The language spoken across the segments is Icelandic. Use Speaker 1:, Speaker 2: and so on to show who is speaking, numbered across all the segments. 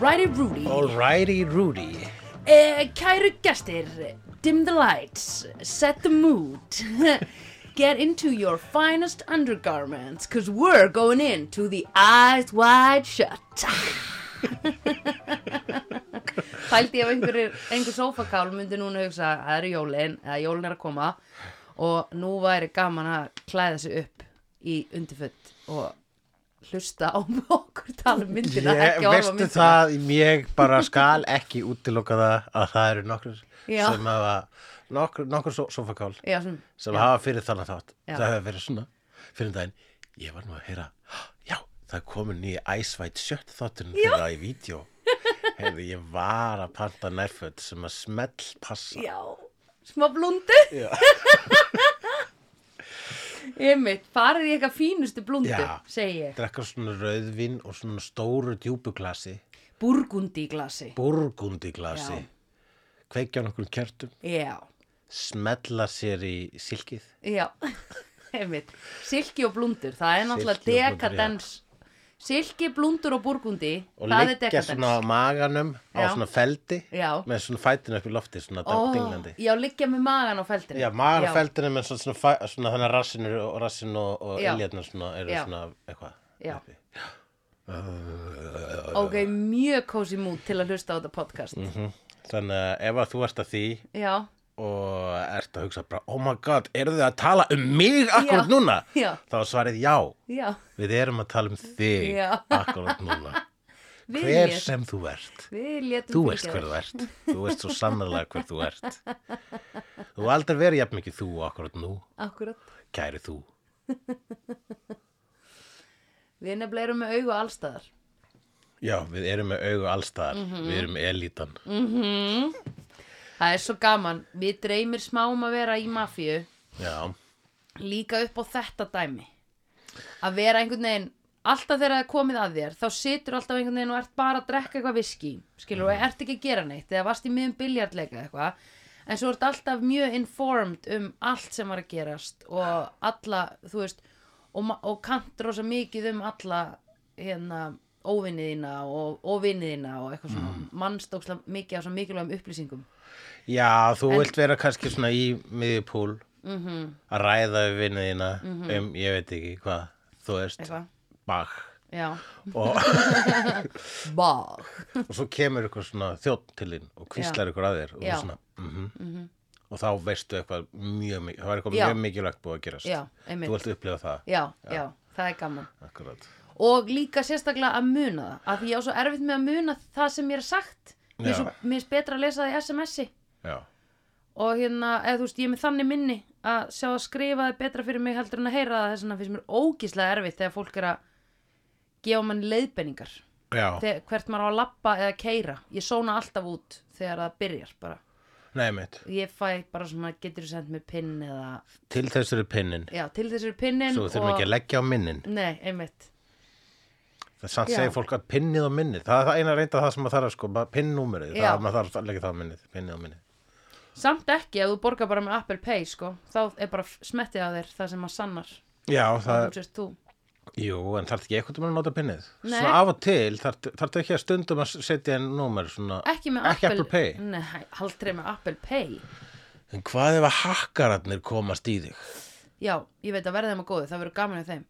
Speaker 1: Kæri Rúri,
Speaker 2: Alrighty Rudy
Speaker 1: eh, kæru gestir, dim the lights, set the mood, get into your finest undergarments, cause we're going in to the eyes wide shut. Pældi ef einhverjir, einhver sofakál myndi núna hugsa að það eru jólin, eða jólin er að koma og nú væri gaman að klæða sig upp í undirföld og hlusta á okkur tala um myndina,
Speaker 2: Ég,
Speaker 1: ekki á
Speaker 2: veistu það, ég bara skal ekki útiloka það að það eru nokkur
Speaker 1: Já.
Speaker 2: sem hafa nokkur, nokkur so sofakál
Speaker 1: Já, sem,
Speaker 2: sem hafa fyrir þannig þátt
Speaker 1: Já.
Speaker 2: það hefur verið svona fyrir daginn, ég var nú að heyra já, það komin nýja æsvætt sjött þátturinn þeirra í vídeo hefði ég var að panta nærföld sem að smell passa
Speaker 1: já, smá blundu.
Speaker 2: Já.
Speaker 1: Einmitt, farið í eitthvað fínustu blundu,
Speaker 2: Já.
Speaker 1: segi ég.
Speaker 2: drekka svona rauðvin og svona stóru djúbuglasi
Speaker 1: Burgundi í glasi.
Speaker 2: burgundi glasi
Speaker 1: Já.
Speaker 2: kveikja á nokkur kertum
Speaker 1: Já,
Speaker 2: smetla sér í silkið
Speaker 1: já, einmitt. Silki og blundur, það er náttúrulega
Speaker 2: Silki og blundur,
Speaker 1: dekadens. Silki, blundur og burgundi,
Speaker 2: og
Speaker 1: það er
Speaker 2: liggja
Speaker 1: dekadens.
Speaker 2: svona á maganum á
Speaker 1: Já.
Speaker 2: svona feldi
Speaker 1: Já.
Speaker 2: með svona fætinu upp í lofti svona
Speaker 1: Ó,
Speaker 2: oh. dinglandi
Speaker 1: Já, liggja með magan á feldinu.
Speaker 2: Já, magan á feldinu með svona, svona, fæ, svona þannig að rassinur og rassin og, og
Speaker 1: Já.
Speaker 2: iljarnar svona eru
Speaker 1: Já.
Speaker 2: svona eitthvað
Speaker 1: Já.
Speaker 2: uppi.
Speaker 1: Ok, mjög kósi mút til að hlusta á þetta podcast.
Speaker 2: Mhm. Þannig að ef að þú ert að því
Speaker 1: Já,
Speaker 2: og ert að hugsa bara oh my god, eru þið að tala um mig akkurat
Speaker 1: Já.
Speaker 2: núna?
Speaker 1: Já.
Speaker 2: Þá er svarið já,
Speaker 1: já,
Speaker 2: við erum að tala um þig
Speaker 1: Já.
Speaker 2: akkurat núna
Speaker 1: við
Speaker 2: Hver
Speaker 1: lét-
Speaker 2: sem þú ert
Speaker 1: Við létum
Speaker 2: Þú
Speaker 1: fyrirgefa
Speaker 2: veist hver
Speaker 1: þér.
Speaker 2: þú ert. Þú veist svo sannarlega hver þú ert. Þú hefur aldrei verið jafn mikið þú og akkurat nú,
Speaker 1: Akkurat.
Speaker 2: kæri þú.
Speaker 1: Við nefnilega erum með augu allstaðar.
Speaker 2: Já, við erum með augu allstaðar.
Speaker 1: Mhm.
Speaker 2: Við erum með elítan.
Speaker 1: Mm. Það er svo gaman. Við dreymir smá um að vera í mafíu
Speaker 2: Já,
Speaker 1: líka upp á þetta dæmi. Að vera einhvern veginn, alltaf þegar það er komið að þér, þá situr alltaf einhvern veginn og ert bara að drekka eitthvað viski. Skilur, og ert ekki að gera neitt eða varst í miðum biljardleika eða eitthvað. En svo ert alltaf mjög informed um allt sem var að gerast og alla, þú veist, og, ma- og kannt rosa mikið um alla hérna óvinniðina og, og vinniðina og eitthvað svona mm. mannstókslega mikið á svo mikilvægum upplýsingum.
Speaker 2: Já þú vilt vera kannski svona í miðjupúl
Speaker 1: Mhm.
Speaker 2: að ræða við vinniðina um, ég veit ekki hvað, þú veist,
Speaker 1: Eitthvað.
Speaker 2: bach.
Speaker 1: Já.
Speaker 2: Og,
Speaker 1: Bach.
Speaker 2: og svo kemur eitthvað svona þjótt til þín og kvíslar eitthvað að þér og þú
Speaker 1: Já.
Speaker 2: svona, mhm. Og þá veistu eitthvað mjög mikið, það er eitthvað
Speaker 1: Já.
Speaker 2: mjög mikilvægt búið að gerast.
Speaker 1: Já, einmitt.
Speaker 2: Þú vilt upplifa það,
Speaker 1: Já, já, það er gaman.
Speaker 2: akkurat.
Speaker 1: Og líka sérstaklega að muna það, af því ég á svo erfitt með að muna það sem mér er sagt. Mér er svo,
Speaker 2: Já.
Speaker 1: mér finnst betra að lesa það í SMS-i
Speaker 2: Já.
Speaker 1: og hérna, eða þú veist, ég er með þannig minni að sjá að skrifa það er betra fyrir mig heldur en að heyra það þess vegna finnst mér ógíslega erfitt þegar fólk er að gefa mann leiðbenningar.
Speaker 2: Já.
Speaker 1: Þegar, hvert maður á að lappa eða keira. Ég sóna alltaf út þegar það byrjar bara.
Speaker 2: Nei, mitt.
Speaker 1: Ég fæ bara svona, getur þú sendt mér pinn eða,
Speaker 2: Til þess eru pinnin.
Speaker 1: já, til þessir pinnin
Speaker 2: Svo við þurfum ekki að leggja á minnin.
Speaker 1: Nei, einmitt.
Speaker 2: Það er samt
Speaker 1: Já.
Speaker 2: segir fólk að pinnið á minnið. Það er það eina reynda það sem maður þarf að sko, bara pinnnúmerið.
Speaker 1: Já.
Speaker 2: Það er maður þarf að leggja það á minnið, pinnið á minnið.
Speaker 1: Samt ekki ef þú borgar bara með Apple Pay sko, þá er bara smettið á þér það sem maður sannar
Speaker 2: Já, það,
Speaker 1: þú sérst þú.
Speaker 2: jú, en þarf ekki eitthvað að nota pinnið.
Speaker 1: Nei.
Speaker 2: Svona af og til, þarf þarf ekki að stundum að setja einn númer svona.
Speaker 1: Ekki með
Speaker 2: Ekki Apple Pay.
Speaker 1: Nei, aldrei með Apple Pay
Speaker 2: En hvað ef að hakkararnir komast í þig?
Speaker 1: Já, ég veit að verða þeim að góðu, það verður gaman af þeim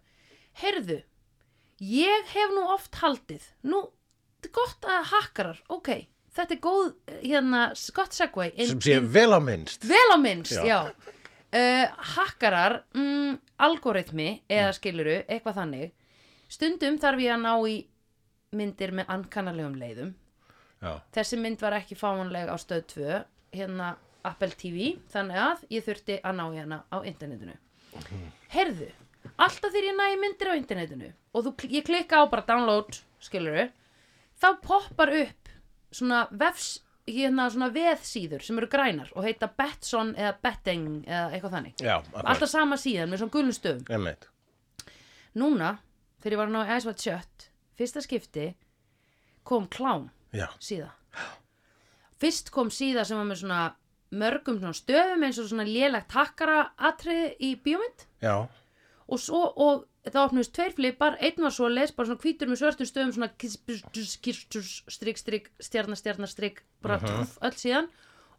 Speaker 1: Heyrðu, ég hef nú oft haldið Nú, þetta er gott að hakkarar, ok Þetta er góð, hérna, gott segway inn-
Speaker 2: Sem sé
Speaker 1: inn-
Speaker 2: vel á minnst.
Speaker 1: Vel á minnst,
Speaker 2: Já.
Speaker 1: já, Uh, Hakkarar, mm, algoritmi eða skiluru, eitthvað þannig Stundum þarf ég að ná í myndir með ankannalegum leiðum
Speaker 2: Já,
Speaker 1: Þessi mynd var ekki fáanleg á stöð 2 hérna Apple TV þannig að ég þurfti að ná í hana á internetinu Herðu, alltaf þegar ég næ í myndir á internetinu og þú, kl- ég klikka á bara download skiluru, þá poppar upp svona vefs hérna svona veðsíður sem eru grænar og heita Betson eða Betting eða eitthvað þannig
Speaker 2: já, akkurat.
Speaker 1: alltaf sama síðan með svona gulnum stöðum
Speaker 2: Nei, mitt.
Speaker 1: núna, þegar ég var að ná í æsvað sjött fyrsta skipti kom klám
Speaker 2: Já,
Speaker 1: síða fyrst kom síða sem var með svona mörgum svona stöfum eins og svona lélegt takkara atriði í bíómynd
Speaker 2: já,
Speaker 1: og svo, og það opnust tveir flipar einn var svo leys, bara svona hvítur með svörtum stöðum svona kistus, kistus, strik, strik stjarnar, stjarnar, strik, bara uh öll síðan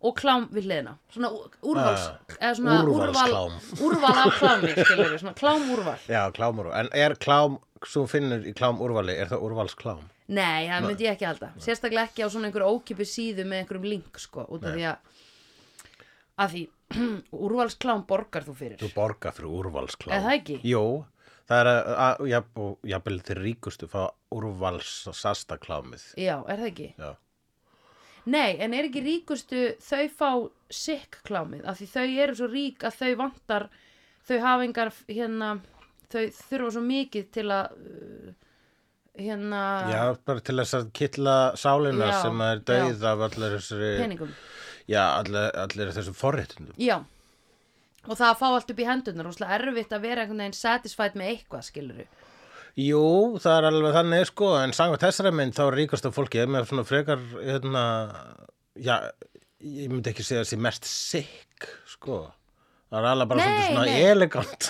Speaker 1: og klám við hliðina svona ú- úrvals,
Speaker 2: Ah,
Speaker 1: eða svona
Speaker 2: úrvalsklám.
Speaker 1: úrval, úrval af klámi, skilur svona klám úrval
Speaker 2: Já, klámur. En er klám, svo finnur í klám úrvali, er það úrvalsklám?
Speaker 1: Nei, það myndi ég ekki halda Sérstaklega ekki á svona einhver ókipi síðu með einhverjum link sko, út af
Speaker 2: Nei.
Speaker 1: því að að því úrvalsklám borgar þú fyrir
Speaker 2: Þú borga fyrir úrvalsklám.
Speaker 1: Er það ekki?
Speaker 2: Jú, það er að, að jafn- og jafnvel þeir ríkustu fá úrvalsasta klámið.
Speaker 1: Já, er það ekki?
Speaker 2: Já.
Speaker 1: Nei, en er ekki ríkustu þau fá sick klámið af því þau eru svo rík að þau vantar þau hafa engar hérna þau þurfa svo mikið til að uh, hérna
Speaker 2: Já, bara til þess að kittla sálina
Speaker 1: Já,
Speaker 2: sem er dauð af allir þessari,
Speaker 1: peningum
Speaker 2: já, allir, allir þessum forréttundum.
Speaker 1: Já og það að fá allt upp í hendunar rosalega erfitt að vera einhvern veginn satisfied með eitthvað skiluru
Speaker 2: Jú, það er alveg þannig sko, en samkvæmt þessari mynd þá er ríkasta fólkið með svona frekar, hérna, já, ég myndi ekki segja þessi mest sick, sko. Það er alveg bara
Speaker 1: Nei,
Speaker 2: svolítið svona
Speaker 1: nei.
Speaker 2: elegant,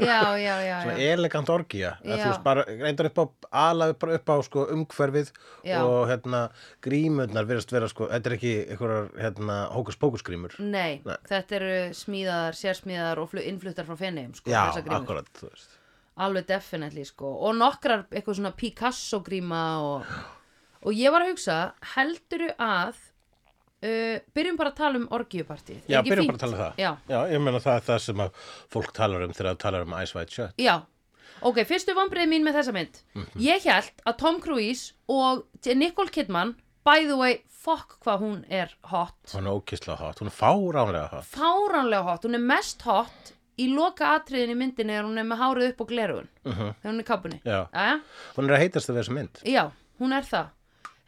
Speaker 1: Já, já, já, já.
Speaker 2: svona elegant orgía. Að
Speaker 1: Já.
Speaker 2: Þú veist bara, reyndar upp á, alveg bara upp á sko umhverfið
Speaker 1: Já.
Speaker 2: og hérna grímurnar verðast vera sko, þetta er ekki einhverjar, hérna, hókus pókus grímur.
Speaker 1: Nei,
Speaker 2: Nei.
Speaker 1: þetta eru smíðaðar, sérsmíðaðar og flu- innfluttar frá fenniðum sko,
Speaker 2: Já,
Speaker 1: þessar grímur.
Speaker 2: akkurat, þú veist.
Speaker 1: Alveg definitely sko og nokkrar eitthvað svona Picasso gríma og, og ég var að hugsa helduru að uh, byrjum bara að tala um orgiupartíð
Speaker 2: Já, byrjum bara að tala um það.
Speaker 1: Já,
Speaker 2: ég meina það er það sem að fólk talar um þegar það talar um Ice White Shut.
Speaker 1: já Ok, fyrstu vombriði mín með þessa mynd
Speaker 2: Mhm.
Speaker 1: Ég held að Tom Cruise og Nicole Kidman by the way, fuck hvað hún er hot
Speaker 2: Hún er ókislega hot, hún er fáránlega hot.
Speaker 1: fáránlega hot, hún er mest hot í loka atriðin í myndinni er hún er með hárið upp og glerugun þegar hún er í kápunni
Speaker 2: Já.
Speaker 1: Jæja?
Speaker 2: Hún er að heitast af þessu mynd.
Speaker 1: já, hún er það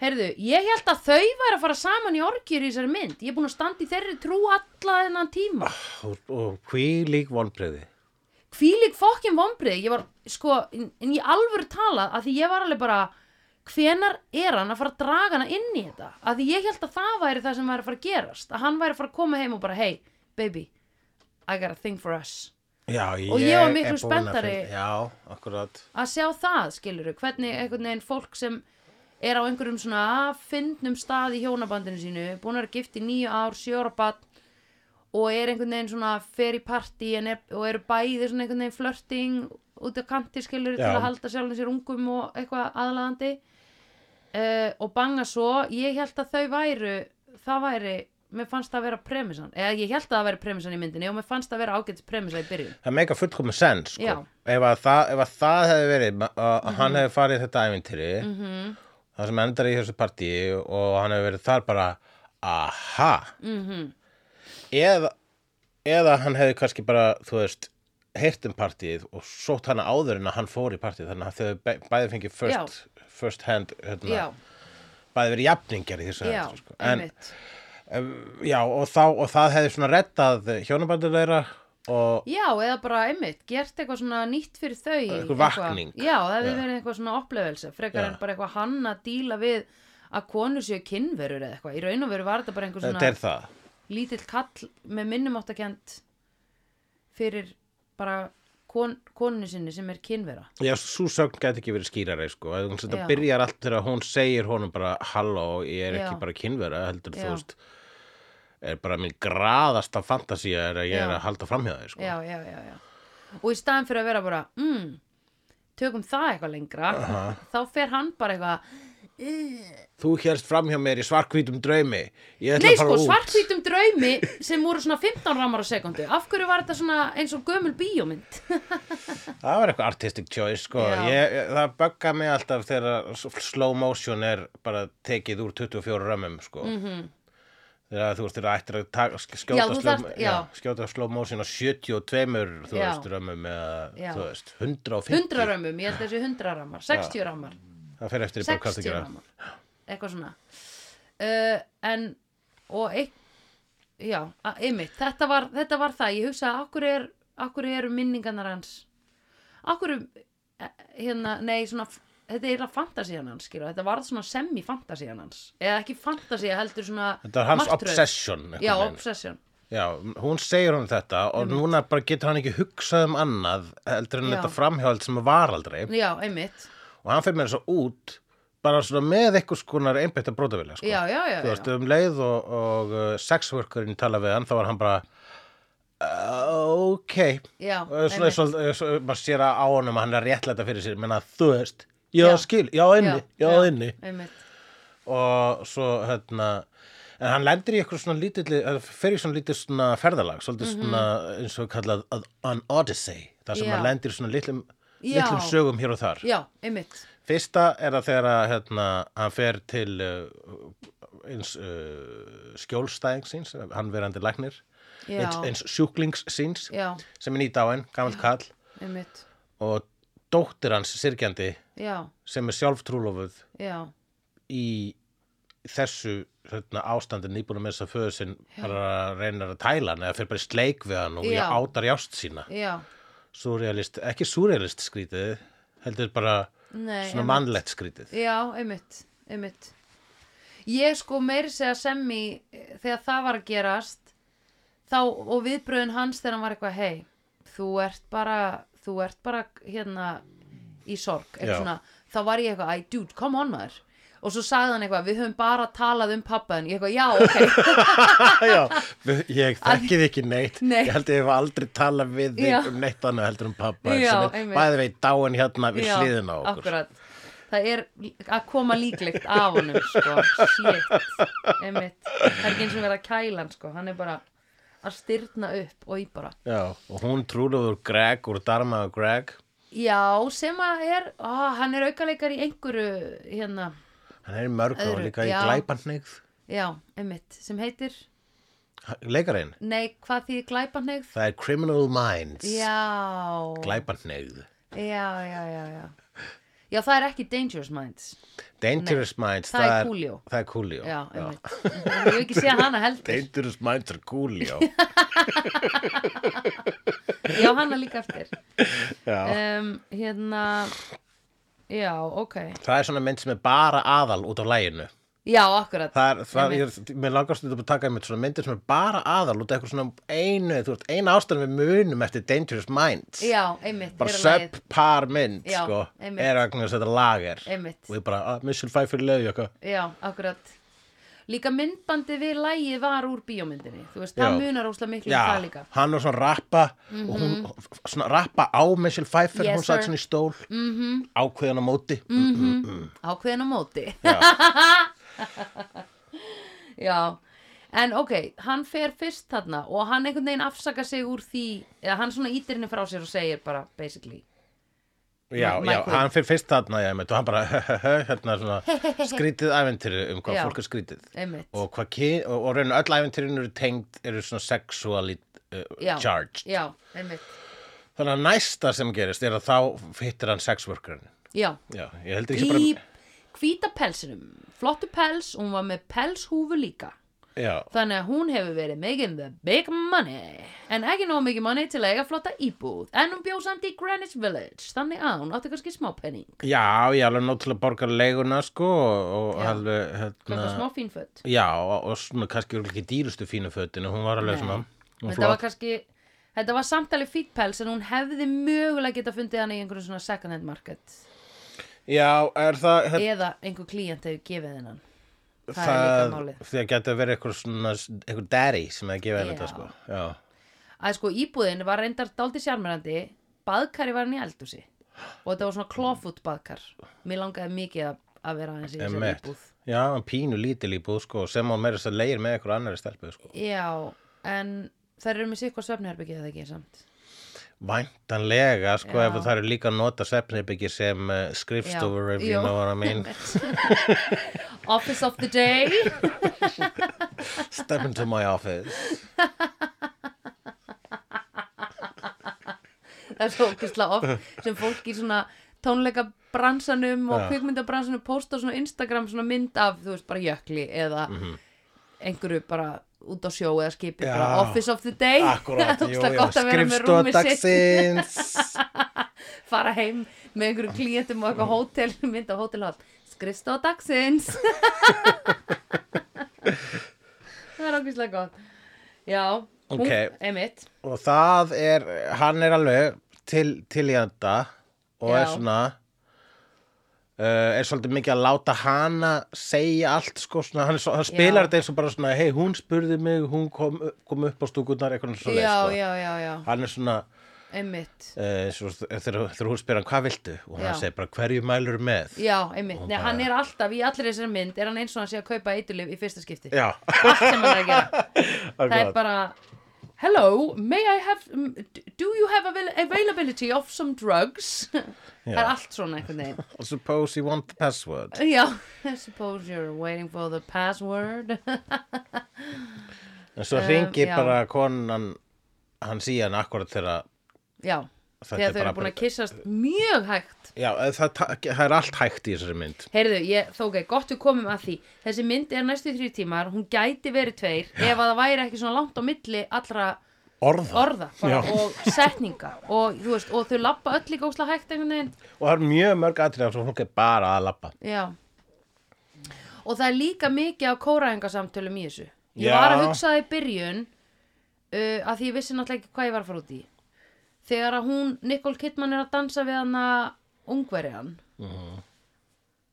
Speaker 1: Heyrðu, ég held að þau væri að fara saman í orkjur í þessari mynd ég er búin að standa í þeirri trú alla þennan tíma
Speaker 2: Og, og hví lík vonbreiði.
Speaker 1: hvílík fokkin vombrið ég var, sko, en en ég alvöru talað að því ég var alveg bara hvenar er hann að fara að draga hana inn í þetta að því ég held að það væri það sem væri að fara að gerast að hann væri að fara að koma heim og bara hey, baby, I got a thing for us
Speaker 2: Já, ég
Speaker 1: Og ég var
Speaker 2: er
Speaker 1: miklu
Speaker 2: búin að
Speaker 1: spenntari.
Speaker 2: finna- Já, akkurat.
Speaker 1: að sjá það, skilur hvernig einhvern veginn fólk sem er á einhverjum svona fyndnum stað í hjónabandinu sínu, búin að vera gift í nýju ár, sjö ára bann og er einhvern veginn svona fer í partí en er, og eru bæði svona einhvern veginn flörting út af kanti skilur til
Speaker 2: Já.
Speaker 1: að halda sjálfum sér ungum og eitthvað aðlaðandi uh, og banga svo, ég held að þau væru það væri, mér fannst það að vera premissan, eða ég held að það væri premissan í myndinni og mér fannst það að vera ágætis premissa í byrjun
Speaker 2: Það meika fullkomu sens,
Speaker 1: Já. Mhm.
Speaker 2: sko. Ef að, það, ef að það hefði verið, að hann hefði farið í þetta ævintýri, -hmm. það sem endar í þessu partíi og hann hefði verið þar bara, aha. Mm
Speaker 1: Mhm.
Speaker 2: -hmm. eða, eða hann hefði kannski bara, þú veist, heyrt um partíið og sótt hana áður en að hann fór í partíið, þannig að þau bæ- bæði fengið first, first hand, hérna,
Speaker 1: Já,
Speaker 2: bæði verið jafningjar í þessu
Speaker 1: já,
Speaker 2: heldur, sko. en,
Speaker 1: einmitt
Speaker 2: já, og, þá, og það hefði svona rettað hjónabandur þeirra og
Speaker 1: Já, eða bara einmitt, gert eitthvað svona nýtt fyrir þau
Speaker 2: Einhver vakning.
Speaker 1: Já, það hefði
Speaker 2: Já.
Speaker 1: verið eitthvað svona upplevelse frekar
Speaker 2: Já.
Speaker 1: en bara eitthvað hann að díla við að konur séu kynverur eða eitthvað í raun og veru var þetta bara einhver
Speaker 2: þetta
Speaker 1: svona
Speaker 2: er það
Speaker 1: lítill kall með minnumáttakent fyrir bara kon, konu sinni sem er kynvera
Speaker 2: Já, svo sögn gæti ekki verið skýrari sko. Þú
Speaker 1: Já.
Speaker 2: veist, Þetta byrjar allt þegar hún segir honum bara halló, ég er
Speaker 1: Já.
Speaker 2: ekki bara kynvera heldur
Speaker 1: Já.
Speaker 2: þú veist er bara minn graðasta fantasía er að ég er
Speaker 1: Já.
Speaker 2: að halda framhjá þig sko.
Speaker 1: Já, já, já, já Og í staðan fyrir að vera bara mm, tökum það eitthvað lengra þá fer hann bara eitthvað
Speaker 2: Þú helst framhjá mér í svarkvítum draumi Ég ætla
Speaker 1: Nei
Speaker 2: að fara
Speaker 1: sko,
Speaker 2: út
Speaker 1: svartvítum draumi sem voru svona 15 ramar á sekundu Af hverju var þetta svona eins og gömul bíómynd?
Speaker 2: Það var eitthvað artistic choice sko.
Speaker 1: Já.
Speaker 2: ég, Það bögga mig alltaf þegar slow motion er bara tekið úr 24 römmum sko. -hmm. Þegar þú veist þegar ættir að taka, sk- skjóta,
Speaker 1: Mhm. Já, þú
Speaker 2: slow,
Speaker 1: þarft-
Speaker 2: já,
Speaker 1: já.
Speaker 2: skjóta slow motion á 72 þú
Speaker 1: Já.
Speaker 2: veist, römmum eða
Speaker 1: Já.
Speaker 2: þú veist, 150
Speaker 1: 100 ramum, ég held þessi 100 ramar 60 ramar,
Speaker 2: Það fer eftir í bara hvað það
Speaker 1: 60
Speaker 2: gera
Speaker 1: ramar Eitthvað svona uh, En, og eitt Já, a- einmitt, þetta var, þetta var það Ég hugsaði, akkur, er, akkur eru minningarnar hans Akkur hérna, nei, svona Þetta er eiginlega fantasían hans, skilur Þetta varð svona semi-fantasían hans Eða ekki fantasía, heldur svona
Speaker 2: Þetta er hans
Speaker 1: martröð.
Speaker 2: obsession einhvern
Speaker 1: Já,
Speaker 2: veginn.
Speaker 1: obsession
Speaker 2: Já, hún segir hún þetta og núna bara getur hann ekki hugsað um annað heldur en
Speaker 1: Já.
Speaker 2: þetta framhjáld sem var aldrei
Speaker 1: já, einmitt
Speaker 2: og hann fyrir mér svo út bara svona með einhvers konar einbytta brótavilja sko.
Speaker 1: Já, já, já,
Speaker 2: Þú
Speaker 1: já.
Speaker 2: veist, um leið og, og uh, sexworkurinn tala við hann þá var hann bara uh, ok
Speaker 1: Já,
Speaker 2: Og svona,
Speaker 1: einmitt.
Speaker 2: svona, svona, maður sér að á honum að hann er réttlæta fyrir sér menna þú veist, já,
Speaker 1: Já.
Speaker 2: skil, já inni já, inni
Speaker 1: einmitt
Speaker 2: og svo hérna en hann lendir í eitthvað svona lítilli eh, fer í svona lítið svona ferðalag svolítið
Speaker 1: Mhm.
Speaker 2: svona eins og við kallað að- an odyssey þar sem
Speaker 1: Já.
Speaker 2: hann lendir í svona litlum,
Speaker 1: Já.
Speaker 2: litlum sögum hér og þar
Speaker 1: Já, einmitt
Speaker 2: fyrsta er að þegar að hérna, hann fer til uh, eins uh, skjólstæðing síns hann verandi læknir
Speaker 1: Já.
Speaker 2: eins, eins sjúklings síns
Speaker 1: Já,
Speaker 2: sem er nýdáin, gamall kall
Speaker 1: einmitt
Speaker 2: og dóttir hans sirkjandi
Speaker 1: Já,
Speaker 2: sem er sjálf trúlofuð
Speaker 1: já,
Speaker 2: í þessu hérna, ástandi nýbúin að missa föðu sinn bara reynir að tæla hann eða fyrir bara í sleik við hann og
Speaker 1: Já.
Speaker 2: ég átar jást sína
Speaker 1: já
Speaker 2: surrealist, ekki surrealist skrítið heldur bara
Speaker 1: Nei, einmitt.
Speaker 2: svona mannlegt skrítið
Speaker 1: Já, einmitt, einmitt Ég sko meiri segja semmi eh, þegar það var að gerast þá, og viðbröðin hans þegar hann var eitthvað hei, þú ert bara þú ert bara hérna í sorg,
Speaker 2: Já.
Speaker 1: eitthvað svona þá var ég eitthvað, "Æ, dude, come on maður og svo sagði hann eitthvað, við höfum bara talað um pappaðin ég eitthvað, já, ok,
Speaker 2: Já, við- ég þekki þið ekki neitt
Speaker 1: Nei.
Speaker 2: ég held að ég hef aldrei talað við þig
Speaker 1: Já.
Speaker 2: um neitt annað heldur um pappa
Speaker 1: Já,
Speaker 2: sem
Speaker 1: einmitt.
Speaker 2: er bæði veit dáin hérna við
Speaker 1: já,
Speaker 2: hliðina á okkur
Speaker 1: akkurat það er að koma líklegt af honum sko, shit, einmitt það er ekki eins og verið að kæla hann sko, hann er bara að styrna upp og í bara
Speaker 2: Já, og hún trúlofuður Greg úr Dharma og Greg
Speaker 1: Já, sem að er, á, hann er aukaleikar í einhverju, hérna,
Speaker 2: hann er í mörg og
Speaker 1: Öðru,
Speaker 2: líka í
Speaker 1: já.
Speaker 2: glæpanhneigð
Speaker 1: já, einmitt, sem heitir,
Speaker 2: leikarinn,
Speaker 1: nei, hvað því glæpanhneigð?
Speaker 2: það er Criminal Minds
Speaker 1: Já,
Speaker 2: glæpanhneigð
Speaker 1: já, já, já, já. Já, það er ekki Dangerous Minds,
Speaker 2: Dangerous Minds,
Speaker 1: það er Coolio.
Speaker 2: það er Coolio
Speaker 1: já, einmitt, ég hef ekki séð hana heldur,
Speaker 2: Dangerous Minds er Coolio
Speaker 1: já, hana líka eftir.
Speaker 2: Já.
Speaker 1: Um, hérna, já, ok,
Speaker 2: það er svona mynd sem er bara aðal út af læginu
Speaker 1: já, akkurat,
Speaker 2: það er, það er, mér langast þetta að taka einmitt svona myndir sem er bara aðal út af eitthvað svona einu, þú veist, eina ástæðan við munum eftir Dangerous Minds
Speaker 1: já, einmitt,
Speaker 2: bara
Speaker 1: er lagið.
Speaker 2: subpar mynd,
Speaker 1: Já,
Speaker 2: sko
Speaker 1: einmitt.
Speaker 2: er vegna þess að þetta lager
Speaker 1: Einmitt.
Speaker 2: og ég bara, að, Michelle Pfeiffer leiði okkar
Speaker 1: Já, akkurat Líka myndbandi við lægið var úr bíómyndinni Þú veist,
Speaker 2: Já.
Speaker 1: það munar óslega miklu um það líka Mhm.
Speaker 2: Já, hann var svona rappa og hún svona rappa á Michelle Pfeiffer
Speaker 1: Yes,
Speaker 2: hún satt
Speaker 1: sir. Mhm.
Speaker 2: svona í stól mm -hmm. ákveðan á móti
Speaker 1: Ákveðin á móti
Speaker 2: Já.
Speaker 1: Já En ok, hann fer fyrst þarna og hann einhvern veginn afsaka sig úr því eða hann svona ítir henni frá sér og segir bara basically
Speaker 2: Já, já,
Speaker 1: Michael.
Speaker 2: hann fyrir fyrst þarna já, einmitt, og hann bara hérna svona skrítið æventýri um hvað
Speaker 1: Já.
Speaker 2: fólk er skrítið
Speaker 1: einmitt
Speaker 2: og, hvað kyn, og, og raunin öll æventýrin eru tengd eru svona sexually
Speaker 1: já,
Speaker 2: uh, charged
Speaker 1: Já, einmitt
Speaker 2: þannig að næsta sem gerist er að þá hittir hann sexworkerin
Speaker 1: Já,
Speaker 2: Já, ég heldur ekki
Speaker 1: í
Speaker 2: bara
Speaker 1: hvíta pelsinum Flottu pels, og hún var með pelshúfu líka
Speaker 2: Já,
Speaker 1: Þannig að hún hefur verið making the big money en ekki nóg mikið money til að eiga flotta íbúð en hún bjóð samt í Greenwich Village þannig að hún átti kannski smá penning
Speaker 2: já, ég alveg nót til að borga leiguna sko og, og
Speaker 1: Já.
Speaker 2: alveg hérna
Speaker 1: kannski smá fínfött
Speaker 2: Já, og og svona kannski örugglega ekki dýrustu fínu fötinu, hún var alveg
Speaker 1: Nei.
Speaker 2: svona hún
Speaker 1: þetta var
Speaker 2: flott.
Speaker 1: kannski þetta var samtalið fítpels en hún hefði mögulega geta fundið hann í einhverjum svona second hand market
Speaker 2: Já, er það, það,
Speaker 1: eða einhver klíent hefur gefið hennan það er líka
Speaker 2: það
Speaker 1: málið.
Speaker 2: því að geta verið eitthvað svona, eitthvað daddy sem hefði gefið henni þetta
Speaker 1: Já.
Speaker 2: sko. Já,
Speaker 1: að sko íbúðin var reyndar dálítið sjarmerandi baðkari var hann í eldúsi og þetta var svona klófút baðkar mér langaði mikið að, að vera aðeins í þessari
Speaker 2: emmett.
Speaker 1: íbúð
Speaker 2: Já, hann pínu lítil íbúð sko, sem hún meira þess að leir með eitthvað annari stelpu sko.
Speaker 1: Já, en þær eru með sikkur svefnherbyggið eða ekki samt.
Speaker 2: Væntanlega sko,
Speaker 1: Já.
Speaker 2: ef það eru líka að nota svefnibyggi sem uh, skrifstofur, if
Speaker 1: já.
Speaker 2: you know what I mean.
Speaker 1: Office of the day.
Speaker 2: Step into my office.
Speaker 1: Það er svo ókvæslega oft sem fólk í svona tónleika bransanum og
Speaker 2: Já.
Speaker 1: kvikmyndabransanum posta á svona Instagram svona mynd af, þú veist, bara jökli eða
Speaker 2: Mhm.
Speaker 1: einhverju bara út á sjó eða skipi,
Speaker 2: Já.
Speaker 1: bara office of the day.
Speaker 2: Akkurát, jú,
Speaker 1: Ógeðslega
Speaker 2: já,
Speaker 1: gott að vera með
Speaker 2: skrifstofa
Speaker 1: rúmið sitt.
Speaker 2: dagsins.
Speaker 1: fara heim með einhverjum klíentum og eitthvað hótel, mynd á hótelhald skrifstofa dagsins það er okkur gott já,
Speaker 2: ok,
Speaker 1: Hún, einmitt
Speaker 2: og það er hann er alveg til, til í þetta og
Speaker 1: Já.
Speaker 2: er svona uh, er svolítið mikið að láta hana segja allt sko, svona, hann, er svo- hann
Speaker 1: Já.
Speaker 2: spilar þetta eins og bara svona hei, hún spurði mig, hún kom, kom upp á stúkunar eitthvað svona
Speaker 1: já,
Speaker 2: sko.
Speaker 1: já, já, já,
Speaker 2: hann er svona
Speaker 1: einmitt
Speaker 2: uh, svo, þegar, þegar hún spyr hann hvað viltu og hann
Speaker 1: Já.
Speaker 2: segir bara hverju mælur með
Speaker 1: já, einmitt,
Speaker 2: Hún
Speaker 1: Nei,
Speaker 2: bara-
Speaker 1: hann er alltaf í allir þessari mynd er hann eins og hann sé að kaupa eiturlif í fyrsta skipti
Speaker 2: já,
Speaker 1: allt sem hann er að gera það er
Speaker 2: akkurat.
Speaker 1: bara hello, may I have mm, do you have avail- availability of some drugs það er allt svona einhvern veginn
Speaker 2: suppose you want the password
Speaker 1: já, I suppose you're waiting for the password
Speaker 2: en svo
Speaker 1: Um,
Speaker 2: ringir
Speaker 1: já.
Speaker 2: bara konan hann síðan akkurat þegar
Speaker 1: já, þegar þau eru búin að kyssast mjög hægt
Speaker 2: Já, eh, það, ta- það er allt hægt í þessari mynd.
Speaker 1: Heyrðu, ég, þó ok, gott við komum að því Þessi mynd er næstu þrjú tímar, hún gæti verið tveir Ef að það væri ekki svona langt á milli allra
Speaker 2: Orða.
Speaker 1: orða bara,
Speaker 2: Já.
Speaker 1: og setninga og, þú veist, og þau lappa öll í góðsla hægt einhvern veginn
Speaker 2: Og það er mjög mörg atriðar sem fólk er bara að lappa.
Speaker 1: Já Og það er líka mikið af kóraðingasamtölum í þessu Ég
Speaker 2: Já.
Speaker 1: var að hugsa það í byrjun uh, að því ég vissi náttúrulega ekki hvað ég var að fara út í Þegar að hún, Nicole Kidman er að dansa við hana ungverjan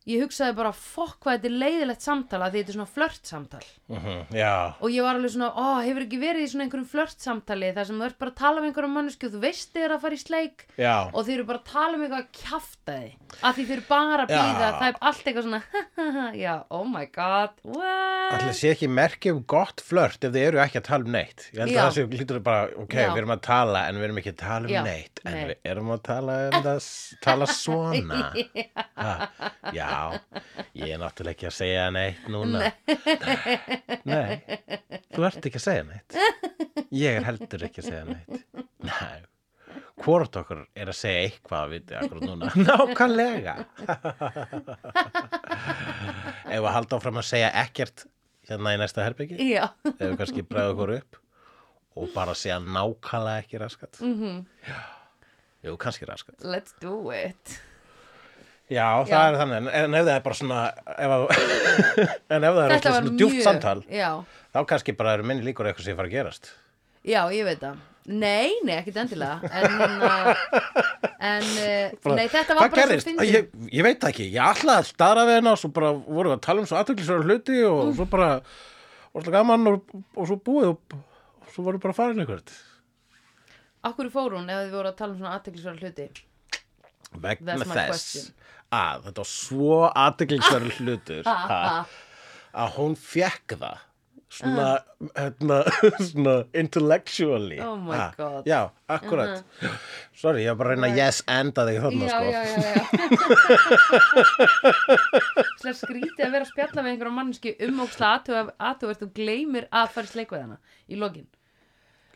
Speaker 1: Ég hugsaði bara, fokk hvað þetta er leiðilegt samtala því þetta er svona flört samtal
Speaker 2: Uh Já,
Speaker 1: og ég var alveg svona, ó, hefur ekki verið í svona einhverjum flört samtali þar sem þú ert bara að tala um einhverjum mannesku og þú veist þið er að fara í sleik
Speaker 2: já,
Speaker 1: og þeir eru bara að tala um eitthvað að kjafta þið að því þeir eru bara að býða
Speaker 2: Já.
Speaker 1: það er allt eitthvað svona já, oh my god, what
Speaker 2: allir sé ekki merki um gott flört ef þið eru ekki að tala um neitt. Ég held
Speaker 1: Já.
Speaker 2: að það sé lítur bara, ok,
Speaker 1: Já.
Speaker 2: við erum að tala en við erum ekki að tala um
Speaker 1: Já,
Speaker 2: neitt. En
Speaker 1: nei.
Speaker 2: við erum að tala um það, s- tala svona. Ha, já, ég er náttúrulega ekki að segja neitt núna. Nei. þú ert ekki að segja neitt. Ég er heldur ekki að segja neitt. Nei. Hvort okkur er að segja eitthvað við þið akkur núna? Nákvæmlega. Ef við halda áfram að segja ekkert hérna í næsta herbyggi,
Speaker 1: já,
Speaker 2: ef við kannski bregðu okkur upp og bara segja nákvæmlega ekki raskat. Mm -hmm.
Speaker 1: Mhm.
Speaker 2: Já, jú, kannski raskat.
Speaker 1: let's do it
Speaker 2: Já, það
Speaker 1: Já.
Speaker 2: er þannig, en- en ef það er bara svona, ef að, en ef það er
Speaker 1: þetta
Speaker 2: alltaf
Speaker 1: var
Speaker 2: svona
Speaker 1: mjög
Speaker 2: djúpt samtal,
Speaker 1: já,
Speaker 2: þá kannski bara eru minni líkur að eitthvað sem fara að gerast.
Speaker 1: já, ég veit það Nei, nei, ekkert endilega En, uh, en uh, nei, þetta var
Speaker 2: Hvað
Speaker 1: bara
Speaker 2: gerðist?
Speaker 1: svo
Speaker 2: Æ,
Speaker 1: fyndið
Speaker 2: Ég, ég veit það ekki, ég ætlaði að staðra við hennar og svo bara vorum við að tala um svo aðtöklisverða hluti og svo bara, og svo gaman og, og svo búið og, og svo vorum við bara farin eitthvað.
Speaker 1: Akkur fór hún ef þið voru að tala um svona aðteklisvara hluti
Speaker 2: Vegna
Speaker 1: That's my
Speaker 2: þess
Speaker 1: question.
Speaker 2: að þetta var svo
Speaker 1: Ah.
Speaker 2: aðtöklisverða hlutur ha, að hún fekk það. Svona, hérna, svona intellectually
Speaker 1: Ah. Oh my
Speaker 2: Ha,
Speaker 1: God. Uh-huh.
Speaker 2: Já, akkurat Sorry, ég var bara að reyna að yes enda þig þarna
Speaker 1: já,
Speaker 2: sko
Speaker 1: já, já, já. Slega skrítið að vera að spjalla með einhverjum manneski um óksla aðtöfvert og gleymir að fara í sleik við hana í lokin.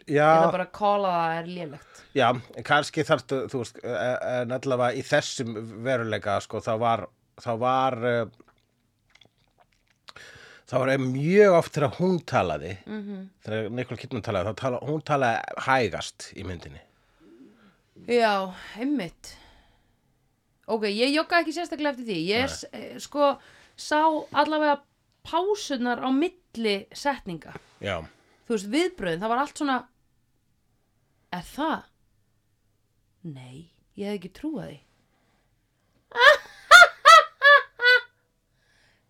Speaker 2: já,
Speaker 1: Ég það bara að kóla það er lélegt.
Speaker 2: Já, en kannski þarftu, þú veist, eh, en allavega í þessum veruleika, sko, þá var, þá var, eh, þá var eh, mjög oft þegar hún talaði, -hmm. þegar Nikol Kittmann talaði, þá tala, hún talaði hægast í myndinni.
Speaker 1: Já, einmitt. Ok, ég jogga ekki sérstaklega eftir því. Ég s- eh, sko sá allavega pásunar á milli setninga.
Speaker 2: Já,
Speaker 1: Þú veist, viðbröðin, það var allt svona, er það? Nei, ég hef ekki trúað því.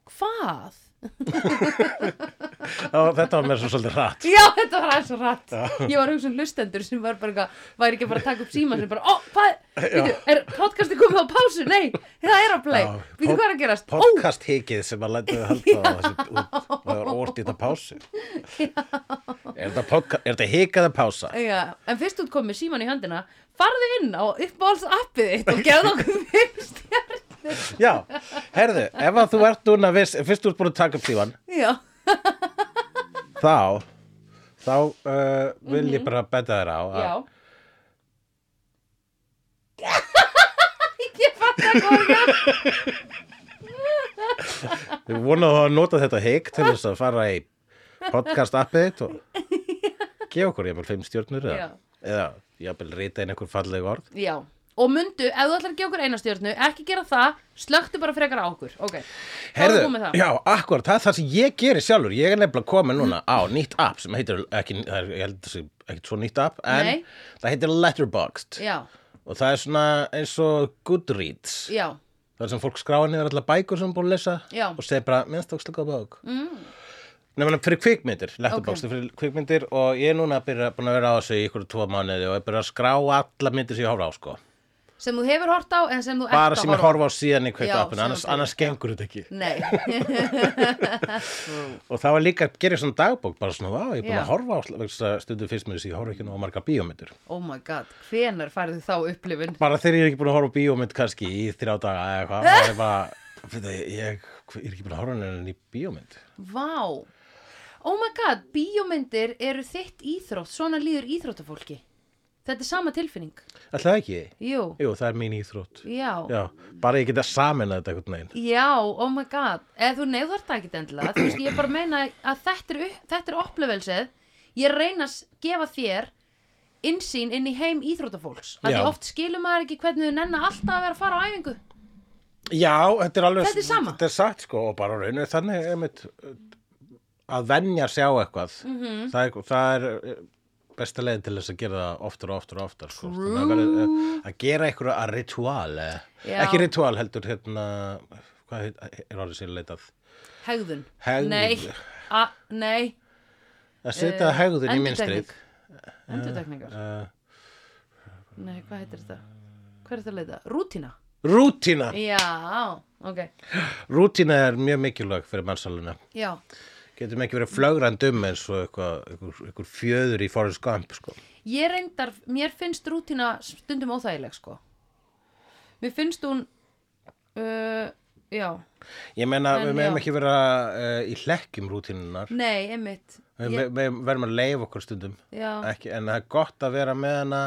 Speaker 1: Hvað?
Speaker 2: Þá, þetta var mér svo svolítið rætt.
Speaker 1: Já, þetta var aðeins og rætt. Ég var að hugsa um hlustendur sem var bara eitthvað, væri ekki að fara að taka upp síma sem bara, ó, hvað, býtu, er podcastið komið á pásu? Nei, það er að play.
Speaker 2: Já,
Speaker 1: Býtu,
Speaker 2: pod-
Speaker 1: hvað er að gerast? Ó,
Speaker 2: Podcast hikið sem að læta þau halda á þessu út og það var orðið þetta pásu. Er þetta, podca- er þetta hikað að pása?
Speaker 1: já, en fyrst út komið síman í höndina, farðu inn á uppbólsappið þitt og gefðu okkur fyrst.
Speaker 2: Já, herðu, ef að þú ert núna viss, fyrst þú ert búin að taka upp tífan,
Speaker 1: Já,
Speaker 2: þá þá uh, vil ég bara betta þér á að
Speaker 1: Mhm. já. Ég fatt að góða.
Speaker 2: ég vona að þú hafa notað þetta hik til þess að fara í podcast appið þitt og gefa okkur jafnvel fimm stjórnur eða,
Speaker 1: Já.
Speaker 2: eða jafnvel rita inn einhver falleg orð
Speaker 1: Já, og mundu, ef þú ætlar að gefa okkur eina stjórnu ekki gera það, slöktu bara frekar á okkur ok, þá erum við
Speaker 2: Herðu,
Speaker 1: komið það
Speaker 2: já, akkurat, það er það sem ég gerir sjálfur Ég er nefnilega komið núna á nýtt app sem heitir, ekki, það er, ég held þessi ekkert svo nýtt app En
Speaker 1: Nei.
Speaker 2: það heitir Letterboxd
Speaker 1: já,
Speaker 2: Og það er svona eins og Goodreads
Speaker 1: já,
Speaker 2: Það er sem fólk skráði niður allar bækur sem er búin að lesa
Speaker 1: Já.
Speaker 2: Og segir bara, minnst tókst ekki á bók mm. Nefnilega fyrir kvikmyndir, Letterboxd er fyrir kvikmyndir Og ég er núna að byrja, búin að vera á þessu í ykkur tvo mánuði Og ég er byrja að skrá alla myndir sem ég horfa á sko
Speaker 1: sem þú hefur hort á en sem þú
Speaker 2: Bara
Speaker 1: ert að
Speaker 2: sem ég
Speaker 1: horfa á.
Speaker 2: horfa á síðan í
Speaker 1: Já,
Speaker 2: kveiktappinu,
Speaker 1: sem
Speaker 2: annars,
Speaker 1: þú segir,
Speaker 2: annars gengur þetta ekki
Speaker 1: nei,
Speaker 2: og það var líka að gera svona dagbók bara svona, vá, ég er búin
Speaker 1: Mm. Já.
Speaker 2: að horfa á vegna þess að stundum fyrst með þessi, ég horfa ekki nú á marga bíómyndir
Speaker 1: oh my god hvenar færðu þá upplifun
Speaker 2: bara þegar ég er ekki búin að horfa á bíómynd kannski í þrjá daga eða eitthvað, það er bara fyrir, ég, ég er ekki búin að horfa á henni í bíómynd
Speaker 1: vá, oh my god bíómyndir eru þitt íþrótt svona líður íþróttafólki þetta er sama tilfinning,
Speaker 2: Ætli það ekki,
Speaker 1: jú
Speaker 2: jú, það er mín íþrótt
Speaker 1: Já.
Speaker 2: já, bara ég geta samin þetta einhvern veginn
Speaker 1: Já, oh my god eða þú neyðar það ekki endilega þú veist, ég bara meina að þetta er, upp- þetta er upplifelsið ég reyna að s- gefa þér innsýn inn í heim íþróttafólks að
Speaker 2: Já.
Speaker 1: því oft skilur maður ekki hvernig þau nenni alltaf að vera að fara á æfingu
Speaker 2: já, þetta er alveg
Speaker 1: Þetta er sama.
Speaker 2: þetta er satt sko, og bara raunir þannig einmitt, að venja sig á eitthvað -hmm.
Speaker 1: Mhm.
Speaker 2: það, er, það er eh, besta leiðin til þess að gera það oftar og oftar og oftar sko. Þannig að, verði, eh, að gera eitthvað að ritual eh.
Speaker 1: Já.
Speaker 2: ekki ritual heldur hérna hvað heit- er orðið sér leitað
Speaker 1: hegðun,
Speaker 2: Hegðun.
Speaker 1: nei, Eh, a, nei
Speaker 2: að setja hegðun í minnstrið
Speaker 1: endurtekningar
Speaker 2: uh,
Speaker 1: nei, hvað heitir þetta? hvað er þetta að leita? Rútína?
Speaker 2: rútína,
Speaker 1: Já, ok
Speaker 2: rútína er mjög mikilvæg fyrir mannsaluna
Speaker 1: Já,
Speaker 2: getum ekki verið flögrandum eins og eitthvað, eitthvað, eitthvað fjöður í Forrest Gump sko.
Speaker 1: ég reyndar, mér finnst rútina stundum óþægileg sko mér finnst hún uh, já,
Speaker 2: Ég meina,
Speaker 1: En
Speaker 2: við meðum
Speaker 1: já.
Speaker 2: ekki vera uh, í hlekkjum rútínunar.
Speaker 1: nei, einmitt
Speaker 2: Við
Speaker 1: ég,
Speaker 2: yeah. verðum að leifa okkur stundum.
Speaker 1: já, Mm.
Speaker 2: Ekki, en það er gott að vera með hana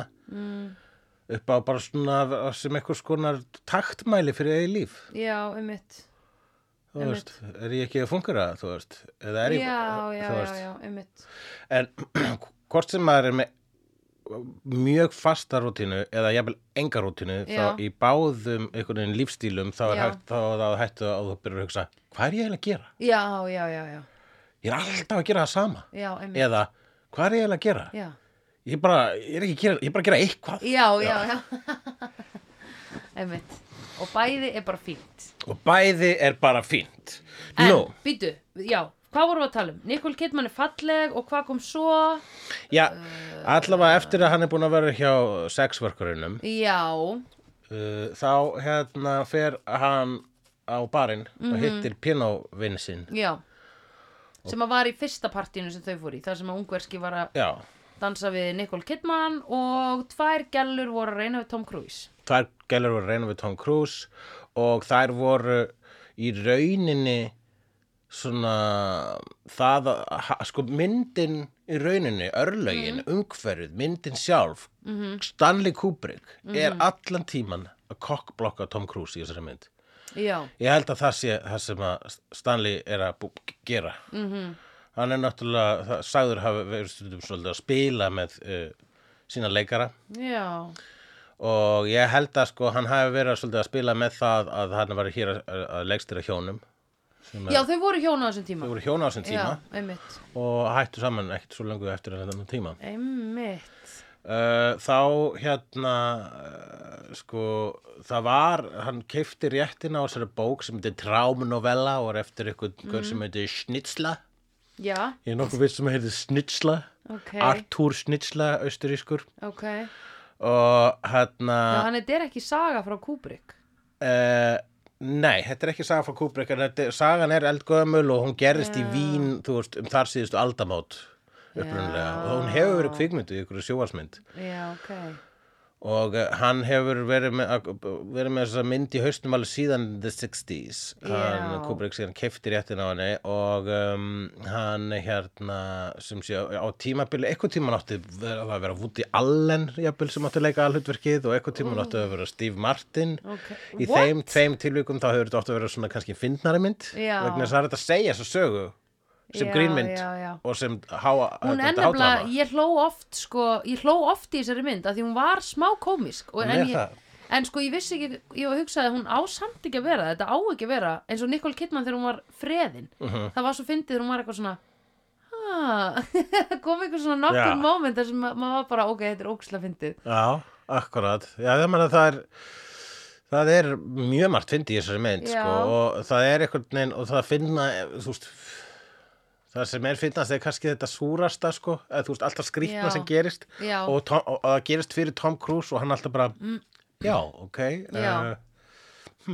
Speaker 2: upp á bara svona sem einhvers konar taktmæli fyrir eigin líf.
Speaker 1: já, einmitt
Speaker 2: Þú veist, er ég ekki að fungera, þú veist. Eða er
Speaker 1: já,
Speaker 2: ég,
Speaker 1: já,
Speaker 2: þú
Speaker 1: já, já, einmitt
Speaker 2: En hvort sem maður er með mjög fasta rútínu eða jafnvel enga rútínu
Speaker 1: Já.
Speaker 2: þá í báðum einhvern veginn lífstílum þá er
Speaker 1: Já.
Speaker 2: hægt þá, þá er hægt að þú byrjar að hugsa hvað er ég eiginlega að gera?
Speaker 1: já, já, já, já,
Speaker 2: Ég er alltaf að gera það sama.
Speaker 1: já, einmitt
Speaker 2: eða hvað er ég eiginlega að gera?
Speaker 1: já,
Speaker 2: Ég bara, ég er ekki að gera, ég er bara að gera eitthvað
Speaker 1: já, já, já einmitt og bæði er bara fínt
Speaker 2: og bæði er bara fínt.
Speaker 1: en,
Speaker 2: Nú,
Speaker 1: býtu, já, hvað vorum við að tala um? Nicole Kidman er falleg og hvað kom svo
Speaker 2: já,
Speaker 1: uh,
Speaker 2: allavega eftir að hann er búin að vera hjá sexworkurunum,
Speaker 1: já,
Speaker 2: uh, þá hérna fer hann á barinn
Speaker 1: Mhm.
Speaker 2: og hittir pianovinn sinn.
Speaker 1: já sem að var í fyrsta partínu sem þau fór í þar sem að ungverski var að
Speaker 2: Já,
Speaker 1: dansa við Nicole Kidman og tvær gellur voru að reyna við Tom Cruise
Speaker 2: tvær gælur voru að reyna við Tom Cruise og þær voru í rauninni svona það að, ha- sko myndin í rauninni, örlögin, umhverfið, myndin sjálf, Stanley Kubrick er allan tíman að kokkblokka Tom Cruise í þessari mynd.
Speaker 1: já,
Speaker 2: Ég held að það sé það sem að Stanley er að bú- gera. -hmm. Hann er náttúrulega, það, sagður hafa verið stundum svolítið að spila með uh, sína leikara
Speaker 1: já,
Speaker 2: og ég held að sko hann hafi verið svolítið að spila með það að hann var hér að, að leikstýra hjónum sem
Speaker 1: já
Speaker 2: að,
Speaker 1: þau voru hjón á þessum tíma
Speaker 2: þau voru hjón á þessum tíma
Speaker 1: já, einmitt,
Speaker 2: og hættu saman ekkert svo lengu eftir þennan tíma
Speaker 1: einmitt
Speaker 2: uh, þá hérna uh, sko það var, hann keifti réttina á þessari bók sem heitir Traumnovella og er eftir ykkur mm. sem heitir Schnitzla
Speaker 1: já,
Speaker 2: ég er nokkuð viss um sem heitir Schnitzla
Speaker 1: ok,
Speaker 2: Artúr Schnitzla, austurískur
Speaker 1: ok já,
Speaker 2: og hérna
Speaker 1: hann þetta er ekki saga frá Kubrick
Speaker 2: Uh, nei, þetta er ekki saga frá Kubrick en þetta, er- sagan er eldgöðamöl og hún gerðist í Vín, þú veist, um þar síðustu aldamót upprunlega
Speaker 1: Já.
Speaker 2: og hún hefur verið kvikmyndu í ykkur sjóvarsmynd
Speaker 1: já, ok,
Speaker 2: og uh, hann hefur verið með, ak- verið með þessa mynd í haustum alveg síðan the 60s hann,
Speaker 1: Já.
Speaker 2: Kubrick síðan keifti réttin á henni og um, hann hérna sem sé á tímabili eitthvað tíman átti að vera Woody Allen jafnvel sem átti að leika alhutverkið og eitthvað tíman átti að vera Steve Martin
Speaker 1: Ok.
Speaker 2: í
Speaker 1: What?
Speaker 2: þeim tveim tilvíkum þá hefur þetta átti að vera svona kannski fyndnari mynd
Speaker 1: Já.
Speaker 2: vegna þess að það er þetta að segja þessa sögu sem
Speaker 1: Já,
Speaker 2: grínmynd
Speaker 1: já, já.
Speaker 2: og sem háa
Speaker 1: hún
Speaker 2: þetta
Speaker 1: er nefnilega, ég hló oft sko, ég hló oft í þessari mynd að því hún var smá komisk og,
Speaker 2: Hún
Speaker 1: en,
Speaker 2: er það.
Speaker 1: ég, en sko ég vissi ekki, ég hugsaði að hún á samt ekki að vera, þetta á ekki að vera eins og Nicole Kidman þegar hún var freðin
Speaker 2: Mhm.
Speaker 1: það var svo fyndið þegar hún var eitthvað svona "Ha?" kom eitthvað svona nokkur
Speaker 2: Já.
Speaker 1: moment þar sem ma- maður var bara, ok, þetta er óksla fyndið
Speaker 2: Já, akkurat. Já, það, meina, það, er, það er mjög margt fyndi í þessari mynd,
Speaker 1: Já.
Speaker 2: sko, og það er einhvern veginn, og það finna, þú veist, það sem er finnast er kannski þetta súrasta, sko, eða þú veist, alltaf skrýtna
Speaker 1: Já.
Speaker 2: sem gerist,
Speaker 1: Já. Mm.
Speaker 2: og, Tom, og, og það gerist fyrir Tom Cruise og hann alltaf bara, já, ok,
Speaker 1: Já.
Speaker 2: eh,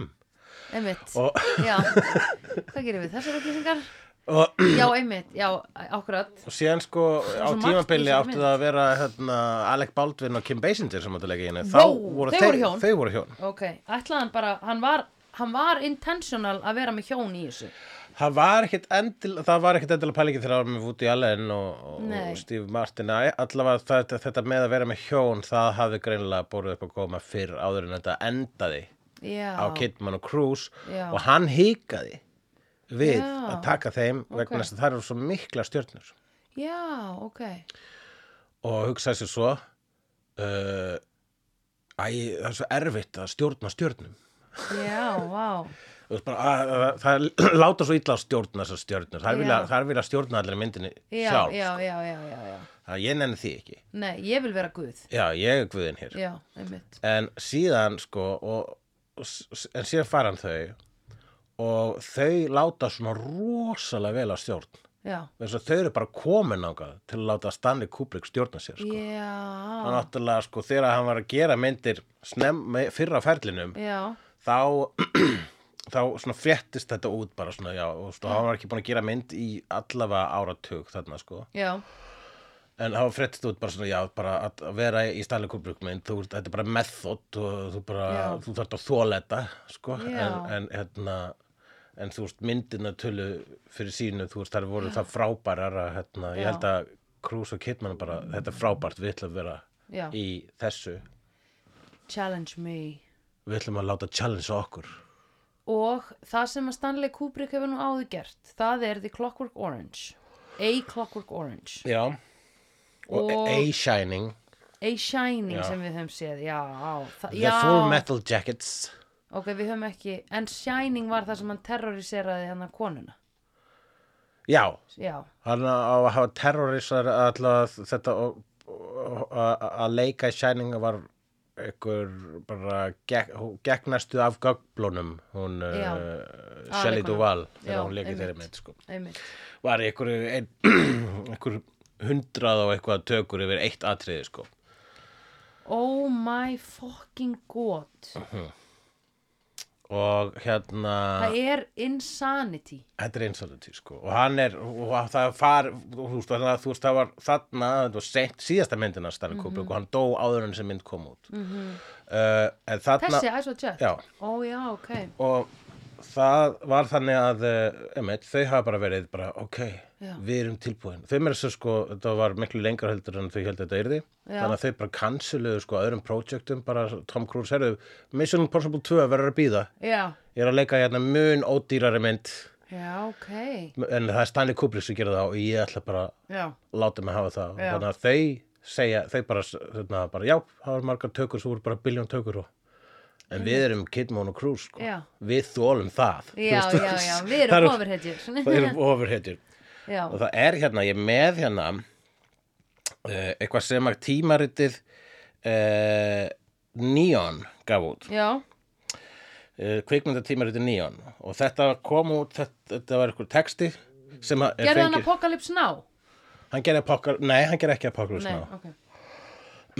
Speaker 1: einmitt,
Speaker 2: Og-
Speaker 1: já hvað gerum við þessar upplýsingar?
Speaker 2: og,
Speaker 1: já, einmitt, já, akkurat
Speaker 2: og síðan, sko, á
Speaker 1: svo margt í
Speaker 2: tímabili
Speaker 1: þessari
Speaker 2: átti
Speaker 1: mynd.
Speaker 2: það að vera, hérna, Alec Baldwin og Kim Basinger sem áttu að leika í henni.
Speaker 1: Vó,
Speaker 2: Þá voru
Speaker 1: þau
Speaker 2: þeir-
Speaker 1: voru hjón.
Speaker 2: Þau voru hjón.
Speaker 1: ok, ætlaðan bara, hann var hann var intentional að vera með hjón í þessu
Speaker 2: Það var ekkert endil, það var ekkert endil að pælingi þegar það var með Woody Allen og,
Speaker 1: Nei.
Speaker 2: og Steve Martin. Æ, Allavega þetta, þetta með að vera með hjón, það hafði greinilega borðið upp að koma fyrr áður en þetta endaði
Speaker 1: já,
Speaker 2: á Kidman og Cruise
Speaker 1: Já.
Speaker 2: og hann hikaði við
Speaker 1: Já.
Speaker 2: að taka þeim
Speaker 1: Ok.
Speaker 2: vegna þess að það eru svo mikla stjörnur
Speaker 1: já, ok
Speaker 2: og hugsaði sér svo, uh, æ, það er svo erfitt að stjórna stjörnum.
Speaker 1: já, vá
Speaker 2: Þú veist bara, að, að, að, það láta svo illa að stjórna þessar stjörnur. Það er
Speaker 1: Já.
Speaker 2: vilja, það er vilja að stjórna allir myndinni
Speaker 1: já,
Speaker 2: sjálf. sko.
Speaker 1: já, já, já, já, já
Speaker 2: Það ég nenni því ekki.
Speaker 1: Nei, ég vil vera Guð.
Speaker 2: Já, ég er guðinn hér.
Speaker 1: Já, einmitt.
Speaker 2: En síðan, sko, og, og s- en síðan fara hann þau og þau láta svona rosalega vel að stjórn.
Speaker 1: Já.
Speaker 2: Þess að þau eru bara komin ángað til að láta Stanley Kubrick stjórna sér, sko. Hann
Speaker 1: Já.
Speaker 2: náttúrulega, sko, þegar hann var að gera myndir snemm, fyrra ferlinum,
Speaker 1: Já.
Speaker 2: þá þá svona fréttist þetta út bara svona, já, og svona, hann var ekki búin að gera mynd í allavega áratug þarna, sko.
Speaker 1: Já.
Speaker 2: En það var fréttist út bara svona, já, bara að að vera í Stanley Kubrick mynd, þú, ert- þetta er bara method og þú bara,
Speaker 1: Já.
Speaker 2: þú þarft að þóla þetta, sko,
Speaker 1: Já.
Speaker 2: en, en hérna, en þú veist, myndina tölu fyrir sínu, þú veist, það voru það frábærar að, hérna,
Speaker 1: Já.
Speaker 2: ég held að Cruise og Kidman bara, þetta er frábært, við ætlum að vera
Speaker 1: Já.
Speaker 2: í þessu,
Speaker 1: Challenge me.
Speaker 2: við ætlum að láta challenge okkur.
Speaker 1: Og það sem að Stanley Kubrick hefur nú áður gert, það er The Clockwork Orange. A Clockwork Orange.
Speaker 2: Já. Og,
Speaker 1: Og-
Speaker 2: A-Shining,
Speaker 1: A Shining
Speaker 2: Já.
Speaker 1: sem við höfum séð, já. Það,
Speaker 2: The
Speaker 1: já.
Speaker 2: Full Metal Jackets.
Speaker 1: Ok, við höfum ekki, en Shining var það sem hann terroriseraði hann að konuna.
Speaker 2: Já,
Speaker 1: Já.
Speaker 2: Hann á að hafa terrorisar alltaf þetta og- og- að að leika í Shining var einhver bara gek, hún gekk næstu af gögblónum hún
Speaker 1: Já.
Speaker 2: uh, Shelley
Speaker 1: Aðalleikonum.
Speaker 2: Duvall
Speaker 1: Já,
Speaker 2: þegar hún leikir
Speaker 1: einmitt.
Speaker 2: þeirri mynd sko.
Speaker 1: Einmitt.
Speaker 2: var í einhverju ein, einhver hundrað og eitthvað tökur yfir eitt atriði sko.
Speaker 1: Oh my fucking god.
Speaker 2: og hérna
Speaker 1: Það er insanity.
Speaker 2: Þetta er insanity sko og hann er, og það far þú veist, þannig að þú veist, það var þarna þetta var seint síðasta myndina Stanley Kubrick
Speaker 1: Mhm.
Speaker 2: og hann dó áður en sem mynd kom út -hmm. uh, en þarna
Speaker 1: Þessi, Ice White Jet.
Speaker 2: já,
Speaker 1: Ó Oh, já, ok.
Speaker 2: og það var þannig að uh, emeit, þau hafa bara verið bara, ok,
Speaker 1: Já.
Speaker 2: við erum tilbúin þau meira svo sko, þetta var miklu lengra heldur en þau heldur þetta yrði
Speaker 1: Já.
Speaker 2: þannig að þau bara canceluðu sko öðrum projektum bara Tom Cruise, herðu, Mission Impossible 2 verður að býða,
Speaker 1: Já.
Speaker 2: ég er að leika hérna mun ódýrari mynd
Speaker 1: Já, ok.
Speaker 2: en það er Stanley Kubrick sem gerir það og ég ætla bara að
Speaker 1: Já,
Speaker 2: láta mig hafa það
Speaker 1: Já.
Speaker 2: þannig að þau segja, þau bara, þarna, bara já, það var margar tökur, svo voru bara biljón tökur og En við erum Kidmon og Cruise, sko.
Speaker 1: Já.
Speaker 2: Við þólum það. Þú
Speaker 1: já,
Speaker 2: veist,
Speaker 1: já, já, við
Speaker 2: það
Speaker 1: erum ofurhetjur.
Speaker 2: Það erum ofurhetjur.
Speaker 1: Já,
Speaker 2: Og það er hérna, ég er með hérna uh, eitthvað sem að tímaritið uh, Neon gaf út.
Speaker 1: já,
Speaker 2: Uh, kvikmyndatímaritið Neon. Og þetta kom út, þetta, þetta var eitthvað texti sem að er
Speaker 1: gerðu hann
Speaker 2: fengið.
Speaker 1: Apocalypse Now?
Speaker 2: Hann gerði apokalypse, nei, hann gerði ekki apokalypse
Speaker 1: Nei,
Speaker 2: Now.
Speaker 1: ok,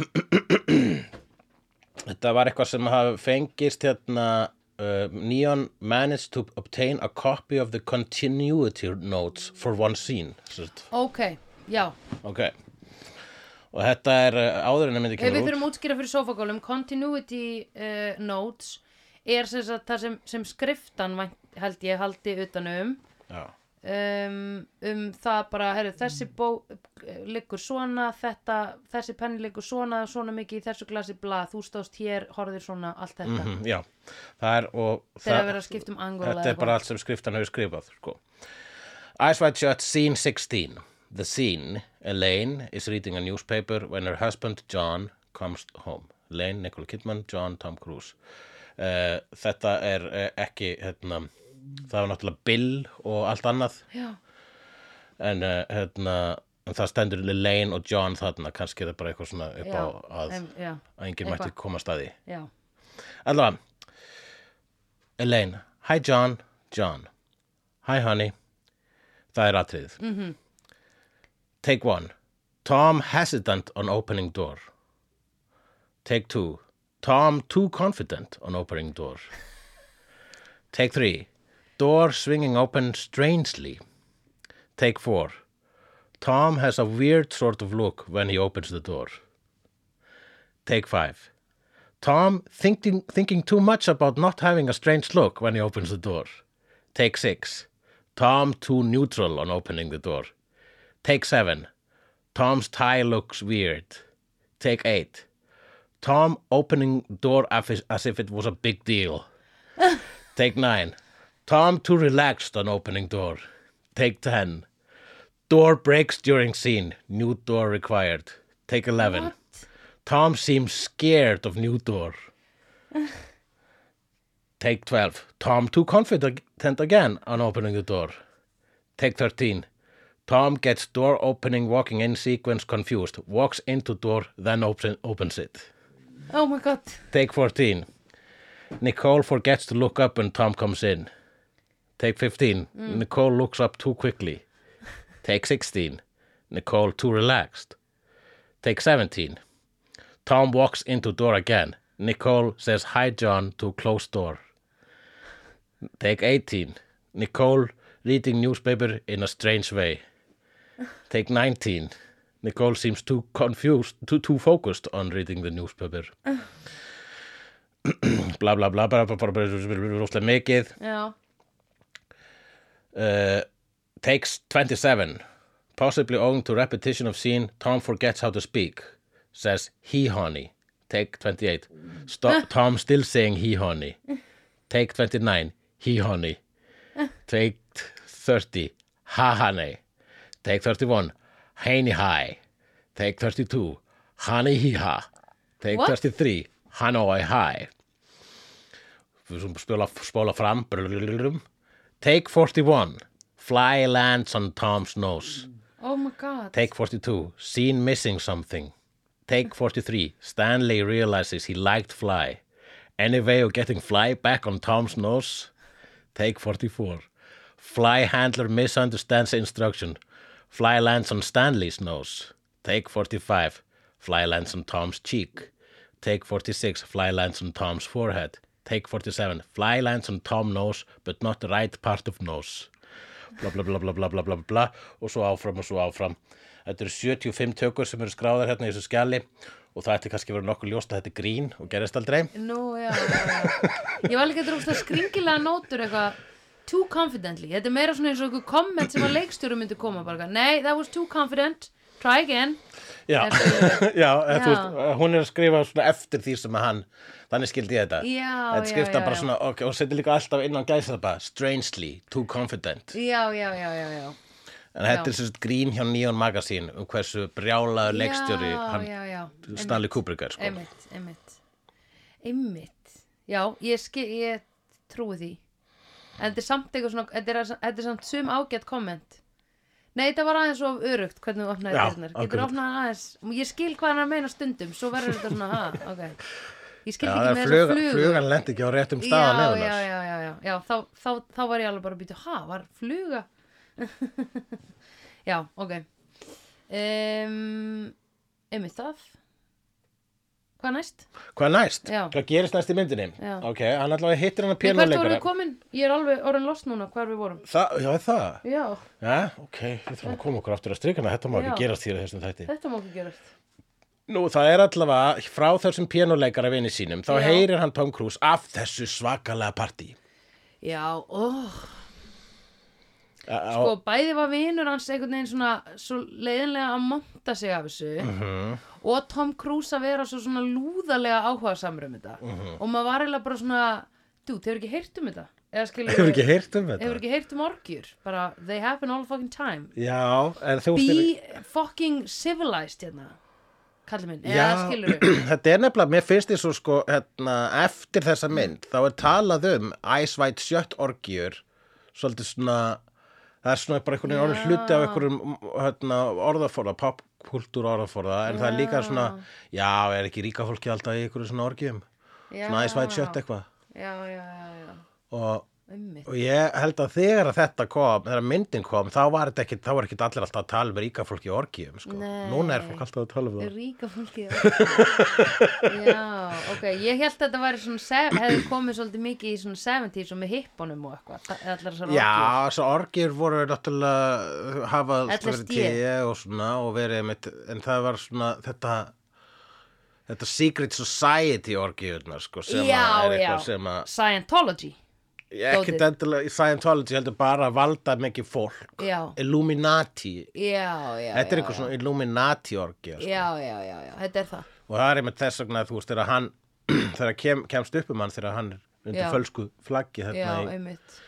Speaker 2: Þetta var eitthvað sem hafi fengist hérna uh, Neon managed to obtain a copy of the continuity notes for one scene. Sérst.
Speaker 1: ok, já,
Speaker 2: Ok. Og þetta er uh, áður en að myndi
Speaker 1: ef við
Speaker 2: kemur út.
Speaker 1: þurfum að útskýra fyrir sofagólum, continuity uh, notes er sem sagt það sem, sem skriftan vænt- held ég haldi utanum
Speaker 2: Já.
Speaker 1: um, um það bara, herru, þessi bó eh, liggur svona, þetta þessi penni liggur svona, svona mikið í þessu glasi bla, þú stóðst hér, horfðir svona allt þetta, mm
Speaker 2: Mhm, já. Það er og...
Speaker 1: þegar
Speaker 2: það-
Speaker 1: að vera að skipta um angola
Speaker 2: Þetta er bara allt sem skriftan hefur skrifað, sko. Ice White Shut, scene 16. The scene, Elaine is reading a newspaper when her husband John comes home. Lane, Nicole Kidman, John, Tom Cruise uh, þetta er uh, ekki hérna, það var náttúrulega Bill og allt annað
Speaker 1: já,
Speaker 2: en, uh, hérna, en það stendur Lane og John þarna, kannski er það bara eitthvað svona upp
Speaker 1: já,
Speaker 2: á að,
Speaker 1: em, já,
Speaker 2: að enginn mætti
Speaker 1: eitthvað.
Speaker 2: komast að því
Speaker 1: já,
Speaker 2: allavega Elaine, hi John, John hi honey það er atriðið -hmm. take one Tom hesitant on opening door take two Tom too confident on opening door take three door swinging open strangely take four Tom has a weird sort of look when he opens the door take five Tom thinking, thinking too much about not having a strange look when he opens the door. Take six. Tom too neutral on opening the door. Take seven. Tom's tie looks weird. Take eight. Tom opening door af- as if it was a big deal. Take nine. Tom too relaxed on opening door. Take ten. Door breaks during scene. New door required. Take eleven.
Speaker 1: What?
Speaker 2: Tom seems scared of new door. Take 12. Tom too confident again on opening the door. Take 13. Tom gets door opening walking in sequence confused. Walks into door then open, opens it.
Speaker 1: oh my god
Speaker 2: Take 14. Nicole forgets to look up when Tom comes in. Take 15. Nicole looks up too quickly. Take 16. Nicole too relaxed. Take 17. Tom walks into door again. Nicole says hi John to close door. Take 18. Nicole reading newspaper in a strange way. Take 19. Nicole seems too confused, too, too focused on reading the newspaper bla bla bla bara bara bara rosalega mikið
Speaker 1: já,
Speaker 2: uh, takes 27 possibly owing to repetition of scene Tom forgets how to speak says he honey take 28 Stop, Tom still saying he honey take 29 he honey take 30 ha honey take 31 haney hi take 32 honey he ha take
Speaker 1: What?
Speaker 2: 33 hanoi hi við skulum spjóla, spóla fram brrrrrrrum. take 41 fly lands on Tom's nose
Speaker 1: oh my god
Speaker 2: take 42 seen missing something take 43 Stanley realizes he liked fly any way of getting fly back on Tom's nose take 44 fly handler misunderstands instruction fly lands on Stanley's nose take 45 fly lands on Tom's cheek take 46 fly lands on Tom's forehead take 47 fly lands on Tom nose but not the right part of nose bla bla bla bla bla bla bla bla og svo áfram og svo áfram þetta eru 75 tökur sem eru skráðar hérna í þessu skjali og það ætti kannski verið nokkuð ljóst að þetta er grín og gerist aldrei
Speaker 1: Nú, já, já, já. Ég var líka að drókst að skringilega nótur eitthvað too confidently. Þetta er meira svona eins og einhver komment sem að leikstjóru myndi koma bara. eitthvað, Nei, that was too confident. Try again.
Speaker 2: já,
Speaker 1: Þetta
Speaker 2: já, já.
Speaker 1: Já.
Speaker 2: Veist, eh, hún er að skrifa svona eftir því sem að hann þannig skildi ég þetta
Speaker 1: Já,
Speaker 2: þetta
Speaker 1: já,
Speaker 2: skipta
Speaker 1: já,
Speaker 2: bara
Speaker 1: já.
Speaker 2: svona ok, og setur líka alltaf inn á gæsa bara strangely, too confident
Speaker 1: Já, já, já, já, já.
Speaker 2: en þetta er sem sagt grín hjá Neon Magazine um hversu brjálaður leikstjóri
Speaker 1: já,
Speaker 2: hann
Speaker 1: já, já. Einmitt,
Speaker 2: Stanley Kubrick er sko
Speaker 1: einmitt, einmitt. Einmitt. Já, ég, ski, ég trúi því. En þetta er samt eitthvað svona, þetta er, þetta er samt sum ágætt komment. Nei, þetta var aðeins of örugt hvernig þú opnaði
Speaker 2: Já,
Speaker 1: dyrnar. Getur
Speaker 2: akkurat.
Speaker 1: opnað aðeins, ég skil hvað hann er að meina stundum, svo verður þetta svona, ha, ok. Ég skil
Speaker 2: Já,
Speaker 1: ekki
Speaker 2: það
Speaker 1: með þessa
Speaker 2: er flugan,
Speaker 1: flugu.
Speaker 2: flugan lendi ekki á réttum
Speaker 1: já,
Speaker 2: staðan
Speaker 1: já, já, já, já, já, þá, þá, þá var ég alveg bara að býta, ha, var fluga? já, ok. Um, einmitt það. Hvað næst?
Speaker 2: Hvað er næst?
Speaker 1: Já.
Speaker 2: Hvað gerist næst í myndinni?
Speaker 1: Já.
Speaker 2: Ok, hann allavega hittir hann að
Speaker 1: Nei, hvert vorum
Speaker 2: pílóleikara.
Speaker 1: við komin? Ég er alveg orðin lost núna hvar við vorum.
Speaker 2: Það, já, er það.
Speaker 1: Já,
Speaker 2: Já, ok, við þurfum að koma okkur aftur að strikana. Þetta má
Speaker 1: Já.
Speaker 2: ekki gerast hér í þessum þætti.
Speaker 1: þetta má ekki gerast.
Speaker 2: Nú, það er allavega frá þessum pílóleikara vini sínum, þá
Speaker 1: Já.
Speaker 2: heyrir hann Tom Cruise af þessu svakalega partí.
Speaker 1: Já, óh.
Speaker 2: Sko.
Speaker 1: sko bæði var vinur hans einhvern veginn svona svo leiðinlega að monta sig af þessu
Speaker 2: Mhm.
Speaker 1: og Tom Cruise að vera svo svona lúðalega áhuga samrum þetta
Speaker 2: Mhm.
Speaker 1: og maður var eiginlega bara svona dude, hefur ekki heyrt um þetta? Eða skilur,
Speaker 2: Hefur ekki heyrt um þetta?
Speaker 1: hefur ekki heyrt um orgjur? Bara, they happen all the fucking time
Speaker 2: Já, en þú
Speaker 1: Be fucking civilized hérna kallið minn eða skilur
Speaker 2: þetta er nefnilega, mér finnst því svo sko, hérna, eftir þessa mynd, þá er talað um Ice White Shut orgjur, svolítið svona, það er svona bara einhvern veginn orðin hluti af einhverjum hérna, orðaforða, popkultúr orðaforða, en það er líka svona, já, er ekki ríka fólki alltaf í einhverju svona orgjum, svona Ice White Shut eitthvað.
Speaker 1: já, já, já, já,
Speaker 2: Og,
Speaker 1: ummitt
Speaker 2: og ég held að þegar að þetta kom, þegar myndin kom, þá var þetta ekkit, þá var ekkit allir alltaf að tala um ríka fólki í orgjum, sko.
Speaker 1: Nei.
Speaker 2: Núna er fólk alltaf að tala um það.
Speaker 1: ríka fólki já, ok, ég held að þetta væri svona se- hefði komið svolítið mikið í svona 70s og með hippunum og eitthvað það- eða allar þessar orgjur.
Speaker 2: Já, þessar orgir voru náttúrulega uh, hafa
Speaker 1: LSD.
Speaker 2: verið tíu og svona og verið einmitt, en það var svona þetta þetta secret society orgiðurnar sko, sem að er
Speaker 1: já, já,
Speaker 2: eitthvað sem að
Speaker 1: Scientology
Speaker 2: ekkert endilega í Scientology heldur bara að valda mikið fólk
Speaker 1: já,
Speaker 2: Illuminati,
Speaker 1: já, já
Speaker 2: þetta
Speaker 1: já,
Speaker 2: er eitthvað svona Illuminati orgið sko.
Speaker 1: já, já, já, já, þetta er það
Speaker 2: og það er einmitt þess vegna að þú veist þegar hann þegar kem, kemst upp um hann þegar hann er undir
Speaker 1: Já.
Speaker 2: fölsku flaggi þarna
Speaker 1: já,
Speaker 2: Hérna í
Speaker 1: einmitt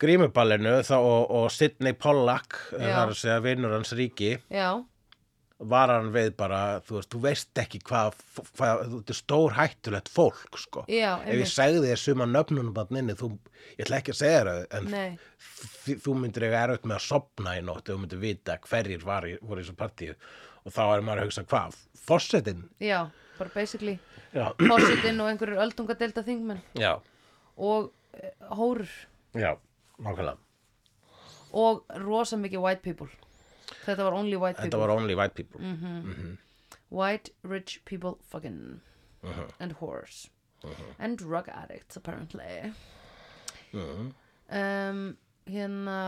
Speaker 2: grímuballinu þá, og, og Sidney Pollack eh,
Speaker 1: Já.
Speaker 2: þar að segja vinnur hans ríki
Speaker 1: já,
Speaker 2: var hann við bara, þú veist, þú veist ekki hvað, hvað þú ert stór hættulegt fólk, sko
Speaker 1: Já,
Speaker 2: ef ég
Speaker 1: einmitt.
Speaker 2: segði þér suma nöfnunum að nynni, þú, ég ætla ekki að segja þér það, en
Speaker 1: Nei.
Speaker 2: þi- þú myndir eiga erut með að sopna í nótt ef þú myndir vita hverjir var í, voru í þessu partíu og þá er maður að hugsa hvað, fossetinn
Speaker 1: já, bara basically
Speaker 2: já,
Speaker 1: fórsetin og einhverjur öldungadelda þingmenn
Speaker 2: já,
Speaker 1: og eh, hórur
Speaker 2: já, nákvæmlega
Speaker 1: og rosa mikið white people þetta var only white
Speaker 2: þetta
Speaker 1: people Mm.
Speaker 2: var only white people
Speaker 1: white rich people fucking
Speaker 2: Uh-huh.
Speaker 1: and whores and drug addicts apparently
Speaker 2: Mhm.
Speaker 1: um, hérna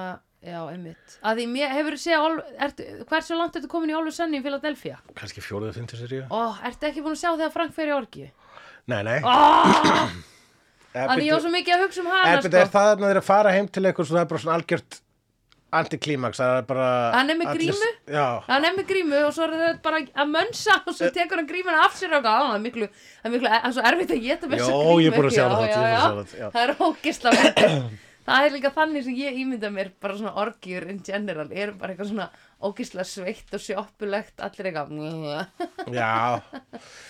Speaker 1: já, einmitt að því mér hefur séð Ol- ertu- hversu langt ertu komin í Ólu Senni í Philadelphia
Speaker 2: kannski fjóruðu fyndu sér ég
Speaker 1: og ertu ekki búin að sjá þegar Frank fer í orgi
Speaker 2: Eh, nei, nei
Speaker 1: Ah! að því ég var svo mikið að hugsa um hana
Speaker 2: En betur, Eh, er
Speaker 1: sko.
Speaker 2: það að þeir að fara heim til eitthvað það er bara svona algjört antiklímaks það er bara
Speaker 1: Hann er með
Speaker 2: allir-
Speaker 1: grímu?
Speaker 2: Já,
Speaker 1: hann er með grímu og svo er þetta bara að mönsa og
Speaker 2: Eh.
Speaker 1: svo tekur hann grímuna af sér og eitthvað. Á, það er miklu, það er miklu, það er svo erfitt að geta með
Speaker 2: Já,
Speaker 1: þessa grímu
Speaker 2: ég er búin að
Speaker 1: ekki?
Speaker 2: sjá
Speaker 1: Já,
Speaker 2: það, ég er
Speaker 1: já, já.
Speaker 2: búin að sjá það, já.
Speaker 1: það er ógislega fyndið. það er líka þannig sem ég ímynda mér bara svona orgjur in general er bara eitthvað svona ógislega sveitt og sjoppulegt allir eitthvað
Speaker 2: já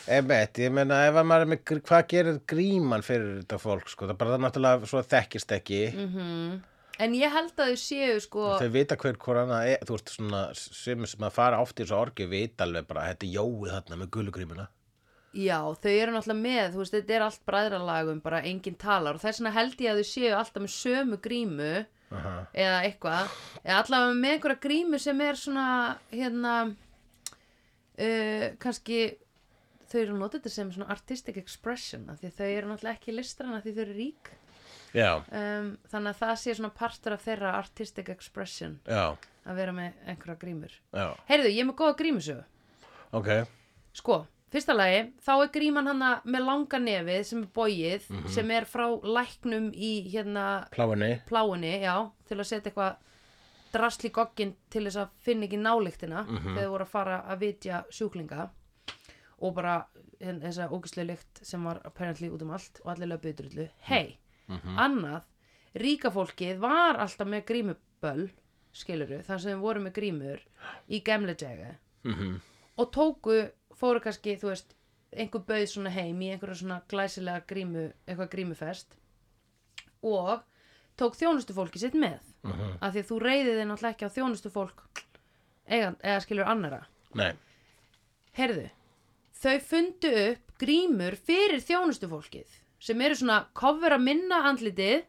Speaker 2: Einmitt, ég meina ef að maður er með gr- hvað gerir gríman fyrir þetta fólk sko, það er bara það náttúrulega svo að þekkist ekki
Speaker 1: Mhm. en ég held að þau séu sko
Speaker 2: þau vita hver hvort annað er, þú veist svona sem, sem að fara oft í þessu orgu vita alveg bara, þetta er jóið þarna með gulugrímuna
Speaker 1: Já, þau eru náttúrulega með, þú veist, þetta er allt bræðralagum, bara enginn talar og þess vegna held ég að þau séu alltaf með sömu grímu eða eitthvað, eða allavega með einhverja grímu sem er svona, hérna, uh, kannski, þau eru notið þetta sem svona artistic expression, af því þau eru náttúrulega ekki listrana, því þau eru rík,
Speaker 2: Já,
Speaker 1: um, þannig að það sé svona partur af þeirra artistic expression
Speaker 2: já,
Speaker 1: að vera með einhverja grímur.
Speaker 2: já,
Speaker 1: Heyrðu, ég er með góða grímusögu.
Speaker 2: ok
Speaker 1: Sko, fyrsta lagi, þá er gríman hana með langa nefið sem er bóið, sem er frá læknum í hérna
Speaker 2: Pláinni,
Speaker 1: pláunni, já, til að setja eitthvað drasl í gogginn til þess að finna ekki nálíktina þegar þau voru að fara að vitja sjúklinga og bara hérna, þessa ógislega lykt sem var apparently út um allt og allir löpuðu drullu. Hei, annað, ríka fólkið var alltaf með grímuböll, skiluru, þannig sem þau voru með grímur í gemle degi og tóku, fóru kannski, þú veist, einhver bauð svona heim í einhverja svona glæsilega grímu, eitthvað grímufest og tók þjónustufólki sitt með af því að þú reyðið þið náttúrulega ekki á þjónustufólk eða, eða skilur annara
Speaker 2: nei
Speaker 1: Herðu, þau fundu upp grímur fyrir þjónustufólkið sem eru svona kofra minna andlitið,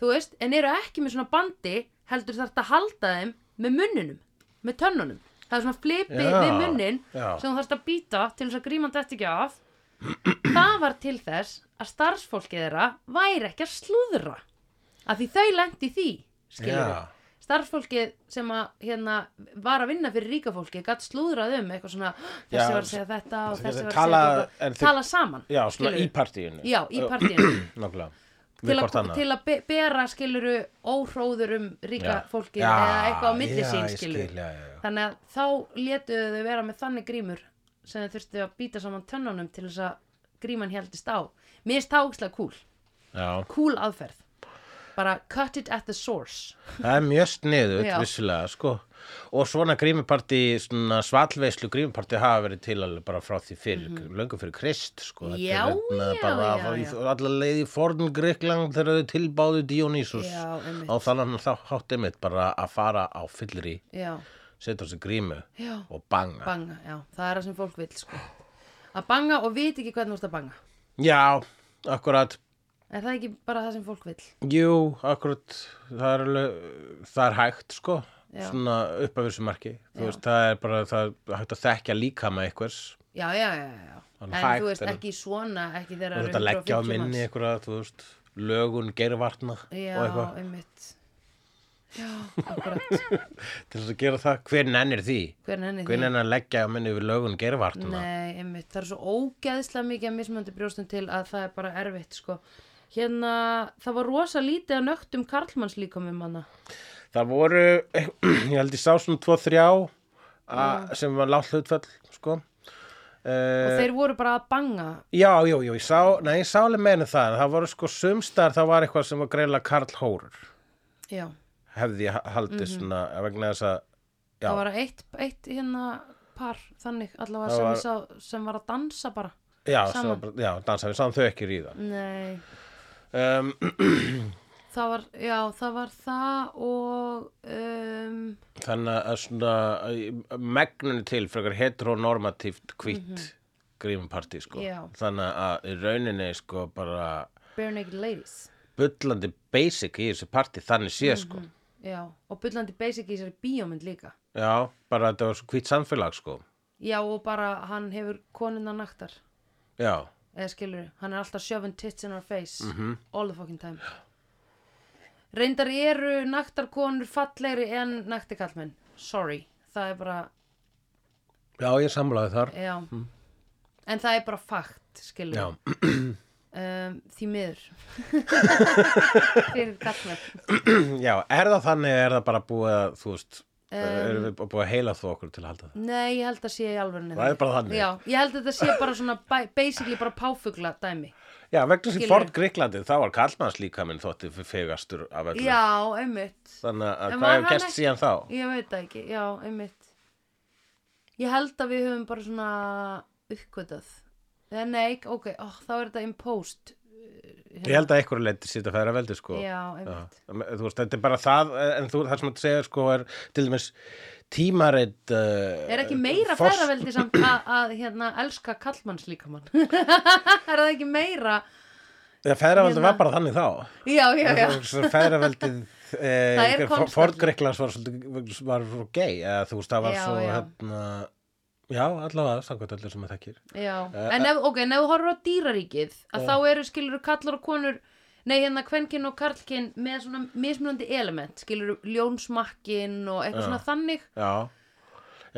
Speaker 1: þú veist, en eru ekki með svona bandi, heldur þarft að halda þeim með munnunum, með tönnunum. Það er svona flipið
Speaker 2: Já,
Speaker 1: við munnin
Speaker 2: já.
Speaker 1: sem þú þarft að býta til þess að gríman þetta ekki af. Það var til þess að starfsfólkið þeirra væri ekki að slúðra. Af því þau lendi því, skilur við
Speaker 2: Já.
Speaker 1: starfsfólkið sem að hérna var að vinna fyrir ríka fólki gætt slúðrað um eitthvað svona þessi
Speaker 2: Já,
Speaker 1: var að segja þetta og
Speaker 2: sem
Speaker 1: þessi
Speaker 2: getur
Speaker 1: var að
Speaker 2: tala-
Speaker 1: segja
Speaker 2: en
Speaker 1: þetta
Speaker 2: þau-
Speaker 1: tala saman
Speaker 2: Já, svona
Speaker 1: skilurðu.
Speaker 2: í partíinu
Speaker 1: já, í partíinu
Speaker 2: Nákvæmlega
Speaker 1: til,
Speaker 2: Við hvort
Speaker 1: að,
Speaker 2: annað.
Speaker 1: til að be- bera skiluru óhróður um ríka
Speaker 2: Já.
Speaker 1: fólki
Speaker 2: Já,
Speaker 1: eða eitthvað á milli
Speaker 2: já,
Speaker 1: sín
Speaker 2: ég
Speaker 1: skiluru
Speaker 2: skil, já, já, já.
Speaker 1: þannig að þá létuðu þau vera með þannig grímur sem þau þurftu að býta saman tönnunum til þess að gríman heldist á mér er stákslega kúl,
Speaker 2: Já,
Speaker 1: kúl aðferð bara cut it at the source
Speaker 2: það er mjög sniðut
Speaker 1: Já.
Speaker 2: vissulega sko og svona grímuparti, svona svallveislu grímuparti hafa verið til alveg bara frá því fyrir, löngu fyrir krist sko Þetta er
Speaker 1: Mhm. Já,
Speaker 2: hérna
Speaker 1: já,
Speaker 2: bara
Speaker 1: já,
Speaker 2: frá- í-
Speaker 1: já.
Speaker 2: alla leið í forn Gríkland þegar þau tilbáðu Dionysus
Speaker 1: Já, einmitt.
Speaker 2: á þannig þá hátti mitt bara að fara á fyllri
Speaker 1: já,
Speaker 2: setja þessi grímu
Speaker 1: já,
Speaker 2: og banga
Speaker 1: banga já, það er það sem fólk vil sko að banga og vit ekki hvernig þú ert að banga
Speaker 2: já, akkurat
Speaker 1: er það ekki bara það sem fólk vil
Speaker 2: Jú, akkurat það er, alveg, það er hægt sko
Speaker 1: Já.
Speaker 2: svona upp af þessu marki
Speaker 1: Já.
Speaker 2: þú veist, það er bara það er hægt að þekkja líkama einhvers
Speaker 1: já, já, já, já, já.
Speaker 2: Hann
Speaker 1: en
Speaker 2: hægt,
Speaker 1: þú veist
Speaker 2: en-
Speaker 1: ekki svona ekki
Speaker 2: þú
Speaker 1: þegar
Speaker 2: veist að leggja á minni einhverja, þú veist, lögun geirvartna og
Speaker 1: já,
Speaker 2: eitthvað,
Speaker 1: einmitt já, akkurat,
Speaker 2: til þess að gera það hver nennir því,
Speaker 1: hver nenni
Speaker 2: hver nennir að leggja á minni yfir lögun geirvartna
Speaker 1: Nei, einmitt, það er svo ógeðslega mikið að mismöndi brjóstum til að það er bara erfitt sko. Hérna, það var rosa lítið að nögtum karlmanns líka með manna
Speaker 2: það voru, ég held ég sá svona tvo þrjá a, sem var látt hlutfell sko
Speaker 1: og
Speaker 2: Uh,
Speaker 1: þeir voru bara að banga
Speaker 2: já, jú, jú, ég sá, nei, ég sá alveg meina það, en það voru sko sumstar, það var eitthvað sem var greiðlega Karl Hórur.
Speaker 1: Já,
Speaker 2: hefði ég haldið svona eh, vegna þess að já,
Speaker 1: það var eitt, eitt hérna par þannig allavega
Speaker 2: Það
Speaker 1: sem,
Speaker 2: var-
Speaker 1: var... Sá, sem var að dansa bara
Speaker 2: já, svo
Speaker 1: saman.
Speaker 2: bara- já, dansa við saman þau ekki ríða
Speaker 1: Nei,
Speaker 2: um,
Speaker 1: það var, já, það var það og um,
Speaker 2: þannig að svona eh, megninu til frekar heteronormatíft hvitt mm grímupartí sko
Speaker 1: Já.
Speaker 2: þannig að í rauninni sko bara
Speaker 1: Bare Naked Ladies
Speaker 2: bullandi basic í þessu partí þannig sé sko
Speaker 1: Já, og bullandi basic í þessari bíómynd líka
Speaker 2: já, bara þetta var svo hvitt samfélag sko
Speaker 1: Já, og bara hann hefur konuna naktar
Speaker 2: já,
Speaker 1: eða skilur, hann er alltaf shoving tits in our face all the fucking time reyndar eru naktarkonur fallegri en naktikallmenn sorry, það er bara
Speaker 2: já, ég samlaði þar
Speaker 1: já, en það er bara fakt skilur
Speaker 2: já,
Speaker 1: um, því miður fyrir kallmenn
Speaker 2: já, er það þannig er það bara búið að þú veist erum við búið að heila þú okkur til að halda það
Speaker 1: nei, ég held að sé í alvörinu
Speaker 2: Það er bara þannig.
Speaker 1: já, ég held að þetta sé bara svona ba- basically bara páfugla dæmi
Speaker 2: Já, vegna sem
Speaker 1: Skilurðu?
Speaker 2: Ford Gríklandi, þá var kallmanns líkaminn þótti fyrir fegastur af öllu.
Speaker 1: já, einmitt
Speaker 2: Þannig að
Speaker 1: En
Speaker 2: hvað
Speaker 1: var
Speaker 2: hefur
Speaker 1: hann
Speaker 2: gæst
Speaker 1: ekki-
Speaker 2: síðan þá?
Speaker 1: Ég veit það ekki, já, einmitt Ég held að við höfum bara svona uppgötað Eða nei, ok, ó, þá er þetta imposed
Speaker 2: Ég held að einhverju leiti sýtt að færa veldi, sko.
Speaker 1: Já, einmitt
Speaker 2: Þú veist, þetta er bara það, eh, en þú, það sem þetta segir, sko, er til dæmis tímarit... Uh,
Speaker 1: Er ekki meira
Speaker 2: Foss-
Speaker 1: feðraveldi samt að, að hérna, elska kallmanns líkamann? er það ekki meira?
Speaker 2: Já, feðraveldið
Speaker 1: Hérna.
Speaker 2: var bara þannig þá.
Speaker 1: Já, já, já.
Speaker 2: Feðraveldið...
Speaker 1: Það er
Speaker 2: Eh,
Speaker 1: konstant.
Speaker 2: Ford Gríklands var svolítið, var svo gay, eða þú veist, það var
Speaker 1: Já,
Speaker 2: svo,
Speaker 1: já.
Speaker 2: hérna... Já, allavega, samkvæmt öllu sem að þekkir.
Speaker 1: já.
Speaker 2: Eh,
Speaker 1: En ef, ok, en ef þú horfur á dýraríkið að þá eru skilur kallar og konur Nei, hérna kvenkinn og karlkinn með svona mismunandi element, skilur ljónsmakkinn og eitthvað svona þannig.
Speaker 2: Já,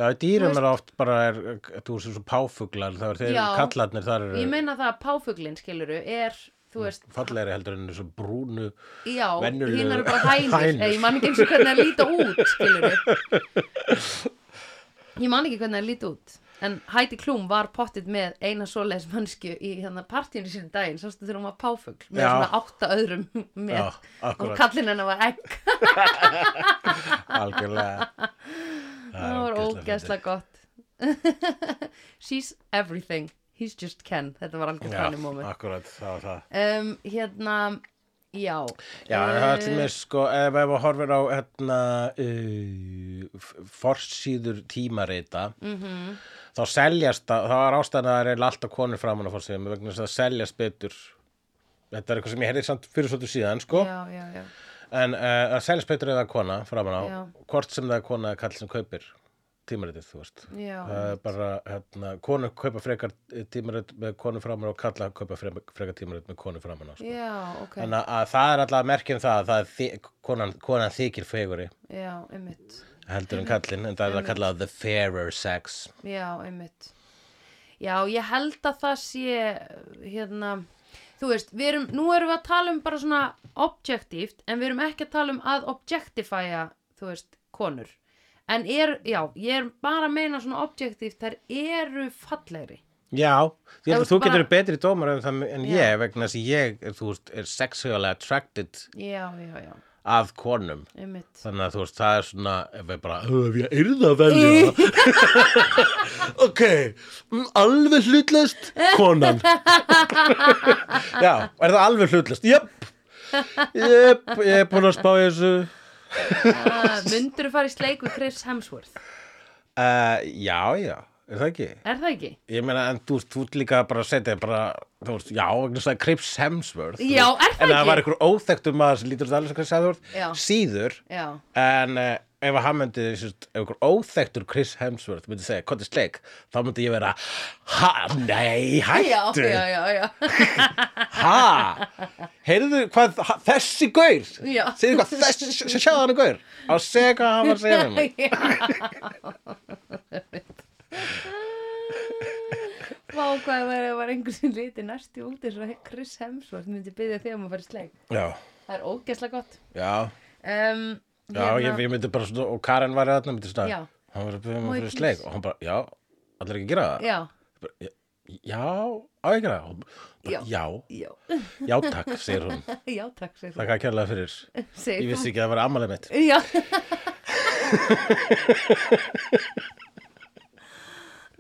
Speaker 2: já í dýrum
Speaker 1: Þú
Speaker 2: er oft bara, er, þú veist, svo páfuglar, það er þeir
Speaker 1: Já.
Speaker 2: kallarnir, það
Speaker 1: Ég
Speaker 2: eru
Speaker 1: meina það að páfuglinn, skiluru, er, þú veist,
Speaker 2: fallegri heldur en þessu brúnu.
Speaker 1: já,
Speaker 2: venjulegu
Speaker 1: hinn eru bara hænur,
Speaker 2: hænur.
Speaker 1: Eða, ég man ekki eins og hvernig það líta út, skiluru. Ég man ekki hvernig það líta út. En Heidi Klum var pottið með eina svoleiðis mannsku í hérna partíinu sín daginn, sástu þegar hún var páfugl með
Speaker 2: Já.
Speaker 1: svona átta öðrum með
Speaker 2: Já,
Speaker 1: og
Speaker 2: akkurat,
Speaker 1: kallinn hennar var egg.
Speaker 2: algjörlega.
Speaker 1: Það var
Speaker 2: ógeðslega
Speaker 1: ógeðslega gott. She's everything, he's just Ken. Þetta var algjör
Speaker 2: fyndið.
Speaker 1: þannig moment.
Speaker 2: Já, akkurat, það var það.
Speaker 1: Um, hérna, já.
Speaker 2: Já, en það er
Speaker 1: eh,
Speaker 2: til mér, sko, ef ef við horfir á, hérna, uh, forsýður tímarita,
Speaker 1: mhm.
Speaker 2: þá seljast, það þá er ástæðan að það er alltaf konur framan á forsýðum, vegna þess að það seljast betur. Þetta er eitthvað sem ég heyrði samt fyrir svolítið síðan, sko.
Speaker 1: já, já, já.
Speaker 2: En uh, að seljaspeitur eða kona framan á,
Speaker 1: Já.
Speaker 2: hvort sem það er kona eða kall sem kaupir tímaritið, þú veist.
Speaker 1: Já,
Speaker 2: Það er bara, hérna, konu kaupa frekar eh, tímarit með konu framan á, kalla kaupa fre- frekar tímarit með konu framan á. Sko.
Speaker 1: já, ok,
Speaker 2: Þannig að, að það er alltaf merkjum það að það er þi konan, konan þykir feguri
Speaker 1: já, einmitt, Mhm.
Speaker 2: heldur en kallinn, en það er að kalla the fairer sex.
Speaker 1: já, einmitt. Já, ég held að það sé, hérna, þú veist, við erum, nú erum við að tala um bara svona objektíft, en við erum ekki að tala um að objectifæja, þú veist, konur. En er, já, ég er bara að meina svona objektíft, þær eru fallegri.
Speaker 2: Já, ég held
Speaker 1: Þú
Speaker 2: að þú
Speaker 1: veist
Speaker 2: getur
Speaker 1: bara-
Speaker 2: bara... betri dómar en, það, en
Speaker 1: Já.
Speaker 2: ég, vegna þess að ég, þú veist, er sexually attracted
Speaker 1: já, já, já,
Speaker 2: að konum.
Speaker 1: einmitt
Speaker 2: Þannig að þú veist, það er svona, ef ég bara, "Ö, ef ég yrði að velja það. ok, mm, alveg hlutlaust, konan. Já, er það alveg hlutlaust? Jöpp, jöpp, ég er búin að spá í þessu.
Speaker 1: uh, Myndur þú fara í sleik við Chris Hemsworth?
Speaker 2: Uh, já, já, er það ekki?
Speaker 1: Er það ekki?
Speaker 2: Ég meina, en þú veist, þú ert líka bara að setja bara, þú veist, já, vegna þess að Crips Hemsworth. þú
Speaker 1: Já, er
Speaker 2: veist.
Speaker 1: það
Speaker 2: En
Speaker 1: ekki?
Speaker 2: það var einhver óþekktum maður sem lítur út alveg sem Crips Hemsworth,
Speaker 1: Já.
Speaker 2: síður,
Speaker 1: Já,
Speaker 2: en uh, ef að hann myndi, sérst, ef einhver óþekktur Crips Hemsworth myndi segja, hvað er sleik, þá myndi ég vera, ha, nei,
Speaker 1: já,
Speaker 2: hættu,
Speaker 1: já, já, já.
Speaker 2: ha, heyrðu hvað, ha, þessi gaur,
Speaker 1: Já.
Speaker 2: segðu hvað, þessi, sj- sj- sjáðu hann gaur, á segja hvað hann var að segja við mig.
Speaker 1: Vá, hvað var ef var einhver sem liti næstu út eins og Chris Hemsworth myndi byggja þig um að fara í sleik
Speaker 2: Já,
Speaker 1: Það er ógeðslega gott
Speaker 2: já.
Speaker 1: um,
Speaker 2: Já, ég, ég myndi bara svona, og Karen var þarna myndi svona,
Speaker 1: Já.
Speaker 2: hann var að byrja
Speaker 1: Má
Speaker 2: mig
Speaker 1: ég
Speaker 2: fyrir
Speaker 1: please?
Speaker 2: sleik og hann bara, já, allir ekki að gera það
Speaker 1: Já,
Speaker 2: Bara, "Já, Já, á ég að gera það Hún bara, já.
Speaker 1: já,
Speaker 2: já, takk, segir hún
Speaker 1: já, takk segir þú.
Speaker 2: Takk að kærlega fyrir,
Speaker 1: Segir
Speaker 2: ég
Speaker 1: þú.
Speaker 2: vissi ekki að það var ammálið mitt
Speaker 1: Já Æ,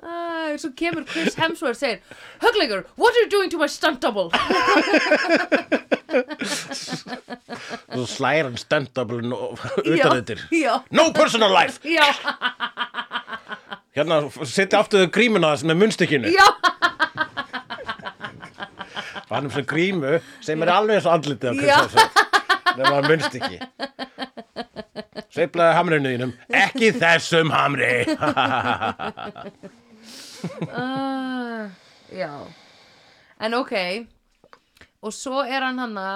Speaker 1: Ah, Svo kemur Chris Hemsworth og segir Hugleikur, what are you doing to my stunt double?
Speaker 2: Þú slæðir hann stöndabulun
Speaker 1: Já,
Speaker 2: utan þittir
Speaker 1: Já,
Speaker 2: No personal life
Speaker 1: já,
Speaker 2: Hérna, setja aftur þau grímuna þess með munnstykkinu
Speaker 1: já
Speaker 2: og hann er svo grímu sem er alveg svo andlitið á
Speaker 1: Já.
Speaker 2: Kristjánsson nema hann munst ekki sveiflaði hamrinu þínum ekki þessum hamri
Speaker 1: uh, Já En ok Og svo er hann hanna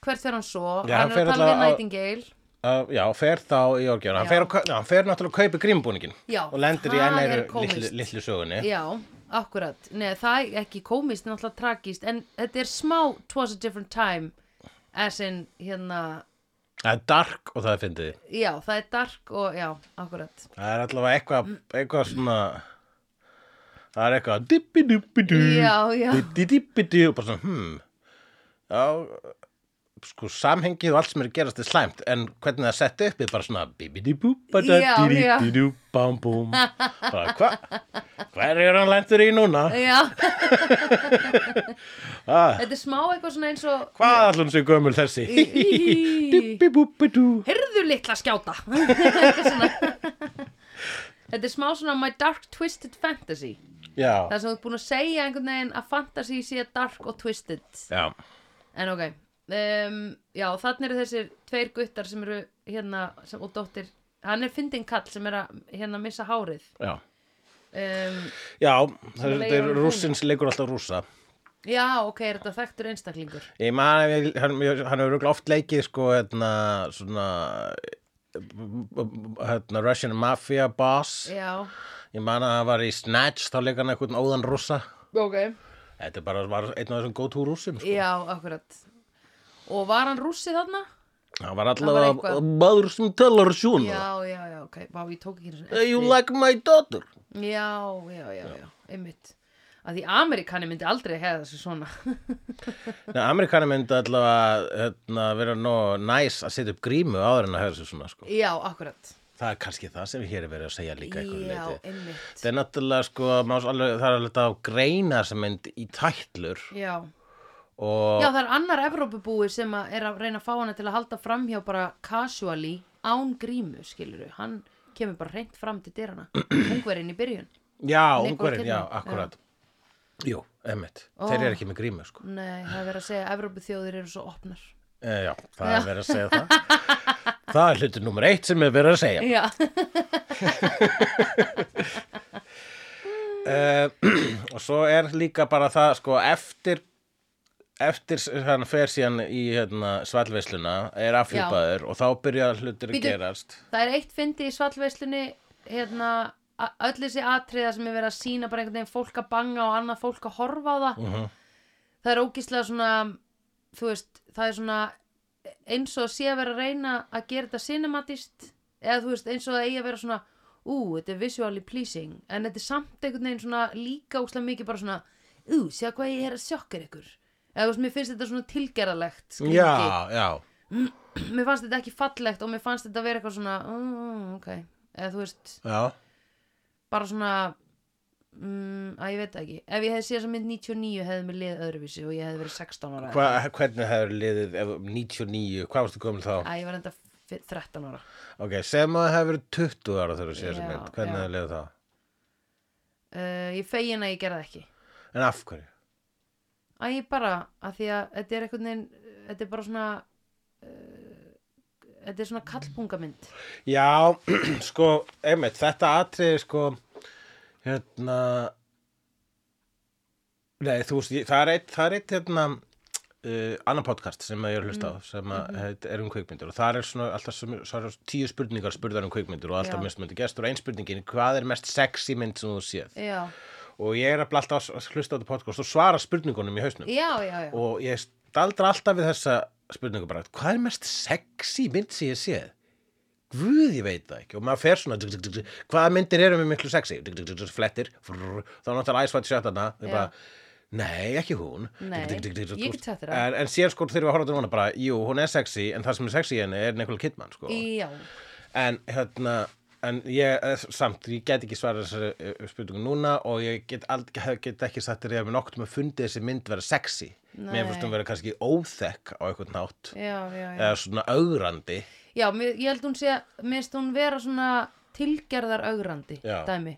Speaker 1: Hvert fer hann svo?
Speaker 2: Já,
Speaker 1: hann
Speaker 2: hann
Speaker 1: er
Speaker 2: fer
Speaker 1: að tala við
Speaker 2: alltaf á-
Speaker 1: Nightingale
Speaker 2: Uh, já, fer þá í orgjörn hann,
Speaker 1: Já.
Speaker 2: fer að kau- já, hann fer náttúrulega að kaupa grímbúningin
Speaker 1: Já,
Speaker 2: og lendir í
Speaker 1: það
Speaker 2: enn
Speaker 1: er
Speaker 2: eiru
Speaker 1: kómískt.
Speaker 2: litlu, litlu sögunni
Speaker 1: Já, akkurat Nei, það er ekki komist, náttúrulega tragist En þetta er smá Twas a different time As in, hérna
Speaker 2: það er dark og það er fyndið
Speaker 1: Já, það er dark og já, akkurat
Speaker 2: það er allavega eitthvað eitthvað svona það er eitthvað dippi dippi du
Speaker 1: Já, já.
Speaker 2: dippi dippi du og bara svona hmm já sko samhengið og allt sem er að gerast er slæmt en hvernig það er sett upp er bara svona bibi di bú bada
Speaker 1: Já,
Speaker 2: di di
Speaker 1: já.
Speaker 2: di dú bám búm bara hva hver er hann lendur í núna
Speaker 1: Já,
Speaker 2: ah,
Speaker 1: þetta er smá eitthvað svona eins og
Speaker 2: hvað allan sem gömul þessi
Speaker 1: Í-
Speaker 2: dippi búbi dú
Speaker 1: Heyrðu litla skjáta Eitthvað svona. Þetta er smá svona My Dark Twisted Fantasy
Speaker 2: já
Speaker 1: Það sem þú ert búin að segja einhvern veginn að fantasy sé dark og twisted
Speaker 2: já
Speaker 1: En ok um, Já, þannig eru þessir tveir guttar sem eru hérna sem, og dóttir Hann er fyndin kall sem er að hérna missa hárið
Speaker 2: já
Speaker 1: um,
Speaker 2: já
Speaker 1: að
Speaker 2: það
Speaker 1: leiga
Speaker 2: er
Speaker 1: honum
Speaker 2: rússin sem leikur alltaf rússa
Speaker 1: Já, ok, er þetta þekktur einstaklingur
Speaker 2: Ég man að ég- hann, ég- hann hefur örugglega oft leikið sko hérna svona hérna Russian Mafia boss
Speaker 1: Já,
Speaker 2: ég man að hann var í Snatch þá leik hann eitthvað óðan rússa
Speaker 1: ok
Speaker 2: þetta er bara var einn af þessum go-to rússum sko.
Speaker 1: Já, akkurat Og var hann rússi þarna?
Speaker 2: hann var
Speaker 1: Hann
Speaker 2: allavega
Speaker 1: var eitthvað.
Speaker 2: maður sem talar svona
Speaker 1: Já, já, já, ok, vá, ég tók ekki einu sinni
Speaker 2: "Hey, you
Speaker 1: eftir.
Speaker 2: like my daughter
Speaker 1: Já, já, já, já, einmitt Að því Amerikani myndi aldrei hefða þessu svona
Speaker 2: Nei, Amerikani myndi allavega hérna, vera nóg næs að setja upp grímu áður en að höra sér svona sko.
Speaker 1: Já, akkurat
Speaker 2: það er kannski það sem hér er verið að segja líka eitthvað
Speaker 1: Já,
Speaker 2: leiti
Speaker 1: einmitt
Speaker 2: Það er náttúrulega sko, má svo alveg, það er alveg að greina þessa mynd í tætlur
Speaker 1: Já.
Speaker 2: og
Speaker 1: já, það er annar Evrópubúi sem að er að reyna að fá hana til að halda framhjá bara casually án grímu, skilur Hann kemur bara reynt fram til dyrana Ungverinn í byrjun
Speaker 2: já,
Speaker 1: Nicolas
Speaker 2: ungverinn, já,
Speaker 1: Kidman,
Speaker 2: akkurat. Jú, emmitt,
Speaker 1: Ó.
Speaker 2: þeir eru ekki með grímu sko.
Speaker 1: Nei, það er verið að segja Evrópuþjóðir eru svo opnar
Speaker 2: E, já, það er verið að segja það. það er hlutur nummer eitt sem er verið að segja.
Speaker 1: Já,
Speaker 2: E, og svo er líka bara það sko, eftir, eftir hann fer síðan í hérna, svalveisluna, er afhjúpaður og þá byrja hlutur að
Speaker 1: Bíddu.
Speaker 2: gerast.
Speaker 1: Það er eitt fyndi í svallveislunni hérna, a- öll þessi atriða sem er verið að sína bara einhvern veginn fólk að banga og annað fólk að horfa á það
Speaker 2: Mhm.
Speaker 1: það er ógíslega svona þú veist, það er svona eins og sé að vera að reyna að gera þetta cinematist eða þú veist, eins og það eigi að vera svona ú, þetta er visually pleasing en þetta er samt einhvern veginn svona líka óslega mikið bara svona, ú, sjá hvað ég er að sjokkar ykkur eða þú veist, mér finnst þetta svona tilgerðalegt skringi.
Speaker 2: já, já,
Speaker 1: mér fannst þetta ekki fallegt og mér fannst þetta vera eitthvað svona mm, ok, eða þú veist
Speaker 2: já
Speaker 1: bara svona mm, að ég veit það ekki, ef ég hefði séð þessa mynd 99 hefði mér lið öðruvísi og ég hefði verið 16 ára
Speaker 2: Hva, hvernig hefur liðið ef, 99, hvað varstu gömul þá?
Speaker 1: að ég var enda f- 13 ára
Speaker 2: Ok, sem að það hefur verið 20 ára þegar þú séð þessa
Speaker 1: Já,
Speaker 2: mynd, hvernig
Speaker 1: já.
Speaker 2: hefur liðið þá?
Speaker 1: uh, ég fegin að ég gerði það ekki
Speaker 2: En af hverju?
Speaker 1: að ég bara, að því að þetta er eitthvað neginn, þetta er bara svona uh, þetta er svona kallpungamynd
Speaker 2: Já, sko, einmitt, þetta atriði, sko, hérna, nei, þú veist, ég- það er eitt, það er eitt, hérna, uh, annar podcast sem að ég er að
Speaker 1: Mm,
Speaker 2: hlusta á, sem
Speaker 1: mhm.
Speaker 2: að heit- er um kveikmyndir og það er svona alltaf sem, svona tíu spurningar spurðar um kveikmyndir og alltaf
Speaker 1: Já.
Speaker 2: mismunandi gestur og ein spurningin, hvað er mest sexy mynd sem þú séð?
Speaker 1: já,
Speaker 2: Og ég er alveg alltaf að hlusta á þetta podcast og svara spurningunum í hausnum
Speaker 1: já, já, já
Speaker 2: og ég staldra alltaf við þessa spurningu bara, hvað er mest sexy mynd sem ég séð? Guð, ég veit það ekki og maður fer svona dug, dug, dug, dug, hvaða myndir eru með miklu sexy? Dug, dug, dug, dug, flettir, frrr, þá náttúrulega æsvætt sjötana þau
Speaker 1: Já.
Speaker 2: bara, nei, ekki hún
Speaker 1: Nei, ég get sagt þér það.
Speaker 2: en, en síðan sko þurfum við að horfa til hana bara, jú, hún er sexy en það sem er sexy í henni er Nicole Kidman sko.
Speaker 1: já,
Speaker 2: en hérna En ég, eh, samt, ég get ekki svarað þessari eh, spurningu núna og ég get, ald, get ekki sagt þér ef við nokkuð með fundið þessi mynd vera sexy.
Speaker 1: Nei.
Speaker 2: Mér finnst hún vera kannski óþekk á einhvern nátt
Speaker 1: já, já, já
Speaker 2: eða svona augrandi.
Speaker 1: já, mér, ég held hún sé, mér finnst hún vera svona tilgerðar augrandi
Speaker 2: Já.
Speaker 1: dæmi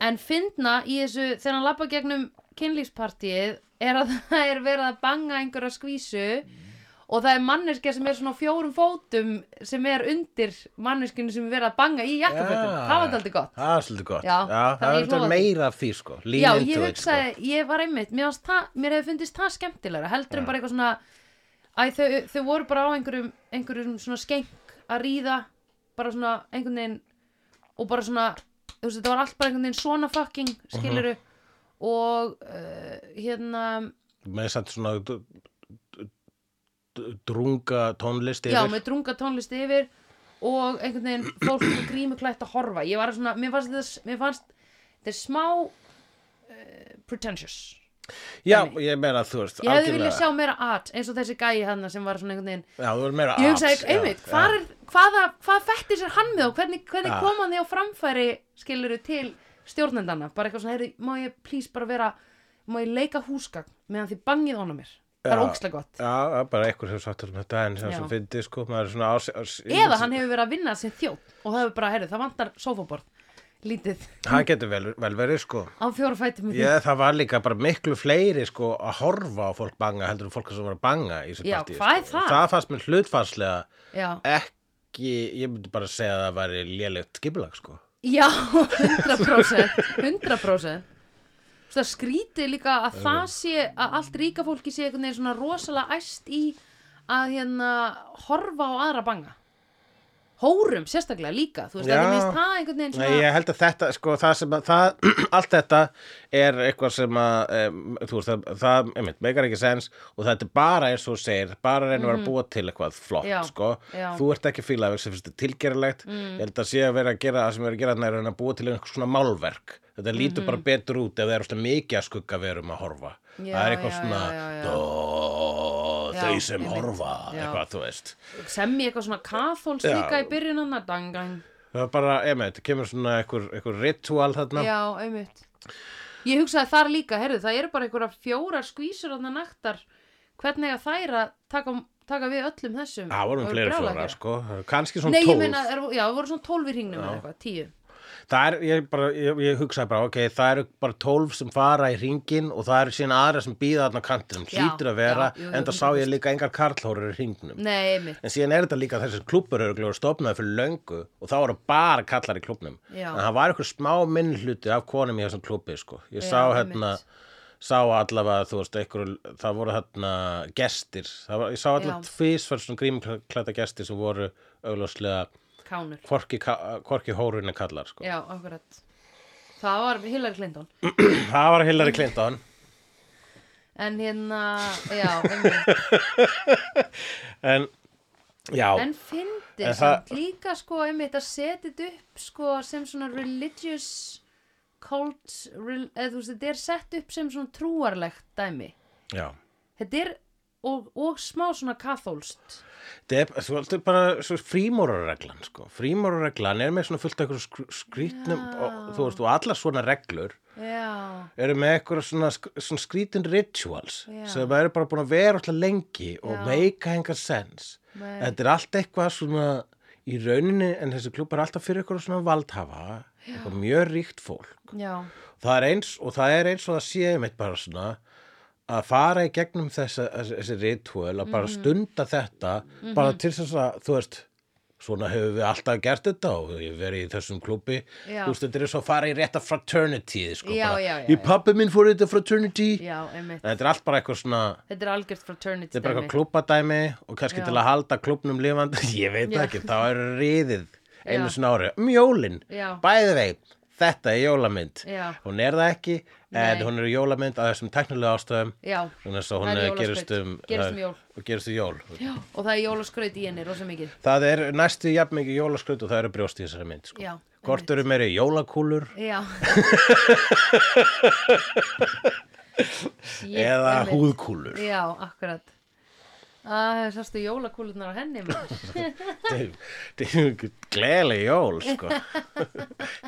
Speaker 1: en fyndna í þessu, þegar hann labba gegnum kynlífspartíið er að það er verið að banga einhverja skvísu og það er manneskja sem er svona á fjórum fótum sem er undir manneskinu sem er verið að banga í jakkafötum
Speaker 2: Já.
Speaker 1: það var þetta aldrei gott
Speaker 2: Það er svolítið gott.
Speaker 1: Já, þannig
Speaker 2: það
Speaker 1: ég
Speaker 2: er þetta
Speaker 1: hló að
Speaker 2: meira af því, sko. Lean
Speaker 1: Já, ég
Speaker 2: into it, sko.
Speaker 1: hugsaði, ég var einmitt mér, varst það, mér hefði fundist það skemmtilegra heldur en bara eitthvað svona æ, þau, þau voru bara á einhverjum, einhverjum svona skeng að ríða bara svona einhvern veginn og bara svona, þú veist, þetta var allt bara einhvern veginn svona fucking skiluru og uh, hérna
Speaker 2: Með samt svona d- d- d- drunga tónlist
Speaker 1: já,
Speaker 2: yfir.
Speaker 1: með drunga tónlist yfir og einhvern veginn fólk með grímuklætt að horfa ég var svona, mér fannst þetta, mér fannst þetta er smá uh, pretentious
Speaker 2: já, ég meina þú veist,
Speaker 1: Ég hefði viljað sjá meira art eins og þessi gæi hann sem var svona einhvern veginn
Speaker 2: Já, þú er meira
Speaker 1: Ég
Speaker 2: arts,
Speaker 1: hugsaði,
Speaker 2: já,
Speaker 1: einmitt,
Speaker 2: já. Ah.
Speaker 1: hvar er, hvaða, hvað fættir sér hann með og hvernig, hvernig
Speaker 2: Já.
Speaker 1: kom hann því á framfæri skiluru til stjórnendana bara eitthvað svona, heyrðu, má ég please bara vera má ég leika húsgagn meðan þið bangið honum mér, það er
Speaker 2: Já.
Speaker 1: ókslega gott
Speaker 2: Já, já, bara einhver hefur sagt um þetta en sem
Speaker 1: Já.
Speaker 2: sem fyndi, sko, maður er svona ás, ás,
Speaker 1: eða hann hefur verið að vinna sem þjótt og það hefur bara, heyrðu, það vantar sofaborð lítið
Speaker 2: Hann getur vel, vel verið, sko
Speaker 1: á fjóra fætum
Speaker 2: Ég, það var líka bara miklu fleiri, sko, að horfa á fólk banga heldur en fólk sem var að banga í þessu
Speaker 1: Já,
Speaker 2: partíi,
Speaker 1: hvað er
Speaker 2: sko.
Speaker 1: það?
Speaker 2: Það fannst mér hlutfarslega
Speaker 1: Já,
Speaker 2: ekki, ég myndi bara segja að það væri lélegt skipulag, sko
Speaker 1: Já, 100% 100% Það skrítið líka að það sé að allt ríka fólki sé einhvern veginn svona rosalega æst í að hérna horfa á aðra banga Hórum sérstaklega líka þú veist
Speaker 2: Já.
Speaker 1: að þið minnst það einhvern veginn
Speaker 2: Nei,
Speaker 1: svona
Speaker 2: ég held að þetta, sko, það sem að það, allt þetta er eitthvað sem að, um, þú veist, það, það einmitt, meikar ekki sens og þetta er bara eins og þú segir, bara reynir mm að búa til eitthvað flott,
Speaker 1: Mhm. Já,
Speaker 2: sko,
Speaker 1: já. Mm.
Speaker 2: þú ert ekki fílað sem finnst þetta tilgerlegt, ég held að sé að vera að gera það sem vera að gera þannig að reyna að búa til einhvers svona málverk, þetta lítur bara betur út ef það er svona mikið að skugga verum að horfa,
Speaker 1: Mhm. Já,
Speaker 2: það er eitthvað
Speaker 1: já,
Speaker 2: svona,
Speaker 1: já, já, já.
Speaker 2: "Dó,
Speaker 1: Já,
Speaker 2: þau sem
Speaker 1: einmitt.
Speaker 2: horfa,
Speaker 1: Já.
Speaker 2: eitthvað, þú veist.
Speaker 1: sem ég eitthvað svona kathóls
Speaker 2: Já.
Speaker 1: líka í byrjun hann að dangang
Speaker 2: Það er bara, einmitt, það kemur svona einhver, einhver ritual þarna.
Speaker 1: Já, auðvitað Ég hugsaði þar líka, herðu, það eru bara einhverja fjórar skvísur og það naktar hvernig að þær að taka, taka við öllum þessum
Speaker 2: Það vorum
Speaker 1: Það
Speaker 2: fleiri
Speaker 1: brjálæði að
Speaker 2: fjórar
Speaker 1: gera.
Speaker 2: sko, kannski svona
Speaker 1: Nei, ég
Speaker 2: tólf
Speaker 1: meina, er, já, það voru svona tólf í hringnum eða eitthvað, tíu.
Speaker 2: Það er, ég, bara, ég, ég hugsaði bara, ok, það eru bara tólf sem fara í ringin og það eru síðan aðra sem býða þarna á kantinum,
Speaker 1: Já,
Speaker 2: hlýtur að vera,
Speaker 1: já, jú, jú,
Speaker 2: en það sá ég líka engar karlhórar í ringnum.
Speaker 1: Nei, einmitt.
Speaker 2: En síðan er þetta líka þessir klúppur eru stofnaði fyrir löngu og þá eru bara kallar í klúppnum.
Speaker 1: Já.
Speaker 2: En það var einhver smá minnhluti af konum í þessum klúppi, sko. Ég
Speaker 1: Já,
Speaker 2: sá hérna,
Speaker 1: einmitt.
Speaker 2: sá allavega, þú veist, einhver, það voru hérna gestir. Það Var, ég sá allavega
Speaker 1: Já.
Speaker 2: tvisvar svona grímklæta gestir sem voru augljóslega
Speaker 1: Kánur. hvorki-
Speaker 2: hvorki, ka- hvorki hórunni kallar sko.
Speaker 1: Já, akkurat. Það var Hillary Clinton.
Speaker 2: það var Hillary Clinton
Speaker 1: En hérna, já, einmitt.
Speaker 2: en já,
Speaker 1: en fyndið
Speaker 2: En
Speaker 1: samt líka sko einmitt að setja þetta upp sko sem svona religious cult rel, eða þú veist þetta er sett upp sem svona trúarlegt dæmi
Speaker 2: já.
Speaker 1: þetta er og, og smá svona kathólst
Speaker 2: Þetta er svolítið bara svo frímórareglan sko. frímórareglan er með svona fullt af eitthvað skrýtnum
Speaker 1: Já.
Speaker 2: og, þú veist, og allar svona reglur
Speaker 1: já,
Speaker 2: eru með eitthvað svona, sk- svona skrítin rituals
Speaker 1: Já.
Speaker 2: sem eru bara búin að vera alltaf lengi og
Speaker 1: Já.
Speaker 2: make engan sense
Speaker 1: Nei.
Speaker 2: þetta er allt eitthvað svona í rauninni en þessi klúb er alltaf fyrir eitthvað svona valdhafa eitthvað mjög ríkt fólk
Speaker 1: já,
Speaker 2: það er eins og það er eins og það sé mitt bara svona að fara í gegnum þessa, þessi, þessi ritual að
Speaker 1: Mhm.
Speaker 2: bara stunda þetta bara til þess að þú veist svona hefur við alltaf gert þetta og ég hef verið í þessum klúbi
Speaker 1: Já.
Speaker 2: þú veist þetta er svo að fara í rétta fraternity sko,
Speaker 1: Já,
Speaker 2: bara,
Speaker 1: já, já,
Speaker 2: í
Speaker 1: já.
Speaker 2: pappi minn fór í þetta fraternity
Speaker 1: já, einmitt
Speaker 2: þetta er allt bara eitthvað svona
Speaker 1: þetta er algjört fraternity
Speaker 2: þetta er bara
Speaker 1: dæmi.
Speaker 2: eitthvað klúpadæmi og kannski
Speaker 1: Já.
Speaker 2: til að halda klúbnum lifandi ég veit
Speaker 1: Já.
Speaker 2: það ekki, þá er riðið einu
Speaker 1: Já.
Speaker 2: sinna ári, um jólin
Speaker 1: Já.
Speaker 2: bæði veit, þetta er jólamynd
Speaker 1: Já.
Speaker 2: hún er það ekki, en
Speaker 1: Nei.
Speaker 2: hún er jólamynd af þessum teknilega ástöðum
Speaker 1: Já.
Speaker 2: hún er svo
Speaker 1: Það
Speaker 2: hún
Speaker 1: er
Speaker 2: er gerist
Speaker 1: jólaskraut.
Speaker 2: um
Speaker 1: Gerist um jól.
Speaker 2: og gerist um jól
Speaker 1: Já, og það er jólaskraut í henni rosa mikið
Speaker 2: það er næstu jafn mikið jólaskraut og það eru brjóst í þessari mynd sko.
Speaker 1: Já,
Speaker 2: hvort eru meiri jólakúlur
Speaker 1: já Shit, einmitt.
Speaker 2: eða húðkúlur
Speaker 1: já, akkurat að sástu jólakúlunar á henni maður.
Speaker 2: þetta er gleðileg jól sko.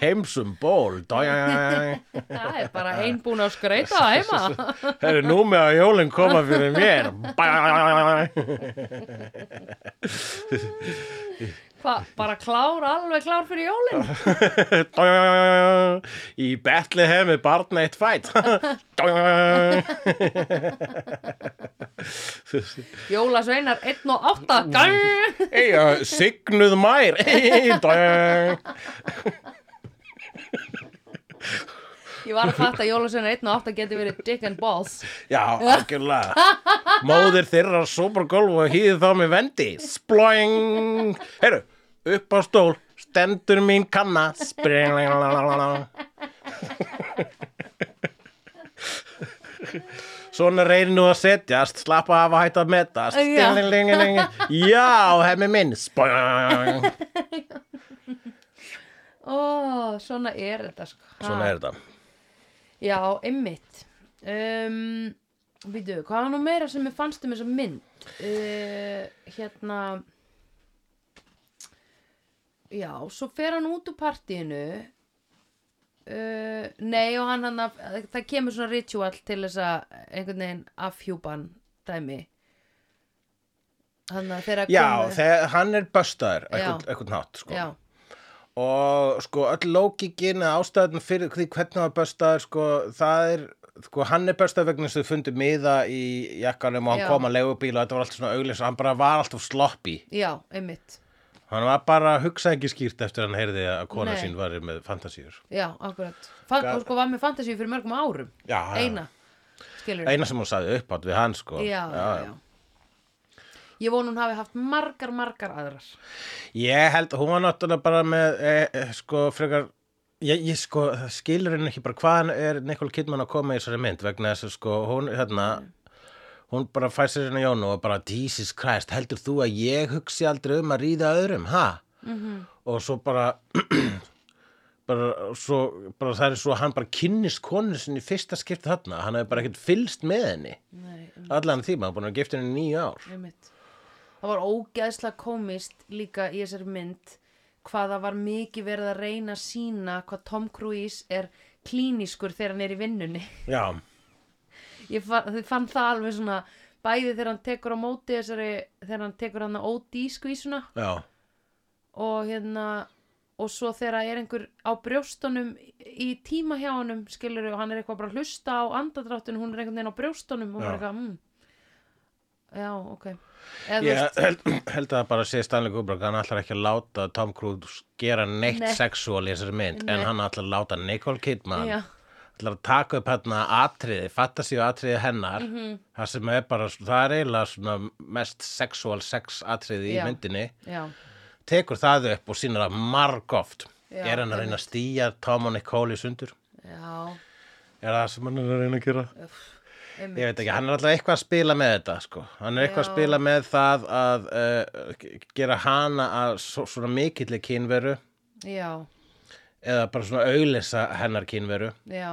Speaker 2: heimsum ból dæ
Speaker 1: það er bara ein búin að skreita heima
Speaker 2: Það eru nú með að jólinn koma fyrir mér Bæ.
Speaker 1: Hva, bara klár, alveg klár fyrir jólin
Speaker 2: Í Bethlehem er barna eitt fætt
Speaker 1: jólasveinar 1 og 8
Speaker 2: Mm.
Speaker 1: gang
Speaker 2: Eyja, signuð mær
Speaker 1: ég var að fatta að jólasveinar 1 og 8 getur verið dick and balls
Speaker 2: Já, algjörlega Móðir þeirra supergolf og hýði þá með vendi Sploing Heru, upp á stól Stendur mín kanna Spring Svona reynir nú að setjast Slappa af að hætta að metast
Speaker 1: Já.
Speaker 2: Stillingeling. Já, hemmi minn Sploing
Speaker 1: ó, svona er þetta sko.
Speaker 2: Svona er þetta
Speaker 1: já, einmitt um, býtu, hvað var nú meira sem ég fannst um þessa mynd uh, hérna já, svo fer hann út úr partíinu uh, nei og hann hann það kemur svona ritual til þess að einhvern veginn afhjúpan dæmi hann að þeirra
Speaker 2: Já, þegar hann er böstaður einhvern,
Speaker 1: Já.
Speaker 2: einhvern nátt sko.
Speaker 1: já,
Speaker 2: og sko öll lókikinn eða ástæðan fyrir því hvernig hann var böstaður sko það er sko hann er böstaður vegna þess að þau fundu miða í jakkanum og hann
Speaker 1: Já.
Speaker 2: kom að leigubíl og þetta var allt svona auglis og hann bara var alltaf sloppy
Speaker 1: já, einmitt
Speaker 2: hann var bara að hugsa ekki skýrt eftir að hann heyrði að kona
Speaker 1: Nei.
Speaker 2: sín var með fantasíur
Speaker 1: já, akkurat Fan,
Speaker 2: Gat-
Speaker 1: og sko var með fantasíu fyrir mörgum árum
Speaker 2: já,
Speaker 1: eina, skilur
Speaker 2: eina sem hún sagði uppátt við hann sko
Speaker 1: já, já, já. Ég vona hún hafi haft margar, margar aðrar.
Speaker 2: Ég held, hún var náttúrulega bara með e, e, sko frekar ég, ég sko, það skilur henni ekki bara hvaðan er Nicole Kidman að koma í þessari mynd vegna þess að sko, hún hérna hún bara fær sér hérna Jónu og bara Jesus Christ, heldur þú að ég hugsi aldrei um að ríða öðrum, ha? -hmm. og svo bara bara, svo, bara það er svo að hann bara kynnist konu sinni í fyrsta skipti þarna, hann hefur bara ekkert fylst með henni
Speaker 1: Nei, um,
Speaker 2: allan tíma, hann er búin að gifta henni í níu ár
Speaker 1: einmitt. Það var ógeðslega komist líka í þessari mynd hvað það var mikið verið að reyna að sína hvað Tom Cruise er klínískur þegar hann er í vinnunni.
Speaker 2: Já,
Speaker 1: Ég fann, fann það alveg svona bæði þegar hann tekur á móti þessari, þegar hann tekur hann á OD skvísuna
Speaker 2: já,
Speaker 1: og hérna og svo þegar er einhver á brjóstunum í tíma hjá honum skilur og hann er eitthvað bara að hlusta á andadráttun hún er einhvern veginn á brjóstunum og
Speaker 2: Já.
Speaker 1: bara eitthvað mm. já, ok Eða,
Speaker 2: Ég
Speaker 1: yeah.
Speaker 2: held, held að það bara sé Stanley Kubrick hann ætlar ekki að láta Tom Cruise gera neitt
Speaker 1: Nei.
Speaker 2: Nei. sexuál í þessari mynd
Speaker 1: Nei.
Speaker 2: en hann ætlar að láta Nicole Kidman
Speaker 1: Já.
Speaker 2: ætlar að taka upp hérna atriði fantasíu atriði hennar
Speaker 1: Mhm.
Speaker 2: það sem er bara, það er eiginlega svona mest sexuál sex atriði
Speaker 1: Já.
Speaker 2: í myndinni
Speaker 1: já,
Speaker 2: tekur það upp og sýnir það margóft
Speaker 1: Já,
Speaker 2: er hann að reyna að stýja Tom og Nicole í sundur
Speaker 1: já
Speaker 2: er það sem hann er að reyna að gera
Speaker 1: einmitt.
Speaker 2: ég veit ekki, hann er alltaf eitthvað að spila með þetta sko. hann er eitthvað að
Speaker 1: Já.
Speaker 2: spila með það að uh, g- gera hana að svo, svona mikilli kynveru
Speaker 1: Já,
Speaker 2: eða bara svona auglisa hennar kynveru
Speaker 1: já,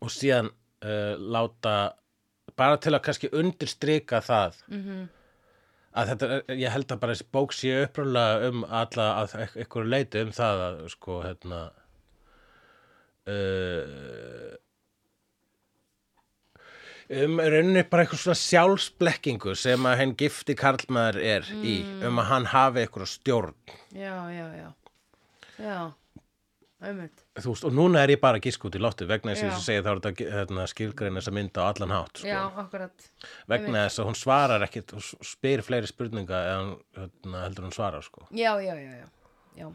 Speaker 2: og síðan uh, láta bara til að kannski undirstrika það -hmm.
Speaker 1: Mhm.
Speaker 2: að þetta, er- ég held að bara þessi bók sé upprúlega um alla að ykkur leiti um það að sko hérna uh, um í rauninni bara eitthvað svona sjálfsblekkingu sem að henn gifti karlmaður er í
Speaker 1: Mm.
Speaker 2: um að hann hafi eitthvað stjórn
Speaker 1: já, já, já. Já, einmitt.
Speaker 2: þú veist, og núna er ég bara að gíska út í loftu vegna þess að
Speaker 1: Já.
Speaker 2: ég segja þá er þetta hérna, skilgreina þess að mynda á allan hátt sko.
Speaker 1: Já, akkurat.
Speaker 2: vegna þess að hún svarar ekkit hún spyr fleiri spurninga eða hún, hérna, heldur hún svarar sko.
Speaker 1: Já, já, já, já. Já,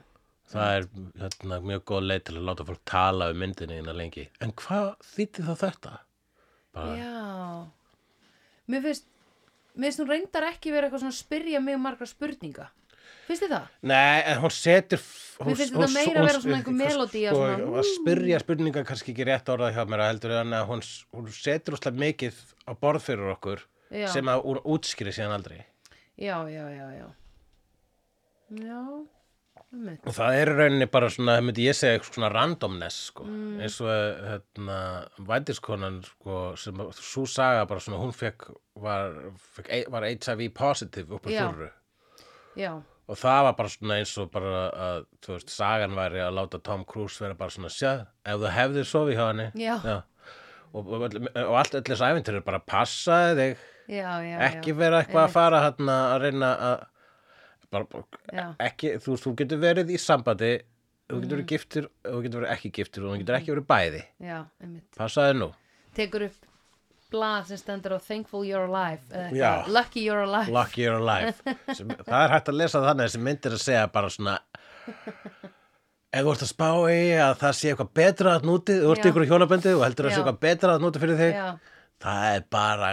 Speaker 2: það er hérna, mjög góð leið til að láta fólk tala um myndinni innan lengi en hvað þýtti þá þetta? Bara,
Speaker 1: já. Mér finnst, mér finnst hún reyndar ekki vera eitthvað svona að spyrja mig margra spurninga. Finnst þið það?
Speaker 2: Nei, en hún setur hún,
Speaker 1: Mér finnst þetta meira vera svona einhver melódía,
Speaker 2: sko,
Speaker 1: svona, Mm.
Speaker 2: að spyrja spurninga kannski ekki rétt orðað hjá mér að heldur en að hún, hún setur óslega mikið á borð fyrir okkur
Speaker 1: Já.
Speaker 2: sem að hún útskýri síðan aldrei
Speaker 1: Já, já, já, já. Já, einmitt.
Speaker 2: og það er í rauninni bara svona, myndi ég segja eitthvað svona randomness sko.
Speaker 1: Mm.
Speaker 2: eins og hérna, vændiskonan sko, sem svo saga bara svona hún fekk var, fekk, var HIV positive upp á
Speaker 1: Já.
Speaker 2: þurru
Speaker 1: Já,
Speaker 2: og það var bara svona eins og bara að, þú veist, sagan væri að láta Tom Cruise vera bara svona sjáð, ef þú hefðir sofið hjá henni
Speaker 1: Já.
Speaker 2: Og, og, öll- og allt öllis æfintur er bara passaði þig
Speaker 1: já, já.
Speaker 2: ekki
Speaker 1: já.
Speaker 2: vera eitthvað að fara hérna að reyna að bara, bara,
Speaker 1: Já.
Speaker 2: ekki, þú, þú getur verið í sambandi þú getur
Speaker 1: Mm.
Speaker 2: verið giftur og þú getur verið ekki giftur og þú getur ekki verið bæði
Speaker 1: Já, einmitt.
Speaker 2: passaði nú,
Speaker 1: Tekur upp blað sem stendur á Thankful You're Alive. eða eitthvað,
Speaker 2: Já.
Speaker 1: Lucky You're Alive.
Speaker 2: lucky you're alive sem, það er hægt að lesa þannig þessi myndir að segja bara svona ef þú ert að spá í að það sé eitthvað betra að núti, þú ert
Speaker 1: Já.
Speaker 2: ykkur í hjónaböndi og heldur að það sé
Speaker 1: Já.
Speaker 2: eitthvað betra að núti fyrir þig
Speaker 1: Já,
Speaker 2: það er bara,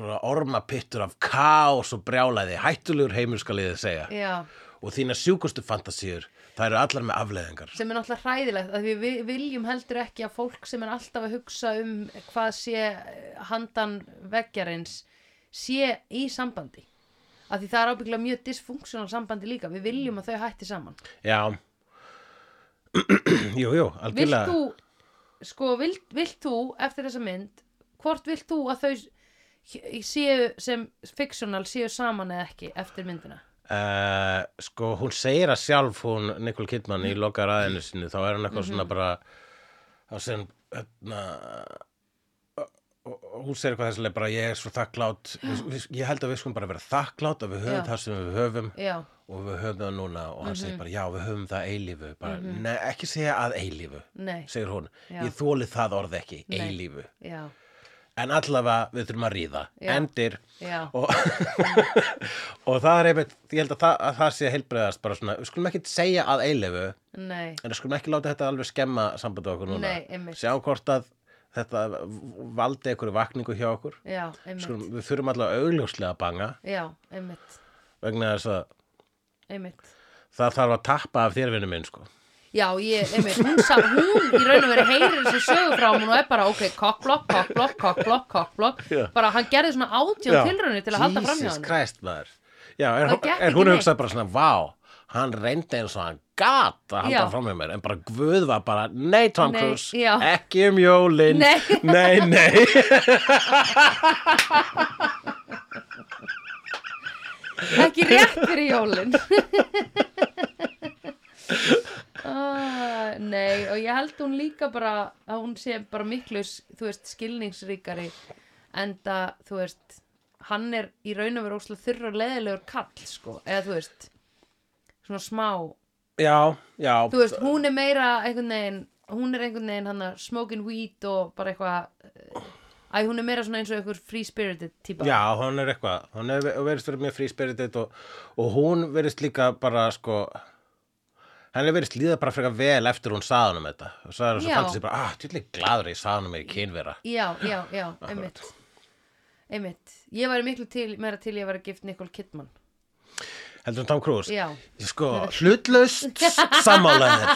Speaker 2: bara ormapittur af kaos og brjálæði hættulegur heimur skal ég þið segja
Speaker 1: já.
Speaker 2: og þína sjúkustu fantasíur það eru allar með afleðingar
Speaker 1: sem er náttúrulega hræðilegt að við vi- viljum heldur ekki að fólk sem er alltaf að hugsa um hvað sé eh, handan veggjarins sé í sambandi að því það er ábygglega mjög dysfunksional sambandi líka við viljum að þau hætti saman
Speaker 2: já jú, jú,
Speaker 1: vilt
Speaker 2: algjörlega
Speaker 1: þú, sko, vilt, vilt þú eftir þessa mynd, hvort vilt þú að þau s- h- séu sem fictional séu saman eða ekki eftir myndina
Speaker 2: uh, sko, hún segir að sjálf hún Nicole Kidman
Speaker 1: Mm.
Speaker 2: í lokar aðeinu sinni þá er hann eitthvað
Speaker 1: Mhm.
Speaker 2: svona bara þá segir hún hérna, og- og hún segir eitthvað þessulega bara ég er svo þakklátt við, við, ég held að við skulum bara vera þakklátt að við höfum
Speaker 1: Já.
Speaker 2: það sem við höfum
Speaker 1: já,
Speaker 2: og við höfum það núna og hann
Speaker 1: Mhm.
Speaker 2: segir bara já, við höfum það eilífu bara, nei, ekki segja að eilífu
Speaker 1: nei,
Speaker 2: segir hún,
Speaker 1: Mhm. Já.
Speaker 2: ég þóli það orð ekki
Speaker 1: Nei.
Speaker 2: eilífu,
Speaker 1: já,
Speaker 2: en allavega við þurfum að ríða,
Speaker 1: Já.
Speaker 2: endir
Speaker 1: já
Speaker 2: og, og það er einmitt ég held að það, að það sé heilbreyðast bara svona, við skulum ekki segja að eilífu en
Speaker 1: nei,
Speaker 2: við skulum ekki láta þetta alveg skemma sambandi okkur núna,
Speaker 1: Nei, einmitt.
Speaker 2: sjá hvort að þetta v- valdi einhverju vakningu hjá okkur
Speaker 1: já,
Speaker 2: skulum,
Speaker 1: einmitt
Speaker 2: við þurfum allavega augljóslega að banga
Speaker 1: já, einmitt,
Speaker 2: vegna þess að
Speaker 1: einmitt
Speaker 2: það þarf að tappa af þér vinnu minn sko
Speaker 1: Já, ég, einmitt, hún, sa, hún í raun og veri heyrir þessu sögu frá hún og er bara, ok, kokkblokk, kokkblokk, kokkblokk, kokkblokk,
Speaker 2: Já.
Speaker 1: bara hann gerði svona
Speaker 2: Já.
Speaker 1: átján tilraunir til að halda fram hjá
Speaker 2: Jesus
Speaker 1: hann.
Speaker 2: Christ maður Já, er,
Speaker 1: Það
Speaker 2: hún-
Speaker 1: gekk
Speaker 2: er hún
Speaker 1: ekki
Speaker 2: hugsað bara svona vá, hann reyndi eins og hann gat að halda
Speaker 1: Já.
Speaker 2: fram hjá mér en bara Guð var bara, nei Tom
Speaker 1: Nei,
Speaker 2: Cruise
Speaker 1: já.
Speaker 2: ekki um jólin
Speaker 1: Nei.
Speaker 2: nei, nei.
Speaker 1: Ekki rétt fyrir jólin. ah, nei, og ég held hún líka bara, að hún sé bara miklu, þú veist, skilningsríkari enda, þú veist, hann er í raun og veri óslega þurr og leðilegur kall, sko, eða þú veist, svona smá
Speaker 2: Já, já
Speaker 1: þú veist, hún er meira einhvern veginn hún er einhvern veginn hann að smoking weed og bara eitthvað æ, hún er meira svona eins og einhver free spirited típa
Speaker 2: Já, hún er eitthvað, hún er verið verið mjög fríspiritit og, og hún verið líka bara sko henni verið líða bara frekar vel eftir hún saðanum þetta og saðanum svo
Speaker 1: Já.
Speaker 2: fannst sér bara, ah, tjóðlega gladur ég saðanum er kynvera
Speaker 1: já, já, já, einmitt einmitt, ég væri miklu til, meira til ég væri gift Nicole Kidman
Speaker 2: heldur hún Tom Cruise
Speaker 1: já,
Speaker 2: Sko, hlutlaust sammálaðir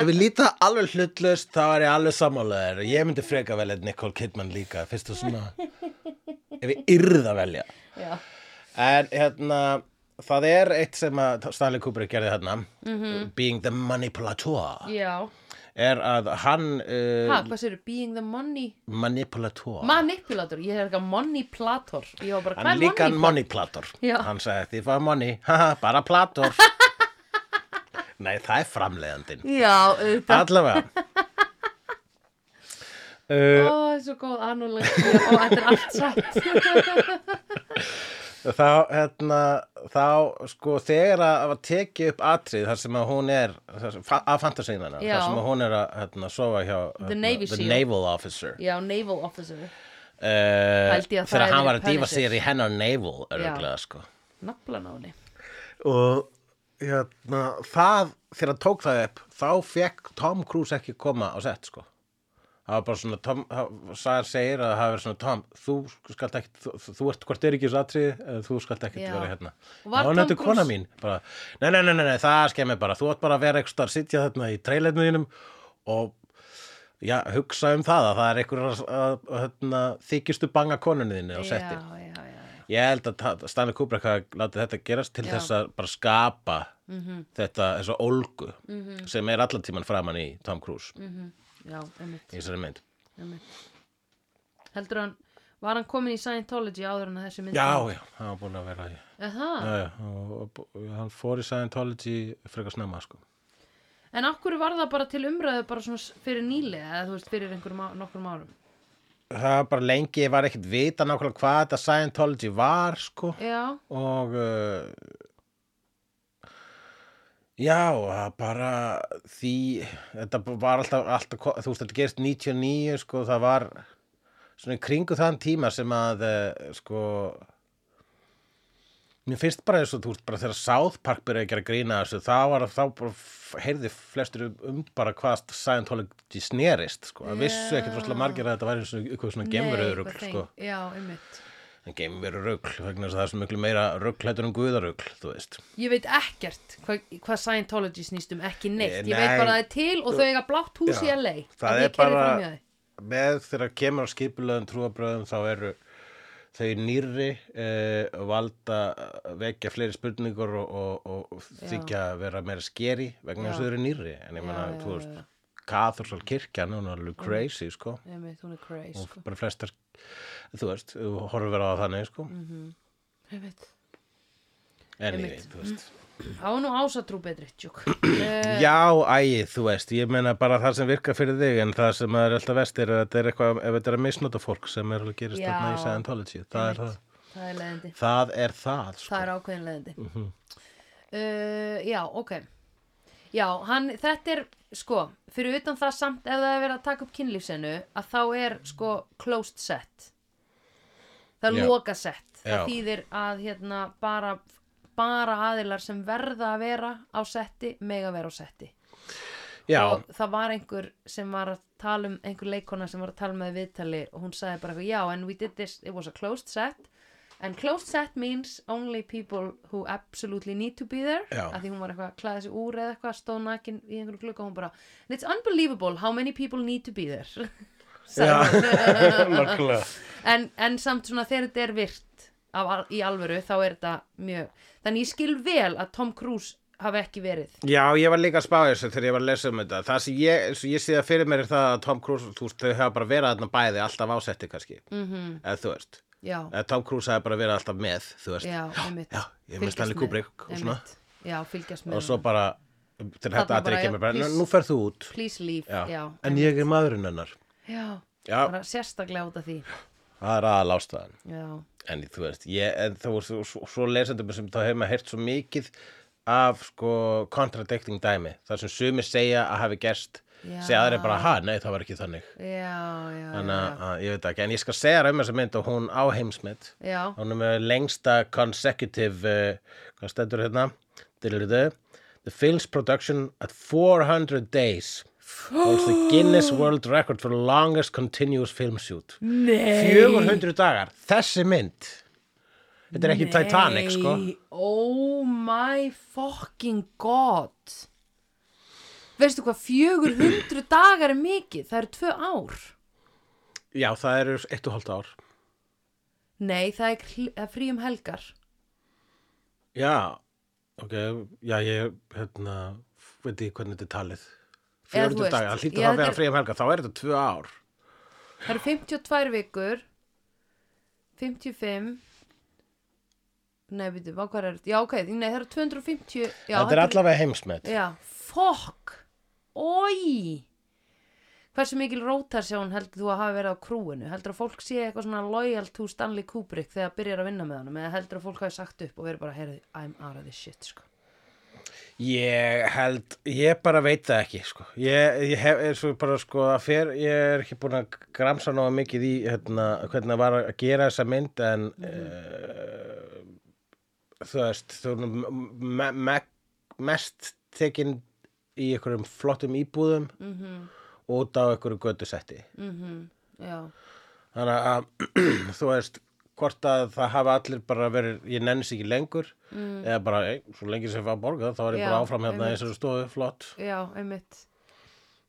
Speaker 2: Ef við líta alveg hlutlaust þá er ég alveg sammálaðir Ég myndi freka vel að Nicole Kidman líka Fyrst þú svona ef ég yrð að velja
Speaker 1: já,
Speaker 2: En hérna, það er eitt sem að Stanley Kubrick gerði hérna
Speaker 1: Mhm.
Speaker 2: Being the Manipulator
Speaker 1: já
Speaker 2: er að hann uh,
Speaker 1: ha, hvað séru, being the money
Speaker 2: manipulator
Speaker 1: manipulator, ég er eitthvað money plator ég var bara,
Speaker 2: Hann
Speaker 1: hvað
Speaker 2: er líka
Speaker 1: er money
Speaker 2: money plator
Speaker 1: Já.
Speaker 2: Hann sagði því fá money, haha, bara plator Nei, það er framleiðandinn
Speaker 1: plator já, auðvitað
Speaker 2: Allavega uh,
Speaker 1: Ó, það er svo góð anulegja og þetta er allt satt
Speaker 2: Þá, hérna, þá sko þegar að var tekið upp atrið þar sem að hún er þar sem- fa- af fantasíðana,
Speaker 1: Já.
Speaker 2: þar sem að hún er að hérna, sofa hjá hérna,
Speaker 1: Navy
Speaker 2: the
Speaker 1: SEAL.
Speaker 2: Naval Officer
Speaker 1: Já, naval officer
Speaker 2: uh,
Speaker 1: Held ég að það
Speaker 2: þegar
Speaker 1: hafi verið
Speaker 2: hann var að dýfa
Speaker 1: Punisher.
Speaker 2: sér í hennar Naval örgulega sko
Speaker 1: Naflan á henni
Speaker 2: og hérna, það þegar hann tók það upp þá fekk Tom Cruise ekki koma á sett sko það var bara svona Tom, það- Sagan segir að það hafi verið svona Tom, þú skalt ekki þú, þú ert hvort er ekki þessu atrið eða þú skalt ekki
Speaker 1: Já.
Speaker 2: vera hérna
Speaker 1: Og var
Speaker 2: Já, en
Speaker 1: Tom
Speaker 2: þetta er
Speaker 1: Cruise-
Speaker 2: kona mín bara, nei, nei, nei, nei, nei, það skemmir bara þú átt bara að vera eitthvað að sitja þarna í treyleinu þínum og já, hugsa um það að það er einhver að, að, að hérna, þykistu banga konunni þinni á
Speaker 1: Já,
Speaker 2: setti
Speaker 1: já, já, já
Speaker 2: Ég held að ta- Stanley Kubrick hafi látið þetta gerast til
Speaker 1: Já.
Speaker 2: þess að bara skapa þetta, þessa ólgu sem er allan tíman framan í Tom Cruise
Speaker 1: Já, einmitt,
Speaker 2: í þessari mynd.
Speaker 1: einmitt Heldur hann, var hann komin í Scientology áður en að þessi mynd
Speaker 2: Já, já, hann var búin að vera í.
Speaker 1: Aha.
Speaker 2: Já, já, og, og, og hann fór í Scientology frekar snemma, sko.
Speaker 1: En okkur var það bara til umræðu bara svona s- fyrir nýlega eða þú veist fyrir einhverjum á- nokkrum árum
Speaker 2: Það var bara lengi, ég var ekkert vita nákvæmlega hvað þetta Scientology var, sko.
Speaker 1: Já,
Speaker 2: og uh, já, það bara því, þetta var alltaf, alltaf ko- þú veist, þetta gerist 99 sko, það var svona í kringu þann tíma sem að uh, sko mér finnst bara eins og þú veist, bara þegar South Park byrjaði að gera grína þessu, þá var þá bara f- heyrði flestur um- um bara hvað Scientology snerist, sko, það vissu ekkert rosalega margir að þetta væri eins og eitthvað svona gemuröðrugl,
Speaker 1: eitthvað
Speaker 2: sko
Speaker 1: þeng- Já, einmitt
Speaker 2: en geimur verið rugl vegna þess að það er svo miklu meira rugl hættur en guðarugl, þú veist
Speaker 1: Ég veit ekkert hvað hva Scientology snýst um, ekki neitt.
Speaker 2: Eh,
Speaker 1: Ég veit
Speaker 2: nei.
Speaker 1: bara að það er til og þau eiga blátt hús í
Speaker 2: Já,
Speaker 1: LA. Að
Speaker 2: það er
Speaker 1: ég keyrði
Speaker 2: bara-
Speaker 1: framhjá því.
Speaker 2: með þegar kemur á skipulöðum trúabröðum þá eru þau nýrri eh, valda eh, vekja fleiri spurningur og, og, og þykja að vera meira skeri vegna þess að þau eru nýrri en ég meina,
Speaker 1: já,
Speaker 2: þú
Speaker 1: já.
Speaker 2: veist, kathorsal kirkjan hún er alveg crazy, sko
Speaker 1: Einmitt, hún er crazy,
Speaker 2: og
Speaker 1: sko.
Speaker 2: bara flestar, þú veist, þú horfir verið á þannig, sko mm.
Speaker 1: Einmitt.
Speaker 2: en
Speaker 1: Einmitt. Mm.
Speaker 2: ég, þú veist
Speaker 1: Á nú ásatrú betri, tjók. uh,
Speaker 2: Já, æ, þú veist, ég meina bara það sem virkar fyrir þig en það sem er alltaf vest er að þetta er eitthvað, ef þetta er að misnota fólk sem er alveg gerist
Speaker 1: Já.
Speaker 2: þarna í Scientology, það er það.
Speaker 1: það er leiðindi.
Speaker 2: Það er það, sko. Mhm.
Speaker 1: Það er ákveðin leiðindi. uh, já, ok. Já, hann, þetta er, sko, fyrir utan það samt ef það er verið að taka upp kynlífsenu, að þá er, sko, closed set. Það
Speaker 2: Já.
Speaker 1: er loka set. Það
Speaker 2: Já.
Speaker 1: þýðir að, hérna, bara, bara aðilar sem verða að vera á setti, mega vera á setti.
Speaker 2: Já,
Speaker 1: og það var einhver sem var að tala um einhver leikona sem var að tala með viðtali og hún sagði bara eitthvað, já, and we did this it was a closed set and closed set means only people who absolutely need to be there
Speaker 2: Já.
Speaker 1: að því hún var eitthvað að klæða sig úr eða eitthvað stóð nakin í einhverju glugga og hún bara and it's unbelievable how many people need to be there
Speaker 2: já,
Speaker 1: sagði hún.
Speaker 2: nokkulega.
Speaker 1: en, en samt svona þegar þetta er virt af, al- í alvöru þá er þetta mjög þannig ég skil vel að Tom Cruise hafi ekki verið
Speaker 2: Já, ég var líka að spá þessu þegar ég var að lesa um þetta. Það sem ég, eins og ég sé það fyrir mér er það að Tom Cruise, þú veist, þau hafa bara verið þarna bæði alltaf ásetti kannski,
Speaker 1: mhm,
Speaker 2: eða þú veist.
Speaker 1: já,
Speaker 2: Eða Tom Cruise hafi bara verið alltaf með, þú veist.
Speaker 1: já, einmitt
Speaker 2: já, ég minnst Stanley Kubrick og svona.
Speaker 1: Einmitt. já, fylgjast með
Speaker 2: Og svo bara, til
Speaker 1: Þarna
Speaker 2: þetta
Speaker 1: bara,
Speaker 2: atrið
Speaker 1: já,
Speaker 2: kemur bara,
Speaker 1: please.
Speaker 2: "Nú- nú ferð þú út.
Speaker 1: please leave,
Speaker 2: Já.
Speaker 1: já, já,
Speaker 2: en ég er maðurinn hennar.
Speaker 1: já,
Speaker 2: Já.
Speaker 1: bara sérstaklega út af því
Speaker 2: Það er aðal ástæðan.
Speaker 1: já,
Speaker 2: En þú veist, ég, en þú veist, svo- svo, svo lesendum sem þá hefur maður heyrt svo mikið af sko contradicting dæmi. þar sem sumir segja að hafi gerst,
Speaker 1: Já.
Speaker 2: segja aðri bara, ha, nei, það var ekki þannig.
Speaker 1: já, já
Speaker 2: Þannig að, að ég veit ekki, en ég skal segja þér um þessa mynd og hún á heimsmynd.
Speaker 1: já, já,
Speaker 2: Hún er með lengsta consecutive, uh, hvað stendur hérna? Dilluðu. The film's production at 400 days holds the Guinness World Record for longest continuous film shoot.
Speaker 1: nei
Speaker 2: 400 dagar, þessi mynd Þetta er ekki Titanic sko
Speaker 1: oh my fucking god veistu hvað 400 dagar er mikið, það eru tvö ár
Speaker 2: Já, það eru eitt og hálft ár
Speaker 1: Nei, það er kl- það er frí um helgar
Speaker 2: Já, ok, já, ég, hérna, veit ekki hvernig þetta er talið.
Speaker 1: Eða þú
Speaker 2: 40
Speaker 1: veist,
Speaker 2: daga, það hlýtur
Speaker 1: já,
Speaker 2: þá að
Speaker 1: þetta
Speaker 2: vera
Speaker 1: er-
Speaker 2: frí um helga, þá er þetta tvö ár.
Speaker 1: Það eru 52 vikur 55 Nei, veitum, hvað er þetta? Já, ok, nei, það eru 250 já,
Speaker 2: þetta er allavega heimsmet.
Speaker 1: Já, fokk Ói Hversu mikil rótarsjón heldur þú að hafa verið á krúinu? Heldur að fólk sé eitthvað svona loyal to Stanley Kubrick þegar byrjar að vinna með honum eða heldur að fólk hafi sagt upp og verið bara heyrðu, I'm out of this shit sko.
Speaker 2: Ég held, ég bara veit það ekki, sko. Ég, ég hef, er svo bara, sko, að fer, ég er ekki búin að gramsa náða mikið í, hérna, hvernig það var að gera þessa mynd, en, eh, þú veist, þú erum me me mest tekin í einhverjum flottum íbúðum mm
Speaker 1: Mhm.
Speaker 2: og út á einhverju göttusetti.
Speaker 1: Já,
Speaker 2: þannig að þú veist hvort að það hafa allir bara verið ég nennis ekki lengur eða bara, ei, svo lengi sem ég fá að borga þá er ég
Speaker 1: Mm. Já,
Speaker 2: bara áfram hérna í
Speaker 1: einmitt.
Speaker 2: þessari stofu, flott
Speaker 1: já, einmitt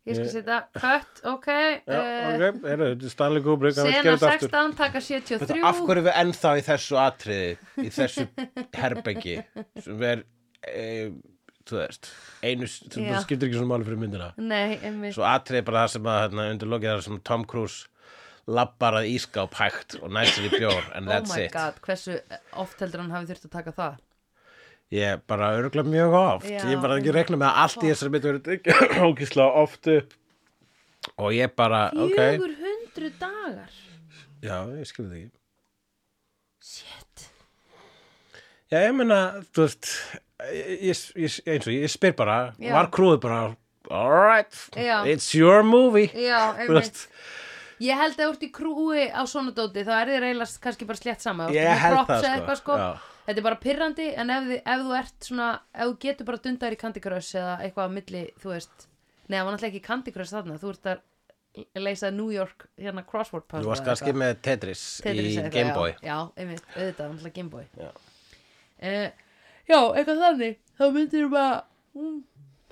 Speaker 1: Ég skal
Speaker 2: Ég-
Speaker 1: setja cut, ok,
Speaker 2: já,
Speaker 1: eh,
Speaker 2: ok, eru, þetta er Stanley Kubrick hann vill
Speaker 1: Sena
Speaker 2: gera þetta aftur.
Speaker 1: 16, taka
Speaker 2: Þetta,
Speaker 1: 73
Speaker 2: af hverju við ennþá í þessu atriði í þessu herbengi sem er e, þú veist, einu, s- þú
Speaker 1: Já.
Speaker 2: það skiptir ekki svona máli fyrir myndina
Speaker 1: Nei, einmitt
Speaker 2: svo atriði bara það sem að hérna, undir lokið þar sem Tom Cruise labbar að ískáp hægt og næsir í bjór and
Speaker 1: Oh
Speaker 2: that's
Speaker 1: my
Speaker 2: it
Speaker 1: god, hversu oft heldur hann hafi þurft að taka það
Speaker 2: Ég bara örgla mjög oft
Speaker 1: Já,
Speaker 2: Ég bara
Speaker 1: einmitt.
Speaker 2: ekki rekna með að allt í þessari mitt verið ókísla oft upp Og ég bara, ok
Speaker 1: 400 dagar
Speaker 2: Já, ég skil þetta ekki
Speaker 1: Shit
Speaker 2: Já, ég meina, þú veist ég, ég, ég- eins og ég, ég spyr bara
Speaker 1: Já.
Speaker 2: Var krúið bara, alright
Speaker 1: Já.
Speaker 2: It's your movie
Speaker 1: Já,
Speaker 2: Þú
Speaker 1: einmitt
Speaker 2: veist,
Speaker 1: Ég held að úrt í krúi á svona dóti þá er þið reylast kannski bara slétt sama Þú ert
Speaker 2: Ég
Speaker 1: með
Speaker 2: held
Speaker 1: props
Speaker 2: það,
Speaker 1: eða
Speaker 2: sko.
Speaker 1: eitthvað, sko.
Speaker 2: Já.
Speaker 1: Þetta er bara pirrandi en ef, þið, ef þú ert svona ef þú getur bara dundar í Candy Crush eða eitthvað á milli, þú veist Nei, það var náttúrulega ekki Candy Crush þarna þú ert að leysa New York hérna crossword puzzle
Speaker 2: þú varst
Speaker 1: eða
Speaker 2: kannski
Speaker 1: eitthvað.
Speaker 2: með Tetris,
Speaker 1: Tetris eða
Speaker 2: í
Speaker 1: eitthvað,
Speaker 2: Gameboy
Speaker 1: Já, já einmitt, auðvitað, náttúrulega Gameboy
Speaker 2: Já.
Speaker 1: uh, Já, eitthvað þannig þá myndir þú bara mm,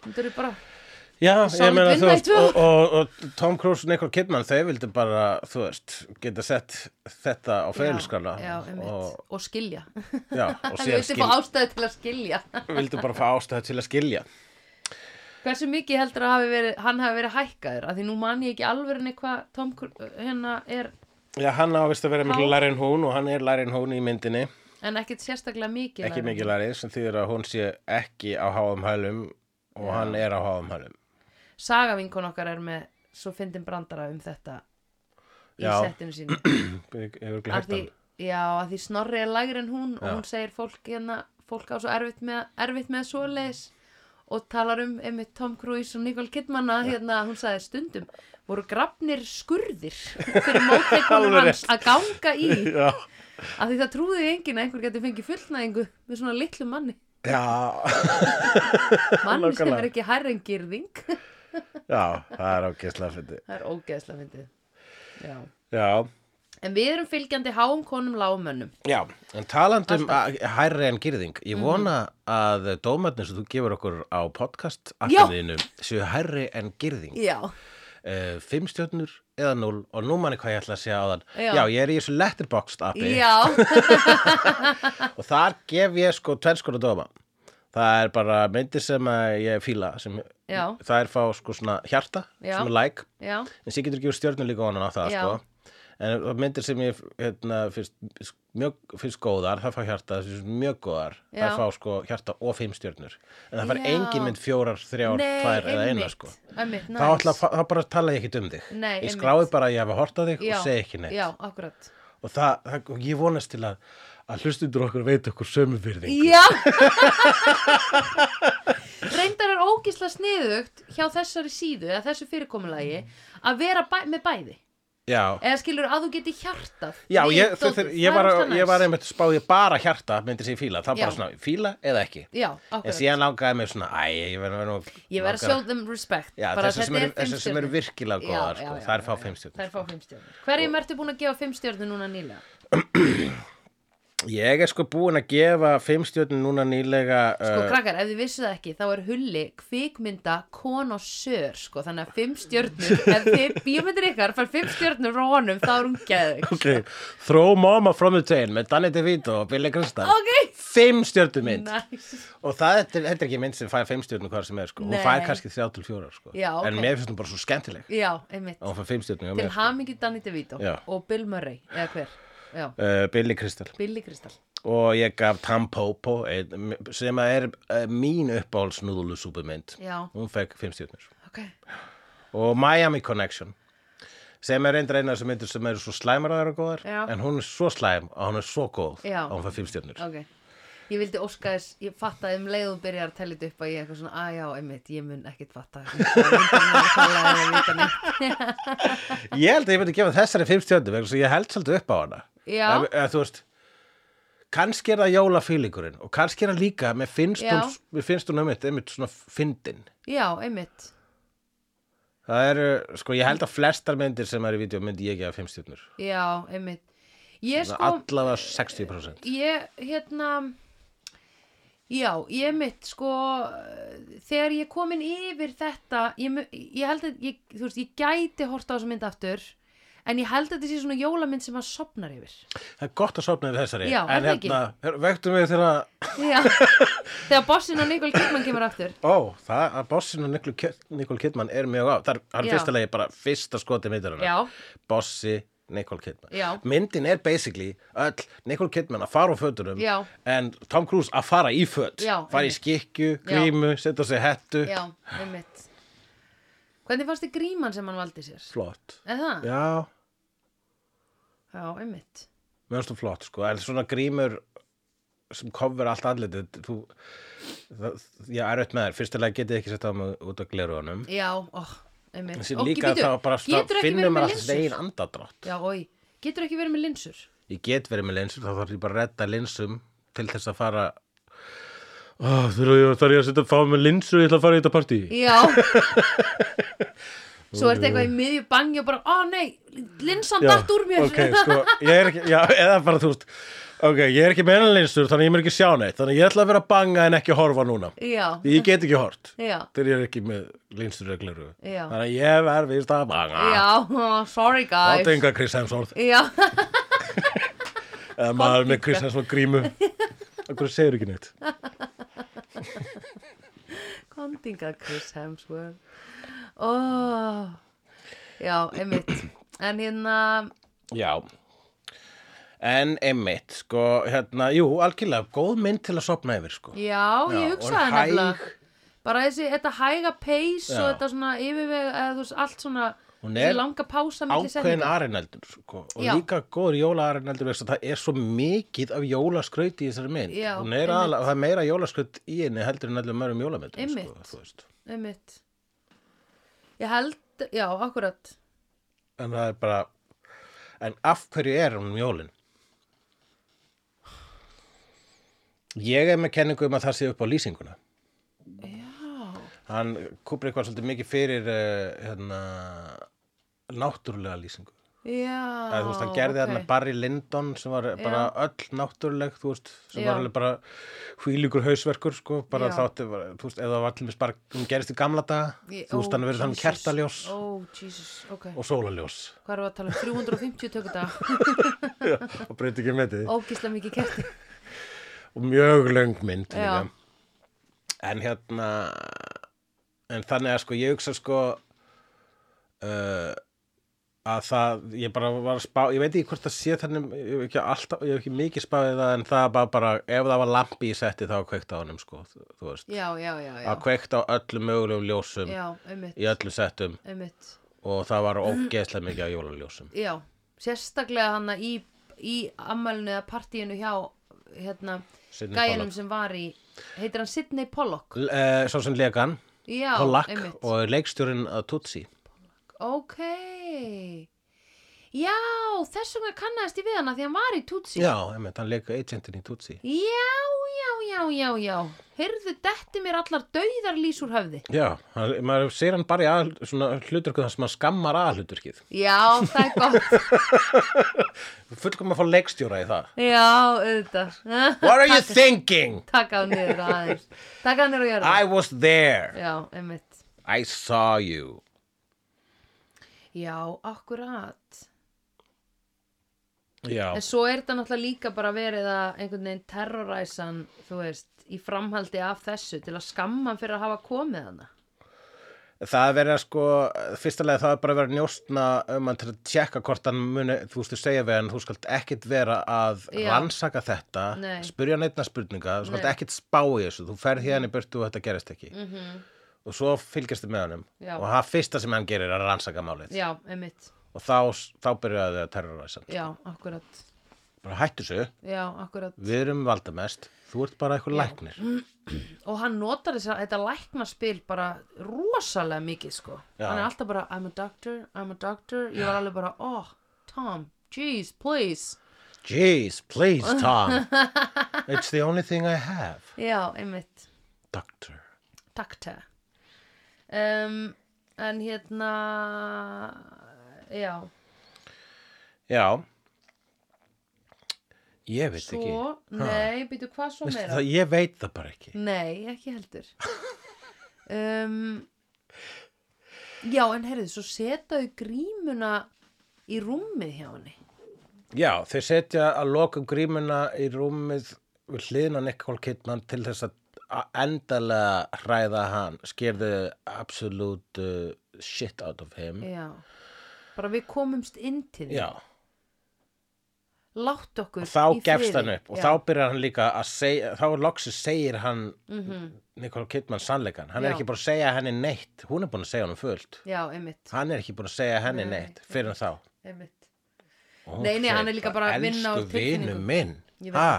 Speaker 1: myndir þú bara
Speaker 2: Já,
Speaker 1: Solid
Speaker 2: ég meina, þú
Speaker 1: vinna í
Speaker 2: veist,
Speaker 1: tvö
Speaker 2: og, og, og Tom Cruise og Nicole Kidman, þau vildu bara, þú veist, geta sett þetta á ferilskala
Speaker 1: Já, já, einmitt,
Speaker 2: sko, og,
Speaker 1: og skilja
Speaker 2: já, og
Speaker 1: Þú
Speaker 2: síðan
Speaker 1: vildi fá
Speaker 2: skil,
Speaker 1: ástæði til að skilja
Speaker 2: vildu bara fá ástæðu til að skilja
Speaker 1: Hversu mikið heldur að hafi verið, hann hafi verið hækkaður af því nú man ég ekki alveg henni hvað Tom Cruise hérna er
Speaker 2: Já, hann ávist að vera miklu
Speaker 1: Há.
Speaker 2: læri en hún og hann er læri en hún í myndinni
Speaker 1: en ekkit sérstaklega mikið
Speaker 2: ekki
Speaker 1: lægri.
Speaker 2: mikið læri, sem þýðir að hún sé ekki á háum hælum og hann er á háum hælum
Speaker 1: Saga vinkon okkar er með svo fyndin brandara um þetta í
Speaker 2: Já.
Speaker 1: settinu sínu
Speaker 2: Ég er örugglega
Speaker 1: af
Speaker 2: hægt
Speaker 1: því,
Speaker 2: hann
Speaker 1: Já, að því snorri er lægri en hún og
Speaker 2: Já.
Speaker 1: hún segir fólk hérna fólk á svo erfitt með, erfitt með svoleiðis og talar um einmitt Tom Cruise og Nicole Kidman að hérna, hún sagði stundum voru grafnir skurðir fyrir mótleikunum
Speaker 2: Alveg
Speaker 1: hans að ganga í
Speaker 2: Já,
Speaker 1: af því það trúði enginn að einhver geti fengið fullnæðingu með svona litlu manni
Speaker 2: já,
Speaker 1: manni sem
Speaker 2: Nákvæmlega.
Speaker 1: er ekki hærri en girðing það
Speaker 2: já, það er ákesslega fyndi
Speaker 1: er ógeðslega fyndið já.
Speaker 2: Já,
Speaker 1: en við erum fylgjandi háum konum lágmönnum
Speaker 2: Já, en talandum hærri en gyrðing,
Speaker 1: Mhm.
Speaker 2: ég vona að dómatnir sem þú gefur okkur á podcast akkaðinu séu hærri en gyrðing
Speaker 1: já,
Speaker 2: uh, Fimm stjórnur eða núl og nú manni hvað ég ætla að segja á þann
Speaker 1: Já.
Speaker 2: ég er í þessu letterboxd appi
Speaker 1: já,
Speaker 2: og þar gef ég sko tvennskona dóma Það er bara myndir sem að ég fíla sem,
Speaker 1: Já.
Speaker 2: Það er fá sko svona hjarta,
Speaker 1: Já.
Speaker 2: svona like
Speaker 1: já
Speaker 2: en sér getur ekki úr stjörnum líka onan á það
Speaker 1: Já.
Speaker 2: sko. en það myndir sem ég hérna, finnst, mjög, finnst góðar það fá hjarta, það finnst mjög góðar
Speaker 1: Já.
Speaker 2: það fá sko, hjarta og fimm stjörnur en það fær
Speaker 1: Já.
Speaker 2: engin mynd fjórar, þrjár, tvær eða eina sko.
Speaker 1: einmitt,
Speaker 2: þá, ætla, þá bara tala ég ekkit um þig
Speaker 1: Nei,
Speaker 2: ég
Speaker 1: einmitt.
Speaker 2: skrái bara að ég hafa hortað þig
Speaker 1: Já,
Speaker 2: og segi ekki neitt
Speaker 1: já, akkurat
Speaker 2: og það, það, og ég vonast til að, að hlustundur okkur veit okkur sömu virðing
Speaker 1: já reyndar er ógisla sniðugt hjá þessari síðu eða þessu fyrirkomulagi að vera bæ með bæði
Speaker 2: já,
Speaker 1: eða skilur að þú geti hjartað
Speaker 2: já
Speaker 1: við
Speaker 2: ég, þeir,
Speaker 1: dótið.
Speaker 2: þeir,
Speaker 1: Það
Speaker 2: ég,
Speaker 1: er
Speaker 2: var,
Speaker 1: ógeðslega
Speaker 2: ég var
Speaker 1: næs.
Speaker 2: einmitt spáði bara hjarta myndir sem ég fíla, það bara
Speaker 1: Já.
Speaker 2: svona fíla eða ekki
Speaker 1: Já,
Speaker 2: En
Speaker 1: akkurat.
Speaker 2: síðan langaði mig svona, æ, ég verður nú...
Speaker 1: Ég verð að
Speaker 2: langar-
Speaker 1: show them respect
Speaker 2: Já,
Speaker 1: bara
Speaker 2: þessar sem
Speaker 1: þetta
Speaker 2: eru-
Speaker 1: fimm
Speaker 2: þessar sem eru
Speaker 1: stjörnur.
Speaker 2: virkilega
Speaker 1: Já,
Speaker 2: góðar,
Speaker 1: já,
Speaker 2: sko,
Speaker 1: já,
Speaker 2: þær
Speaker 1: já,
Speaker 2: fá
Speaker 1: já.
Speaker 2: fimm stjörnur,
Speaker 1: Þær fá fimm stjörnur Hverjum ertu búin að gefa fimm stjörnur núna nýlega?
Speaker 2: Ég er sko búin að gefa fimm stjórnum núna nýlega
Speaker 1: Sko
Speaker 2: uh,
Speaker 1: krakkar, ef þið vissu það ekki, þá er Hulli kvikmynda konosör, sko, þannig að fimm stjörnur, ef þið bíómyndir ykkar fær fimm stjörnur frá honum, þá er hún geðug.
Speaker 2: okay. Throw Mama from the Train með Danny DeVito og Billy Crystal
Speaker 1: Ok,
Speaker 2: Fimm stjórnum mynd
Speaker 1: næs.
Speaker 2: Og það þetta er, þetta er ekki mynd sem fær fimm stjórnum hvað sem er sko Hún
Speaker 1: Nei.
Speaker 2: fær kannski þrjá til fjórar sko
Speaker 1: Já, ok.
Speaker 2: En mér finnst hún bara svo skemmtileg
Speaker 1: Já, einmitt.
Speaker 2: Og hún fær fimm stjórnum hjá
Speaker 1: Til
Speaker 2: mér sko.
Speaker 1: hamingi Danny DeVito
Speaker 2: Já.
Speaker 1: og Bill Murray, eða hver? Já,
Speaker 2: uh, Billy Crystal
Speaker 1: Billy Crystal.
Speaker 2: og ég gaf Tampopo einn, sem að er eh, mín uppáhalds núðulusúpumynd
Speaker 1: Já.
Speaker 2: hún fekk fimm stjórnur
Speaker 1: Ok,
Speaker 2: og Miami Connection sem er reyndar eina sem myndir sem eru svo slæmar að vera góðar
Speaker 1: Já.
Speaker 2: en hún er svo slæm og hún er svo góð
Speaker 1: Já.
Speaker 2: að hún fær fimm stjórnur
Speaker 1: ok. Ég vildi óska þess, ég fattaði um leiðum byrjar að tella þetta upp að ég eitthvað svona, að já, einmitt, ég mun ekkit fatta.
Speaker 2: ég held að ég myndi gefa þessari fimm stjórnur vegna svo ég held svolítið upp á hana
Speaker 1: Já.
Speaker 2: Ef- ef þú veist kannski er það jólafílingurinn og kannski er það líka mér finnst
Speaker 1: Já.
Speaker 2: hún, mér finnst hún einmitt, einmitt svona fyndin
Speaker 1: já, einmitt.
Speaker 2: það eru, sko ég held að flestar myndir sem eru í vídeo myndi ég gefa fimm stjórnur
Speaker 1: Já, einmitt. Ég
Speaker 2: Sko,
Speaker 1: sko,
Speaker 2: allavega 60%
Speaker 1: ég, hérna, já, ég mitt, sko, eh, þegar ég komin yfir þetta, ég, mu- ég held að, ég, þú veist, ég gæti horta á þessa mynd aftur, en ég held að þetta sé svona jólamynd sem maður sopnar yfir.
Speaker 2: það er gott að sofna við þessari
Speaker 1: Já,
Speaker 2: en
Speaker 1: er það ekki?
Speaker 2: hérna, her- vektum við þegar að
Speaker 1: Já, þegar bossinn og Nikol Kidman kemur aftur.
Speaker 2: ó, það að bossin og Nikol Kid- Nicole Kidman er mjög á það er, það er
Speaker 1: Já.
Speaker 2: fyrsta legi bara fyrsta skoti myndirana
Speaker 1: Já.
Speaker 2: bossi Nicole Kidman
Speaker 1: Já.
Speaker 2: myndin er basically öll Nicole Kidman að fara á fötunum
Speaker 1: Já.
Speaker 2: en Tom Cruise að fara í föt
Speaker 1: Já,
Speaker 2: fara í
Speaker 1: einmitt.
Speaker 2: skikju, grímu, setja sig hettu
Speaker 1: Já, einmitt. Hvernig fannst þið gríman sem hann valdi sér?
Speaker 2: flott
Speaker 1: Er það?
Speaker 2: já,
Speaker 1: Já, einmitt.
Speaker 2: Mér finnst það flott sko, en svona grímur sem kofur allt andlitið þú, það, ég er auðvitað með þér fyrstilega getið ekki sett á mig út af gleruðanum
Speaker 1: Já, ó, einmitt.
Speaker 2: sem
Speaker 1: Ó,
Speaker 2: líka
Speaker 1: bíddu,
Speaker 2: þá bara svona
Speaker 1: geturðu ekki verið
Speaker 2: finnum
Speaker 1: með
Speaker 2: maður alltaf
Speaker 1: linsur?
Speaker 2: veginn andadrátt
Speaker 1: Já, oi, getur ekki verið með linsur?
Speaker 2: ég get verið með linsur, þá þarf ég bara að redda linsum til þess að fara oh, þarf ég þarf ég að setja að fá með linsur ég ætla að fara í þetta partí
Speaker 1: Já Svo ertu eitthvað í miðju bangi og bara, ó nei, linsan datt úr mér
Speaker 2: ok, sko, ég er ekki, já, eða bara þú veist ok, ég er ekki með enn linsur þannig ég mér ekki sjá neitt, þannig ég ætla að vera að banga en ekki horfa núna,
Speaker 1: Já,
Speaker 2: ég get ekki hort
Speaker 1: já,
Speaker 2: þegar ég er ekki með linsur eða gleru
Speaker 1: Já.
Speaker 2: þannig að ég verð vist að banga
Speaker 1: já, ó, sorry guys
Speaker 2: það er enga Chris Hemsworth
Speaker 1: Já,
Speaker 2: eða maður með Chris Hemsworth grímu okkur segir ekki neitt
Speaker 1: kondinga Chris Hemsworth Ó, já, einmitt En hérna,
Speaker 2: já en einmitt sko hérna, jú, algjörlega, góð mynd til að sopna yfir sko
Speaker 1: já, ég hugsaði
Speaker 2: og hæg,
Speaker 1: nefnilega Bara þessi, þetta hæga peys og
Speaker 2: Já.
Speaker 1: þetta svona yfirvega, eða þú veist, allt svona
Speaker 2: Hún
Speaker 1: þessi
Speaker 2: er
Speaker 1: langa pása milli
Speaker 2: ákveðin
Speaker 1: setninga.
Speaker 2: arinaldur sko. og
Speaker 1: Já.
Speaker 2: líka góður jólaarinaldur það er svo mikið af jólaskraut í þessari mynd
Speaker 1: Já,
Speaker 2: Hún er aðla, það er meira jólaskraut í henni heldur en allir mörgum jólamyndum
Speaker 1: Einmitt.
Speaker 2: sko, þú veist.
Speaker 1: Einmitt Ég held, já, akkurat
Speaker 2: en það er bara en af hverju er hún um jólin ég er með kenningu um að það sé upp á lýsinguna
Speaker 1: Já,
Speaker 2: hann kúpir eitthvað svolítið mikið fyrir uh, hérna náttúrulega lýsingu
Speaker 1: já
Speaker 2: Eða, þú veist, hann gerði þarna Barry Lyndon sem var bara öll náttúruleg þú veist, sem
Speaker 1: Já.
Speaker 2: var alveg bara hvílíkur hausverkur sko, bara
Speaker 1: Já.
Speaker 2: þátti var- þú veist, eða það var allir bara, hún gerist í gamla daga þú veist, hann verður hann kertaljós
Speaker 1: Ó, Jesus, ok
Speaker 2: og sólaljós
Speaker 1: Hvað erum við að tala um? 350 tökudag
Speaker 2: og breyti ekki með því
Speaker 1: Ógislega mikið kerti
Speaker 2: og mjög löng mynd
Speaker 1: Já.
Speaker 2: líka. en hérna en þannig að sko ég hugsa sko uh, að það ég bara var að spá, ég veit ekki hvort það sé þannig, ég hef ekki alltaf, ég hef ekki mikið spáðið það en það var bara, ef það var lampi í setti þá var kveikt á honum sko, þú, þú veist
Speaker 1: Já, já, já, já
Speaker 2: að kveikt á öllum mögulegum ljósum
Speaker 1: Já, einmitt,
Speaker 2: í öllu settum
Speaker 1: einmitt
Speaker 2: og það var ógeðslega mikið af jólaljósum
Speaker 1: Já, sérstaklega hann í, í ammælinu eða partíinu hjá hérna,
Speaker 2: Sidney
Speaker 1: gæjanum
Speaker 2: Pollock.
Speaker 1: sem var í heitir hann Sidney Pollock
Speaker 2: L- eh, svo sem legan,
Speaker 1: Já,
Speaker 2: Pollack
Speaker 1: einmitt
Speaker 2: og leikstjórinn eh, að Tutsi
Speaker 1: Ok Já, þess vegna kannast ég við hana því hann var í Tutsi
Speaker 2: já, emitt, hann leik agentin í Tutsi
Speaker 1: já, já, já, já, já heyrðu, detti mér allar dauðar lýs úr höfði
Speaker 2: Já, hann, maður sér hann bara í að, svona, hluturku þar sem hann skammar að hluturkið.
Speaker 1: já, það er gott
Speaker 2: Fullkom að fá leikstjóra í það.
Speaker 1: já, auðvitað
Speaker 2: What are you thinking?
Speaker 1: taka hann niður aðeins taka hann niður og gera
Speaker 2: I was there.
Speaker 1: já, emmitt
Speaker 2: I saw you.
Speaker 1: já, akkurat
Speaker 2: Já,
Speaker 1: en svo er þetta náttúrulega líka bara verið að einhvern veginn terroræsan þú veist, í framhaldi af þessu til að skamma hann fyrir að hafa komið hana
Speaker 2: það er verið að sko, fyrstulega það er bara verið að njóstna um að til að tjekka hvort hann muni, þú veist, þú segja við hann, þú skalt ekkit vera að
Speaker 1: Já.
Speaker 2: rannsaka þetta,
Speaker 1: Nei.
Speaker 2: spyrja neitna spurninga, þú skalt
Speaker 1: Nei.
Speaker 2: ekkit spá í þessu, þú ferð hérna í burtu og þetta gerist ekki. -hmm. Og svo fylgjast þið með honum
Speaker 1: Mhm. Já.
Speaker 2: og það fyrsta sem hann gerir er að rannsaka málið.
Speaker 1: já, emmitt,
Speaker 2: og þá, þá byrjaði þau að terroræsa hann.
Speaker 1: já, akkurat
Speaker 2: bara hættu þessu,
Speaker 1: já, akkurat
Speaker 2: við erum valdamest þú ert bara eitthvað læknir
Speaker 1: og hann notar þess að þetta læknaspil bara rosalega mikið sko
Speaker 2: Já.
Speaker 1: hann er alltaf bara I'm a doctor, I'm a doctor ég var alveg bara, oh, Tom jeez, please
Speaker 2: jeez, please Tom it's the only thing I have
Speaker 1: já, einmitt,
Speaker 2: doctor
Speaker 1: takta um, en hérna já,
Speaker 2: já ég veit ekki
Speaker 1: svo nei, býtu hvað svo
Speaker 2: Veistu
Speaker 1: meira
Speaker 2: það, ég veit það bara ekki
Speaker 1: nei, ekki heldur um, já, en heyrðu, svo setaðu grímuna í rúmið hjá henni
Speaker 2: já, þeir setja að lokum grímuna í rúmið við hliðna Nicole Kidman til þess að að endalega hræða hann skerðu absolute uh, shit out of him
Speaker 1: Já, bara við komumst inn til því,
Speaker 2: Mm. já
Speaker 1: látt okkur
Speaker 2: þá
Speaker 1: í
Speaker 2: gefst
Speaker 1: friði.
Speaker 2: hann upp og
Speaker 1: já.
Speaker 2: þá byrjar hann líka að segja þá loksir segir hann
Speaker 1: mhm,
Speaker 2: Nicole Kidman sannleikan hann
Speaker 1: Já.
Speaker 2: er ekki búin að segja henni neitt hún er búin að segja honum fullt
Speaker 1: Já, einmitt,
Speaker 2: hann er ekki búin að segja henni
Speaker 1: Nei,
Speaker 2: neitt fyrir þá
Speaker 1: einmitt
Speaker 2: Og hún
Speaker 1: Nei, nei,
Speaker 2: segir
Speaker 1: hann er líka bara að vinna úr
Speaker 2: elsku vinu
Speaker 1: tilfinningum."
Speaker 2: minn
Speaker 1: Ég veit
Speaker 2: ha,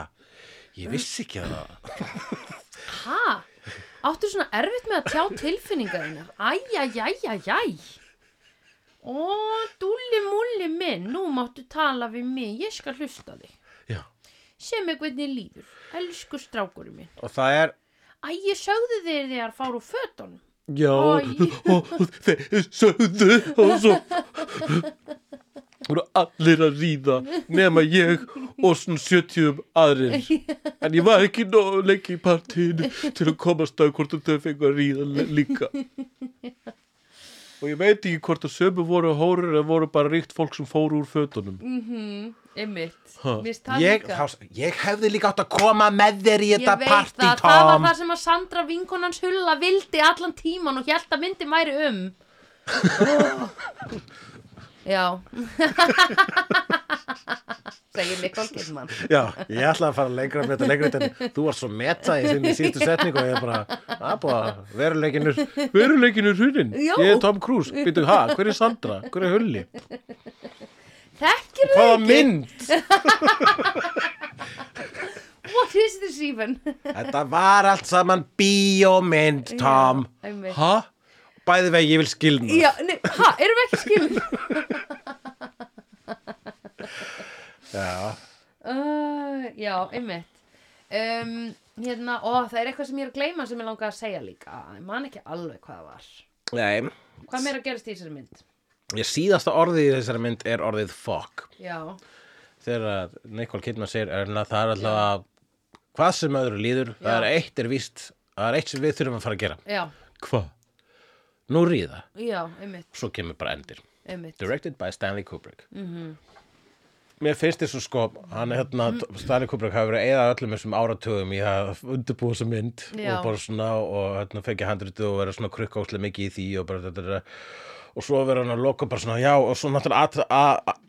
Speaker 2: ég vissi ekki að það
Speaker 1: Ha? Áttu svona erfitt með að tjá tilfinningar þínar Æjæjæjæjæj Ó, dúlli múlli minn Nú máttu tala við mig Ég skal hlusta á þig
Speaker 2: Já.
Speaker 1: Sem er hvernig líður Elsku strákurinn minn
Speaker 2: og það er
Speaker 1: Æ, ég sögðu þér þegar fár úr fötunum
Speaker 2: já,
Speaker 1: Æ.
Speaker 2: og þeir sögðu og svo voru allir að ríða nema ég og svona 70 aðrir en ég var ekki nóg lengi í partíinu til að komast að hvort þau fengu að ríða l- líka og ég veit ekki hvort að sömu voru hórir eða voru bara ríkt fólk sem fóru úr fötunum
Speaker 1: Einmitt
Speaker 2: Ha.
Speaker 1: Mér finnst það
Speaker 2: ég,
Speaker 1: líka.
Speaker 2: þá, ég hefði líka átt að koma með þér í
Speaker 1: Ég
Speaker 2: þetta
Speaker 1: veit
Speaker 2: partí
Speaker 1: það, það var
Speaker 2: Tom
Speaker 1: það sem að Sandra vinkonans hulla vildi allan tíman og held að myndin væri um Já segir Nikol Kidman
Speaker 2: Já, ég ætlaði að fara lengra með þetta lengra en þú var svo meta í þinn í síðustu setningu og ég bara, "Ah, að búa, veruleikinur Veruleikinur hrunin,
Speaker 1: Já.
Speaker 2: ég er Tom Cruise Býtu, ha, hver er Sandra, hver er Hulli
Speaker 1: Þekkir
Speaker 2: Hvaða mynd?
Speaker 1: What is this even?
Speaker 2: Þetta var allt saman bíómynd, Tom
Speaker 1: einmitt.
Speaker 2: Ha? Bæði vegi, ég vil skilna
Speaker 1: Já, nei, ha, erum við ekki skilin?
Speaker 2: Já.
Speaker 1: Uh, já, einmitt um, Hérna, ó, það er eitthvað sem ég er að gleyma sem ég langa að segja líka Ég man ekki alveg hvað það var
Speaker 2: Nei,
Speaker 1: Hvað meira gerist í þessari mynd?
Speaker 2: ég síðasta orðið í þessari mynd er orðið fuck
Speaker 1: Já,
Speaker 2: Þegar að Nicole Kidman segir Erna, það er alltaf að hvað sem öðru líður, það
Speaker 1: Já.
Speaker 2: er eitt er víst það er eitt sem við þurfum að fara að gera
Speaker 1: já,
Speaker 2: Hva? Nú ríða,
Speaker 1: já, einmitt,
Speaker 2: svo kemur bara endir.
Speaker 1: einmitt Mhm.
Speaker 2: Directed by Stanley Kubrick. Mér finnst þessu sko, hann hérna, Stanley Kubrick hafi verið að eða öllum þessum áratugum í að undirbúa þessa mynd
Speaker 1: Já.
Speaker 2: og bara svona og hérna fekja handritu og vera svona krukkáslega mikið í því og bara þetta þetta- og svo vera hann að loka bara svona já og svo náttúrulega að, að, að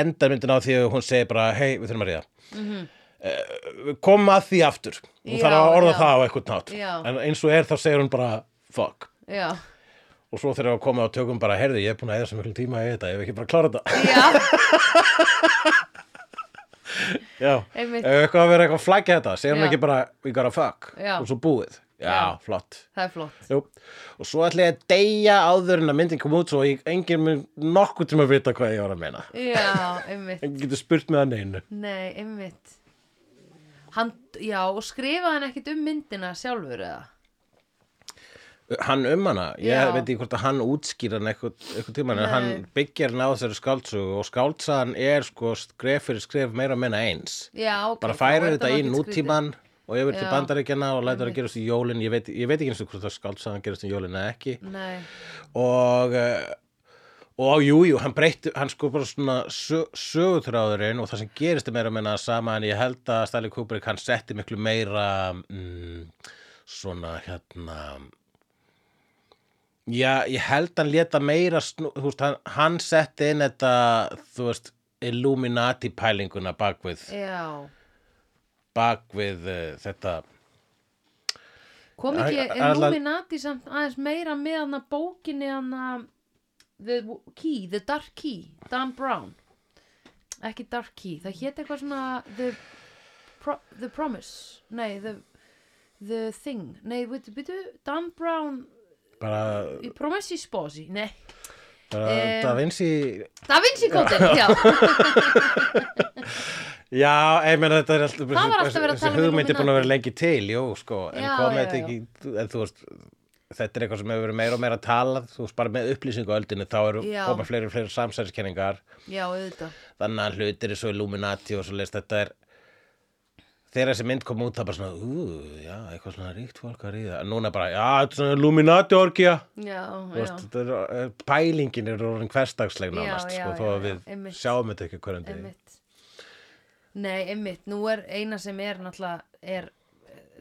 Speaker 2: enda myndin á því að hún segir bara hei við þurfum að ríða. Mm -hmm. Komum að því aftur. Hún
Speaker 1: Já,
Speaker 2: þarf að orða
Speaker 1: Mhm. já.
Speaker 2: það á eitthvað nátt.
Speaker 1: Já.
Speaker 2: En eins og er þá segir hún bara fuck.
Speaker 1: Já,
Speaker 2: Og svo þegar við komum á tökum bara, heyrðu, ég er búin að eða sem miklu tíma í þetta, ég hef ekki bara klárað þetta.
Speaker 1: já
Speaker 2: Já,
Speaker 1: Einmitt.
Speaker 2: ef eitthvað að vera eitthvað flækja þetta, segir hún
Speaker 1: Já.
Speaker 2: ekki bara, we gotta fuck,
Speaker 1: Já.
Speaker 2: og svo búið. Já,
Speaker 1: Já.
Speaker 2: flott.
Speaker 1: Það er flott.
Speaker 2: Jú. Og svo ætla ég að deyja áður en að myndin kom út svo ég enginn mun nokkuð tíma að vita hvað ég var að meina.
Speaker 1: Já, einmitt.
Speaker 2: Enginn getur spurt með það neinu.
Speaker 1: Nei, einmitt. hann, já, og skrifaði hann ekkit um myndina sjálfur eða
Speaker 2: hann um hana, ég
Speaker 1: Já.
Speaker 2: veit ekki hvort að hann útskýra hann eitthvað, eitthvað tíma en
Speaker 1: Nei.
Speaker 2: hann byggjar hann á þessari skáldsögu og skáldsagan er sko skref fyrir skref meira og menna eins
Speaker 1: já, ok,
Speaker 2: bara
Speaker 1: þá er þetta
Speaker 2: færir
Speaker 1: nú
Speaker 2: þetta í
Speaker 1: ekkit skrítið.
Speaker 2: nútíman og yfir til
Speaker 1: Já.
Speaker 2: bandaríkjana og lætur að gerast í jólin ég veit, ég veit ekki eins og hvort það skáldsagan gerast í jólin eða ekki
Speaker 1: nei,
Speaker 2: og eh, og jú, jú, hann breytti, hann sko bara svona sö, sögutráðurinn og það sem gerist er meira að menna sama en ég held að Stanley Kubrick hann setti miklu meira mm, svona hérna já, ég held hann leta meira snú, þú veist, hann, hann setti inn þetta, þú veist Illuminati pælinguna bakvið
Speaker 1: já
Speaker 2: bakvið uh, þetta
Speaker 1: kom
Speaker 2: Æ,
Speaker 1: ekki
Speaker 2: æ, æ,
Speaker 1: Illuminati samt aðeins meira með hann að bókinni hann að The Key, The Dark Key Dan Brown ekki Dark Key, það hét eitthvað svona The, Pro, the Promise nei, The, the Thing nei, veitu, veitu, Dan Brown
Speaker 2: bara,
Speaker 1: I Promessi Sposi, nei
Speaker 2: bara
Speaker 1: Em,
Speaker 2: Da Vinci
Speaker 1: Da Vinci Code, já,
Speaker 2: Já, ég meina þetta er alltaf
Speaker 1: Það var alltaf verið að
Speaker 2: þessi
Speaker 1: tala um
Speaker 2: hugmynd er búin að
Speaker 1: Illuminati.
Speaker 2: vera lengi til, jú, sko en
Speaker 1: Já,
Speaker 2: komið
Speaker 1: já,
Speaker 2: þetta
Speaker 1: já.
Speaker 2: ekki, en þú veist þetta er eitthvað sem hefur verið meira og meira að tala þú veist, bara með upplýsingu á öldinu, þá eru
Speaker 1: Já.
Speaker 2: koma fleiri og fleiri samsæðiskenningar
Speaker 1: já, auðvitað
Speaker 2: þannig að hlutir er svo Illuminati og svo leist, þetta er þegar þessi mynd kom út, það bara svona ú, já, eitthvað svona ríkt fólk að ríða en núna bara, já, þetta er svona Illuminati orkja
Speaker 1: Já, já,
Speaker 2: þú veist, þetta er, eh, pælingin er orðin hversdagsleg
Speaker 1: Já,
Speaker 2: nánast,
Speaker 1: já,
Speaker 2: sko, þó
Speaker 1: já,
Speaker 2: að
Speaker 1: já,
Speaker 2: við
Speaker 1: einmitt.
Speaker 2: sjáum þetta ekki hverjum degi
Speaker 1: einmitt Nei, einmitt, nú er eina sem er náttúrulega er,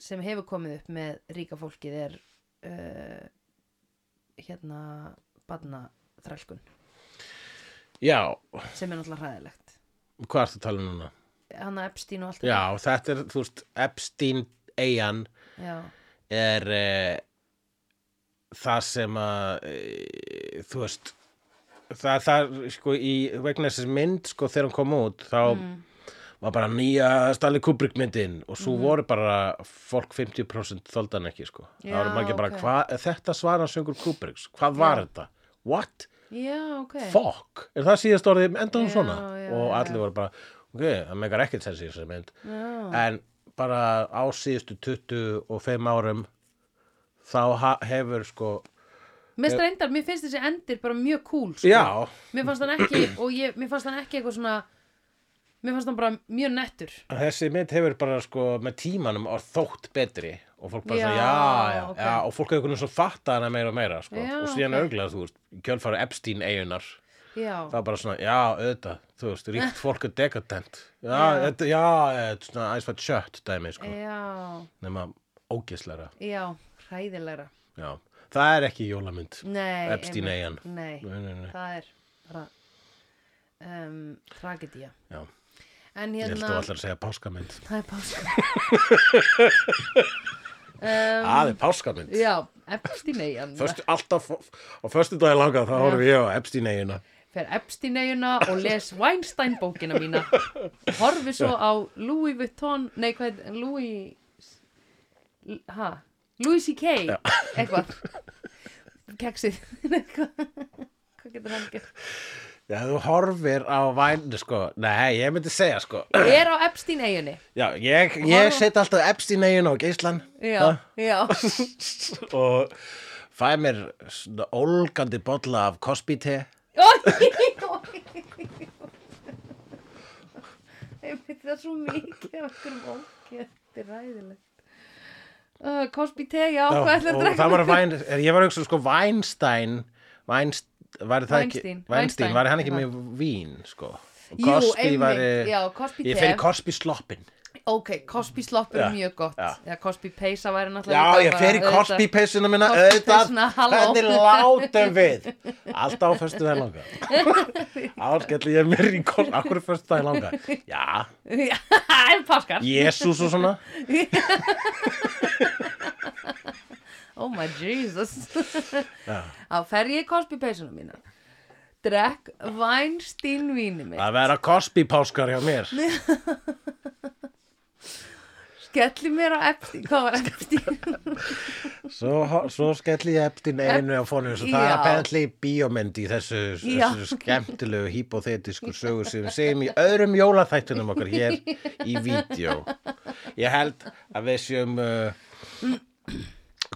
Speaker 1: sem hefur komið upp með ríka fólkið er uh, hérna barna þrælkun
Speaker 2: Já,
Speaker 1: sem er náttúrulega hræðilegt
Speaker 2: hvað ertu að tala um núna?
Speaker 1: Hanna Epstein og allt þetta.
Speaker 2: Já, þetta er, þú veist, Epstein eigan
Speaker 1: já,
Speaker 2: er e, það sem að, e, þú veist, það, það, sko, í vegna þessi mynd, sko, þegar hún kom út, þá
Speaker 1: Mm.
Speaker 2: var bara nýja Stanley Kubrick myndin og
Speaker 1: Mhm.
Speaker 2: svo voru bara fólk 50% þoldan ekki, sko.
Speaker 1: Já,
Speaker 2: það voru margir bara,
Speaker 1: ok.
Speaker 2: okay. hvað, þetta svara söngur Kubricks, hvað var þetta? What?
Speaker 1: já, ok
Speaker 2: Fuck? Er það síðast orðið, enda hún
Speaker 1: Já,
Speaker 2: svona?
Speaker 1: já,
Speaker 2: og
Speaker 1: já.
Speaker 2: allir voru bara, ok, það megar ekkert þessi þessi mynd
Speaker 1: Já,
Speaker 2: en bara á síðustu 25 árum þá ha- hefur sko
Speaker 1: mér streyndar, mér finnst þessi endir bara mjög cool sko.
Speaker 2: eh, já,
Speaker 1: Mér fannst hann ekki, og ég, mér fannst hann ekki eitthvað svona Mér fannst hann bara mjög nettur
Speaker 2: þessi mynd hefur bara sko með tímanum og þótt betri og fólk bara
Speaker 1: Já,
Speaker 2: svona já, já,
Speaker 1: ok.
Speaker 2: já og fólk hefur kunni svo fatta hana meira og meira sko.
Speaker 1: Já,
Speaker 2: og síðan
Speaker 1: ok.
Speaker 2: okay. örglega, þú veist, kjölfara Epstein eigunar,
Speaker 1: Já,
Speaker 2: það var bara svona já, auðvitað, þú veist, ríkt fólk er dekadent já,
Speaker 1: Já. Eh.
Speaker 2: þetta, já, þetta er svona æsfætt sjött dæmi, sko,
Speaker 1: já,
Speaker 2: nema ógislega,
Speaker 1: já, hræðilegra
Speaker 2: já það er ekki jólamynd,
Speaker 1: Nei,
Speaker 2: Epstein eigan
Speaker 1: einmitt, Nei,
Speaker 2: nei, nei, nei,
Speaker 1: það er bara um, tragedía
Speaker 2: já
Speaker 1: En
Speaker 2: Ég held
Speaker 1: hérna,
Speaker 2: þú allar að segja páskamynd.
Speaker 1: það er páska
Speaker 2: Það er páskamynd.
Speaker 1: Um, Já, Epstein-eigan
Speaker 2: Föstu, alltaf á föstu dagi langa þá horfum ég á Epstein-eigina.
Speaker 1: Fer Epstein-eiguna og les Weinstein-bókina mína Horfi svo á Louis Vuitton Nei, hvað heit, Louis L- Ha? Louis C.K. Eitthvað Keksið Nei, Hvað hvað getur hann gert?
Speaker 2: Já, þú horfir á væn, sko. Nei, ég myndi segja, sko.
Speaker 1: Er á Epstein-eigunni
Speaker 2: Já, ég, ég
Speaker 1: Horfa-
Speaker 2: set alltaf Epstein-eigina og geislan
Speaker 1: Já, já
Speaker 2: og fæ mér svona ólgandi bolla af Cosby-te.
Speaker 1: Ég myndi það svo mikið af einhverjum ógeð, þetta er ræðilegt uh, Cosby te, já,
Speaker 2: Já,
Speaker 1: hvað ætlar að
Speaker 2: og
Speaker 1: drekka
Speaker 2: það var væn, ég var að hugsa, sko, Weinstein, Weinstein, var það ekki,
Speaker 1: Weinstein, Weinstein.
Speaker 2: Weinstein, var hann ekki
Speaker 1: Já.
Speaker 2: með vín, sko. Og
Speaker 1: Jú,
Speaker 2: Cosby
Speaker 1: einmitt,
Speaker 2: væri-
Speaker 1: já, Cosby
Speaker 2: Ég
Speaker 1: te.
Speaker 2: fer í Cosby sloppin.
Speaker 1: Ok, Cosby sloppur
Speaker 2: Já,
Speaker 1: er mjög gott
Speaker 2: já.
Speaker 1: já. Cosby peysa væri náttúrulega
Speaker 2: Já,
Speaker 1: líka
Speaker 2: ég
Speaker 1: bara
Speaker 2: fer í
Speaker 1: auðvitað-
Speaker 2: Cosby-peysuna minna auðvitað,
Speaker 1: Cosby-peysuna, halló.
Speaker 2: hvernig látum við Alltaf á föstu dag langa Áskelli ég mér í Cosby Akkur er föstu dag langa Já,
Speaker 1: Já, Það er páskar
Speaker 2: Jésús og svona
Speaker 1: Oh my Jesus
Speaker 2: Já.
Speaker 1: Þá fer ég í Cosby peysuna mína Drekk Weinstein víni mitt
Speaker 2: Að vera Cosby-páskar hjá mér
Speaker 1: Skelli mér á Epstein Hvað var Epstein?
Speaker 2: Svo, svo skelli ég eftir einu á fónu Svo það er
Speaker 1: Já.
Speaker 2: að penli bíómynd í þessu,
Speaker 1: Já.
Speaker 2: þessu skemmtilegu hypothetisku sögu sem við segjum í öðrum jólaþættunum okkar hér í vídeo ég held að við séum uh,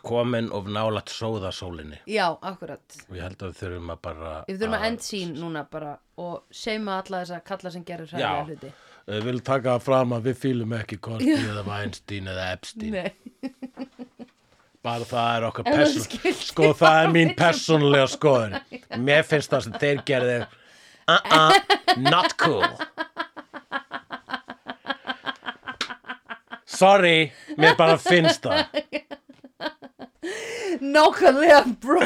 Speaker 2: komin of nálat sóða sólinni
Speaker 1: já, akkurat
Speaker 2: og ég held að við þurfum að bara
Speaker 1: Við þurfum að endsýn núna bara og seima alla þess að kalla sem gerir
Speaker 2: Já.
Speaker 1: hræðilega hluti.
Speaker 2: Við viljum taka það fram að við fýlum ekki Korti eða Weinstein eða Epstein
Speaker 1: Nei.
Speaker 2: bara það er okkar
Speaker 1: Ef þú
Speaker 2: person
Speaker 1: skildir
Speaker 2: sko það er
Speaker 1: hvað
Speaker 2: mín
Speaker 1: við-
Speaker 2: persónulega skoðun mér finnst það sem þeir gerði uh-uh, not cool sorry mér bara finnst það
Speaker 1: Nákvæmlega, bro.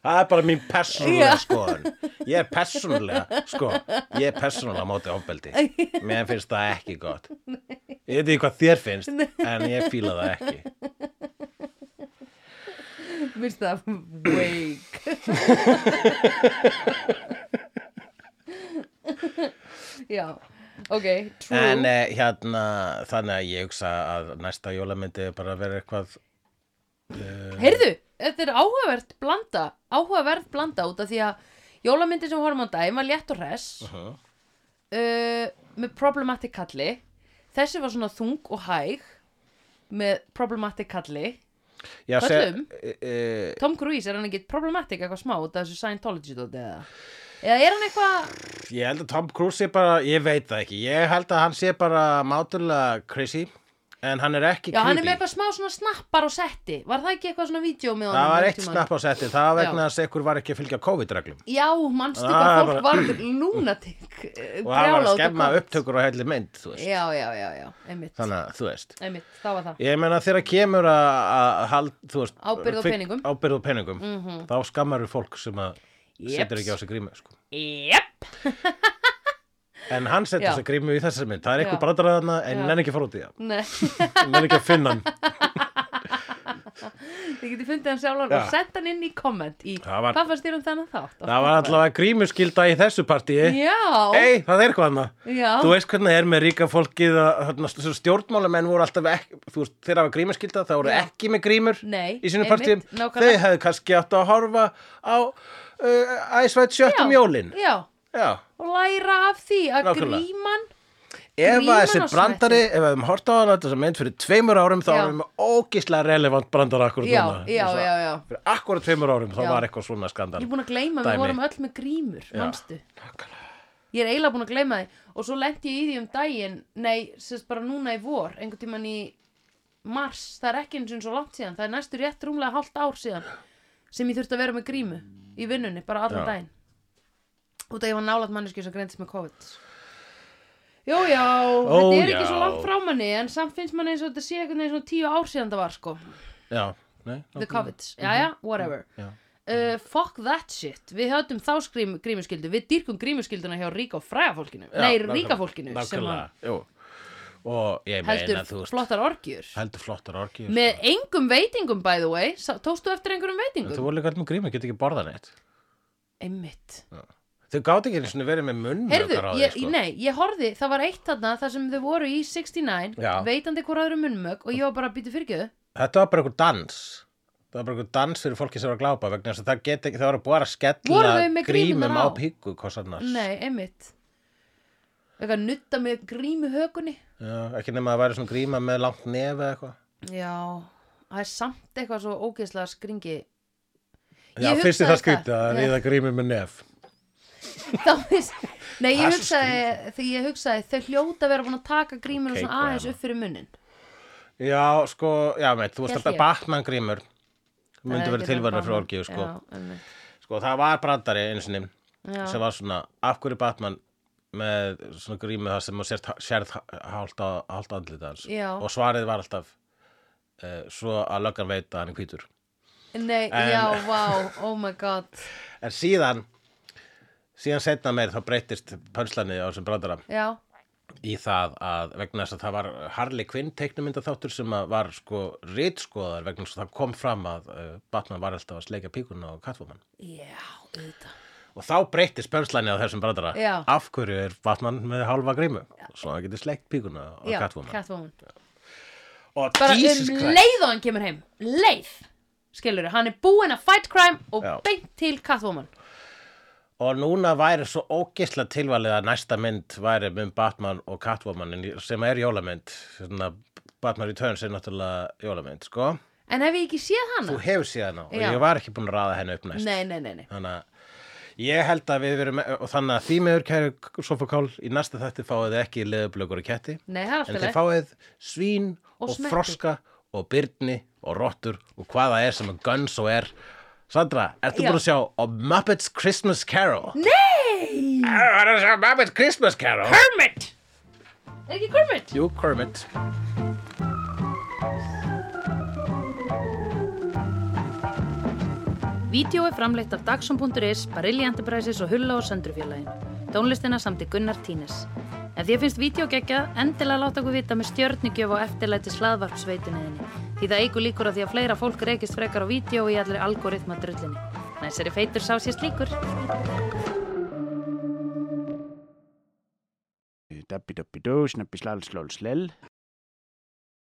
Speaker 2: Það er bara mín persónulega
Speaker 1: Já.
Speaker 2: skoðun. Ég er persónulega, sko, ég er persónulega á móti ofbeldi. Mér finnst það ekki gott. Ég veit ekki hvað þér finnst, en ég fíla það ekki.
Speaker 1: Mér finnst það wake. Já, ok, true.
Speaker 2: En eh, hérna, þannig að ég hugsa að næsta jólamyndi er bara að vera eitthvað, eh,
Speaker 1: Heyrðu, þetta er áhugavert blanda, áhugaverð blanda út af því að jólamyndin sem við horfum á daginn var létt og hress
Speaker 2: Mhm.
Speaker 1: uh, með problematic kalli. Þessi var svona þung og hæg með problematic kalli.
Speaker 2: já,
Speaker 1: Köllum?
Speaker 2: e, e,
Speaker 1: Tom Cruise, er hann ekki problematic eitthvað smá út af þessu Scientology dót eða? Eða er hann eitthvað,
Speaker 2: ég held að Tom Cruise sé bara, ég veit það ekki, ég held að hann sé bara mátulega crazy, en hann er ekki
Speaker 1: já hann er
Speaker 2: creepy.
Speaker 1: með eitthvað smá svona snappar og setti, var það ekki eitthvað svona vídeo með honum?
Speaker 2: Það var
Speaker 1: einhvern
Speaker 2: eitt
Speaker 1: tímann?
Speaker 2: snapp á setti, það var vegna
Speaker 1: Já.
Speaker 2: þess að ykkur var ekki að fylgja COVID-reglum.
Speaker 1: Já, mannstu
Speaker 2: Það
Speaker 1: hvað
Speaker 2: er
Speaker 1: fólk
Speaker 2: bara-
Speaker 1: var eh, lunatik, brjála
Speaker 2: og hann var að skemma upptökur á helli mynd þú veist.
Speaker 1: Já, já, já, já, einmitt,
Speaker 2: þannig að þú veist
Speaker 1: einmitt, það var það.
Speaker 2: ég meina þegar kemur að, að hald, þú veist,
Speaker 1: Ábyrgð á
Speaker 2: kvik-
Speaker 1: peningum. Mm.
Speaker 2: ábyrgð á peningum þá skammar við fólk sem að setur ekki á sig grímu sko.
Speaker 1: Jep,
Speaker 2: en hann setur
Speaker 1: Já.
Speaker 2: sig grímu í þessari mynd það er
Speaker 1: Já.
Speaker 2: eitthvað brandarað þarna en
Speaker 1: Já.
Speaker 2: hann er ekki að fara út í það
Speaker 1: nei,
Speaker 2: hann er ekki að finna hann
Speaker 1: þið getið fundið hann sjálfan
Speaker 2: Já.
Speaker 1: og sett hann inn í komment í,
Speaker 2: Það var-
Speaker 1: hvað fannst þér um þannig þátt?
Speaker 2: það var allavega grímuskylda í þessu partíi
Speaker 1: Já,
Speaker 2: ei það er eitthvað annað
Speaker 1: já,
Speaker 2: Þú veist hvernig það er með ríka fólkið að hérna, þessu stjórnmálamenn voru alltaf ekki, þú veist, þeir hafa grímuskylda, það voru
Speaker 1: Já.
Speaker 2: ekki með grímur
Speaker 1: Nei,
Speaker 2: í sínum
Speaker 1: einmitt,
Speaker 2: partíum.
Speaker 1: nákvæmlega.
Speaker 2: Þau hefðu kannski átt að horfa á uh, æsvætt sjöttum
Speaker 1: Já.
Speaker 2: jólin.
Speaker 1: já,
Speaker 2: Já.
Speaker 1: og læra af því að
Speaker 2: Nákvæmlega.
Speaker 1: gríman
Speaker 2: Ef
Speaker 1: Gríman
Speaker 2: að
Speaker 1: á
Speaker 2: þessi
Speaker 1: smetti.
Speaker 2: brandari, ef við hefum hort á hana þess að mynd fyrir tveimur árum, þá
Speaker 1: Já.
Speaker 2: erum við ógislega relevant brandara akkurat
Speaker 1: Já,
Speaker 2: núna.
Speaker 1: já,
Speaker 2: Þess að
Speaker 1: já, já.
Speaker 2: Fyrir akkurat tveimur árum, þá
Speaker 1: Já.
Speaker 2: var eitthvað svona skandal.
Speaker 1: Ég er búin að gleyma,
Speaker 2: Dæmi.
Speaker 1: við vorum öll með grímur, manstu
Speaker 2: Nákvæmlega.
Speaker 1: Ég er eiginlega búin að gleyma þið Og svo lendi ég í því um daginn Nei, sérst bara núna í vor, einhvern tímann í mars Það er ekki eins og svo langt síðan Það er næstu rétt rúmlega hálft ár síðan Sem ég þurfti að vera með grímu í vinnunni, bara allan
Speaker 2: Já.
Speaker 1: daginn Út að ég var nálægt manneski sem greindist með COVID Jó, já, þetta er ekki
Speaker 2: já.
Speaker 1: svo langt frá manni En samt finnst manni eins og þetta sé einhvern veginn svona tíu ár síðan það var, sko
Speaker 2: Já, nei.
Speaker 1: The COVID, jæja, whatever
Speaker 2: Mhm. Mm, Já.
Speaker 1: uh, fuck that shit við höfðum þá skrím, grímuskyldu við dýrkum grímuskylduna hjá ríka og fræga fólkinu
Speaker 2: Já,
Speaker 1: nei,
Speaker 2: nákvæmlega,
Speaker 1: ríka fólkinu sem
Speaker 2: nákvæmlega, jú. Og ég
Speaker 1: að
Speaker 2: meina, þú
Speaker 1: heldur
Speaker 2: veist,
Speaker 1: flottar orgjur
Speaker 2: heldur flottar orkið.
Speaker 1: með engum veitingum by the way Sá- tókstu eftir einhverjum
Speaker 2: En Þú
Speaker 1: veitingum
Speaker 2: voru líka alltaf með gríma, getur ekki borðað neitt.
Speaker 1: einmitt
Speaker 2: Þau gátt ekki einu sinni verið með
Speaker 1: Heyrðu,
Speaker 2: munnmjökar á því,
Speaker 1: ég,
Speaker 2: sko.
Speaker 1: nei, ég horfði, það var eitt þarna þar sem þau voru í 69,
Speaker 2: Já.
Speaker 1: veitandi hvora öðru munnmög og ég var bara að býta fyrirgjöðu.
Speaker 2: Þetta var bara einhver dans. Það var bara einhver dans fyrir fólki sem var að glápa vegna þess að það get ekki, það var að búa að
Speaker 1: Voru
Speaker 2: skella
Speaker 1: þau með grímurnar
Speaker 2: grímum á
Speaker 1: á?
Speaker 2: píku, hvað sannar.
Speaker 1: Nei, einmitt. Eitthvað nutta með grímu hökunni.
Speaker 2: Já, ekki nema að það væri svona gríma með langt nefi eða eitthvað.
Speaker 1: Já, það er samt eitthvað svo ógeðslega skringi. Ég
Speaker 2: Já, fyrst er
Speaker 1: hugsaði
Speaker 2: það skrítið að
Speaker 1: Já.
Speaker 2: ríða grími með nef.
Speaker 1: þá finnst Nei, ég
Speaker 2: Það er svo
Speaker 1: hugsaði, þegar ég hugsaði þau hljóta að vera búin að taka grímur og
Speaker 2: Keiko
Speaker 1: svona aðeins
Speaker 2: hérna.
Speaker 1: upp fyrir munnin
Speaker 2: Já, sko, já, meit, þú veist
Speaker 1: Hélt
Speaker 2: alltaf
Speaker 1: ég.
Speaker 2: Batman grímur myndi verið tilvæðan frá orkíu, sko. Sko, það var brandari einu sinni
Speaker 1: Já.
Speaker 2: sem var svona, af hverju Batman með svona grímu það sem þú sért, sérð hálta, hálta andlita hans
Speaker 1: Já.
Speaker 2: og svarið var alltaf uh, svo að löggan veit að hann er hvítur
Speaker 1: Nei,
Speaker 2: En-
Speaker 1: já, vá, oh my god
Speaker 2: en síðan síðan setna meir þá breytist pönslanni á þessum brandara
Speaker 1: Já,
Speaker 2: í það að vegna þess að það var Harley Quinn teiknumynda þáttur sem að var sko rítskoðar vegna þess að það kom fram að uh, Batman var alltaf að sleika píkuna og Catwoman
Speaker 1: já, auðvitað
Speaker 2: og þá breytist pönslanni á þessum brandara
Speaker 1: Já.
Speaker 2: af hverju er Batman með hálfa grímu svo hann getur sleikt píkuna og
Speaker 1: Já,
Speaker 2: Catwoman
Speaker 1: Catwoman
Speaker 2: og
Speaker 1: Bara
Speaker 2: Jesus
Speaker 1: um
Speaker 2: Christ
Speaker 1: leið og hann kemur heim Leið, skilur hann er búinn að fight crime og
Speaker 2: Já.
Speaker 1: beint til Catwoman
Speaker 2: og núna væri svo ógisla tilvalið að næsta mynd væri mynd Batman og Catwoman en ég- sem er jólamynd svona, Batman Returns er náttúrulega jólamynd sko.
Speaker 3: En hef ég ekki séð hana?
Speaker 2: þú hefur síðan á og
Speaker 3: Já.
Speaker 2: ég var ekki búin að raða henni upp næst
Speaker 3: Nei, nei, nei, nei.
Speaker 2: þannig að ég held að við verum og þannig að því meður kæri Sofokál í næsta þætti fáið þið ekki leðublökur og ketti
Speaker 3: Nei, það er alltaf
Speaker 2: en þið
Speaker 3: leið.
Speaker 2: fáið svín
Speaker 3: Og
Speaker 2: og,
Speaker 3: smetti.
Speaker 2: froska og byrni og rottur og hvaða er sem að guns og er Sandra, ertu
Speaker 3: Já.
Speaker 2: búin að sjá A Muppets Christmas Carol? Nei! Það er að sjá Muppets Christmas Carol
Speaker 3: Kermit! Er ekki Kermit?
Speaker 2: Jú, Kermit
Speaker 1: Vídeó er framleitt af Dagsum.is, Barilli Enterprises og Hulla og Söndrufjörlægin. Tónlistina samt í Gunnar Tínes. Ef þér finnst vídeo geggja, endilega láta okkur vita með stjörnigjöf og eftirlæti slaðvarpsveitunniðinni. Því það eigur líkur á því að fleira fólk reykist frekar á vídeo í allri algoritma drullinni. Næsari feitur sá sér slíkur.
Speaker 4: Dabbi dabbi dó, snabbi slal slól slell.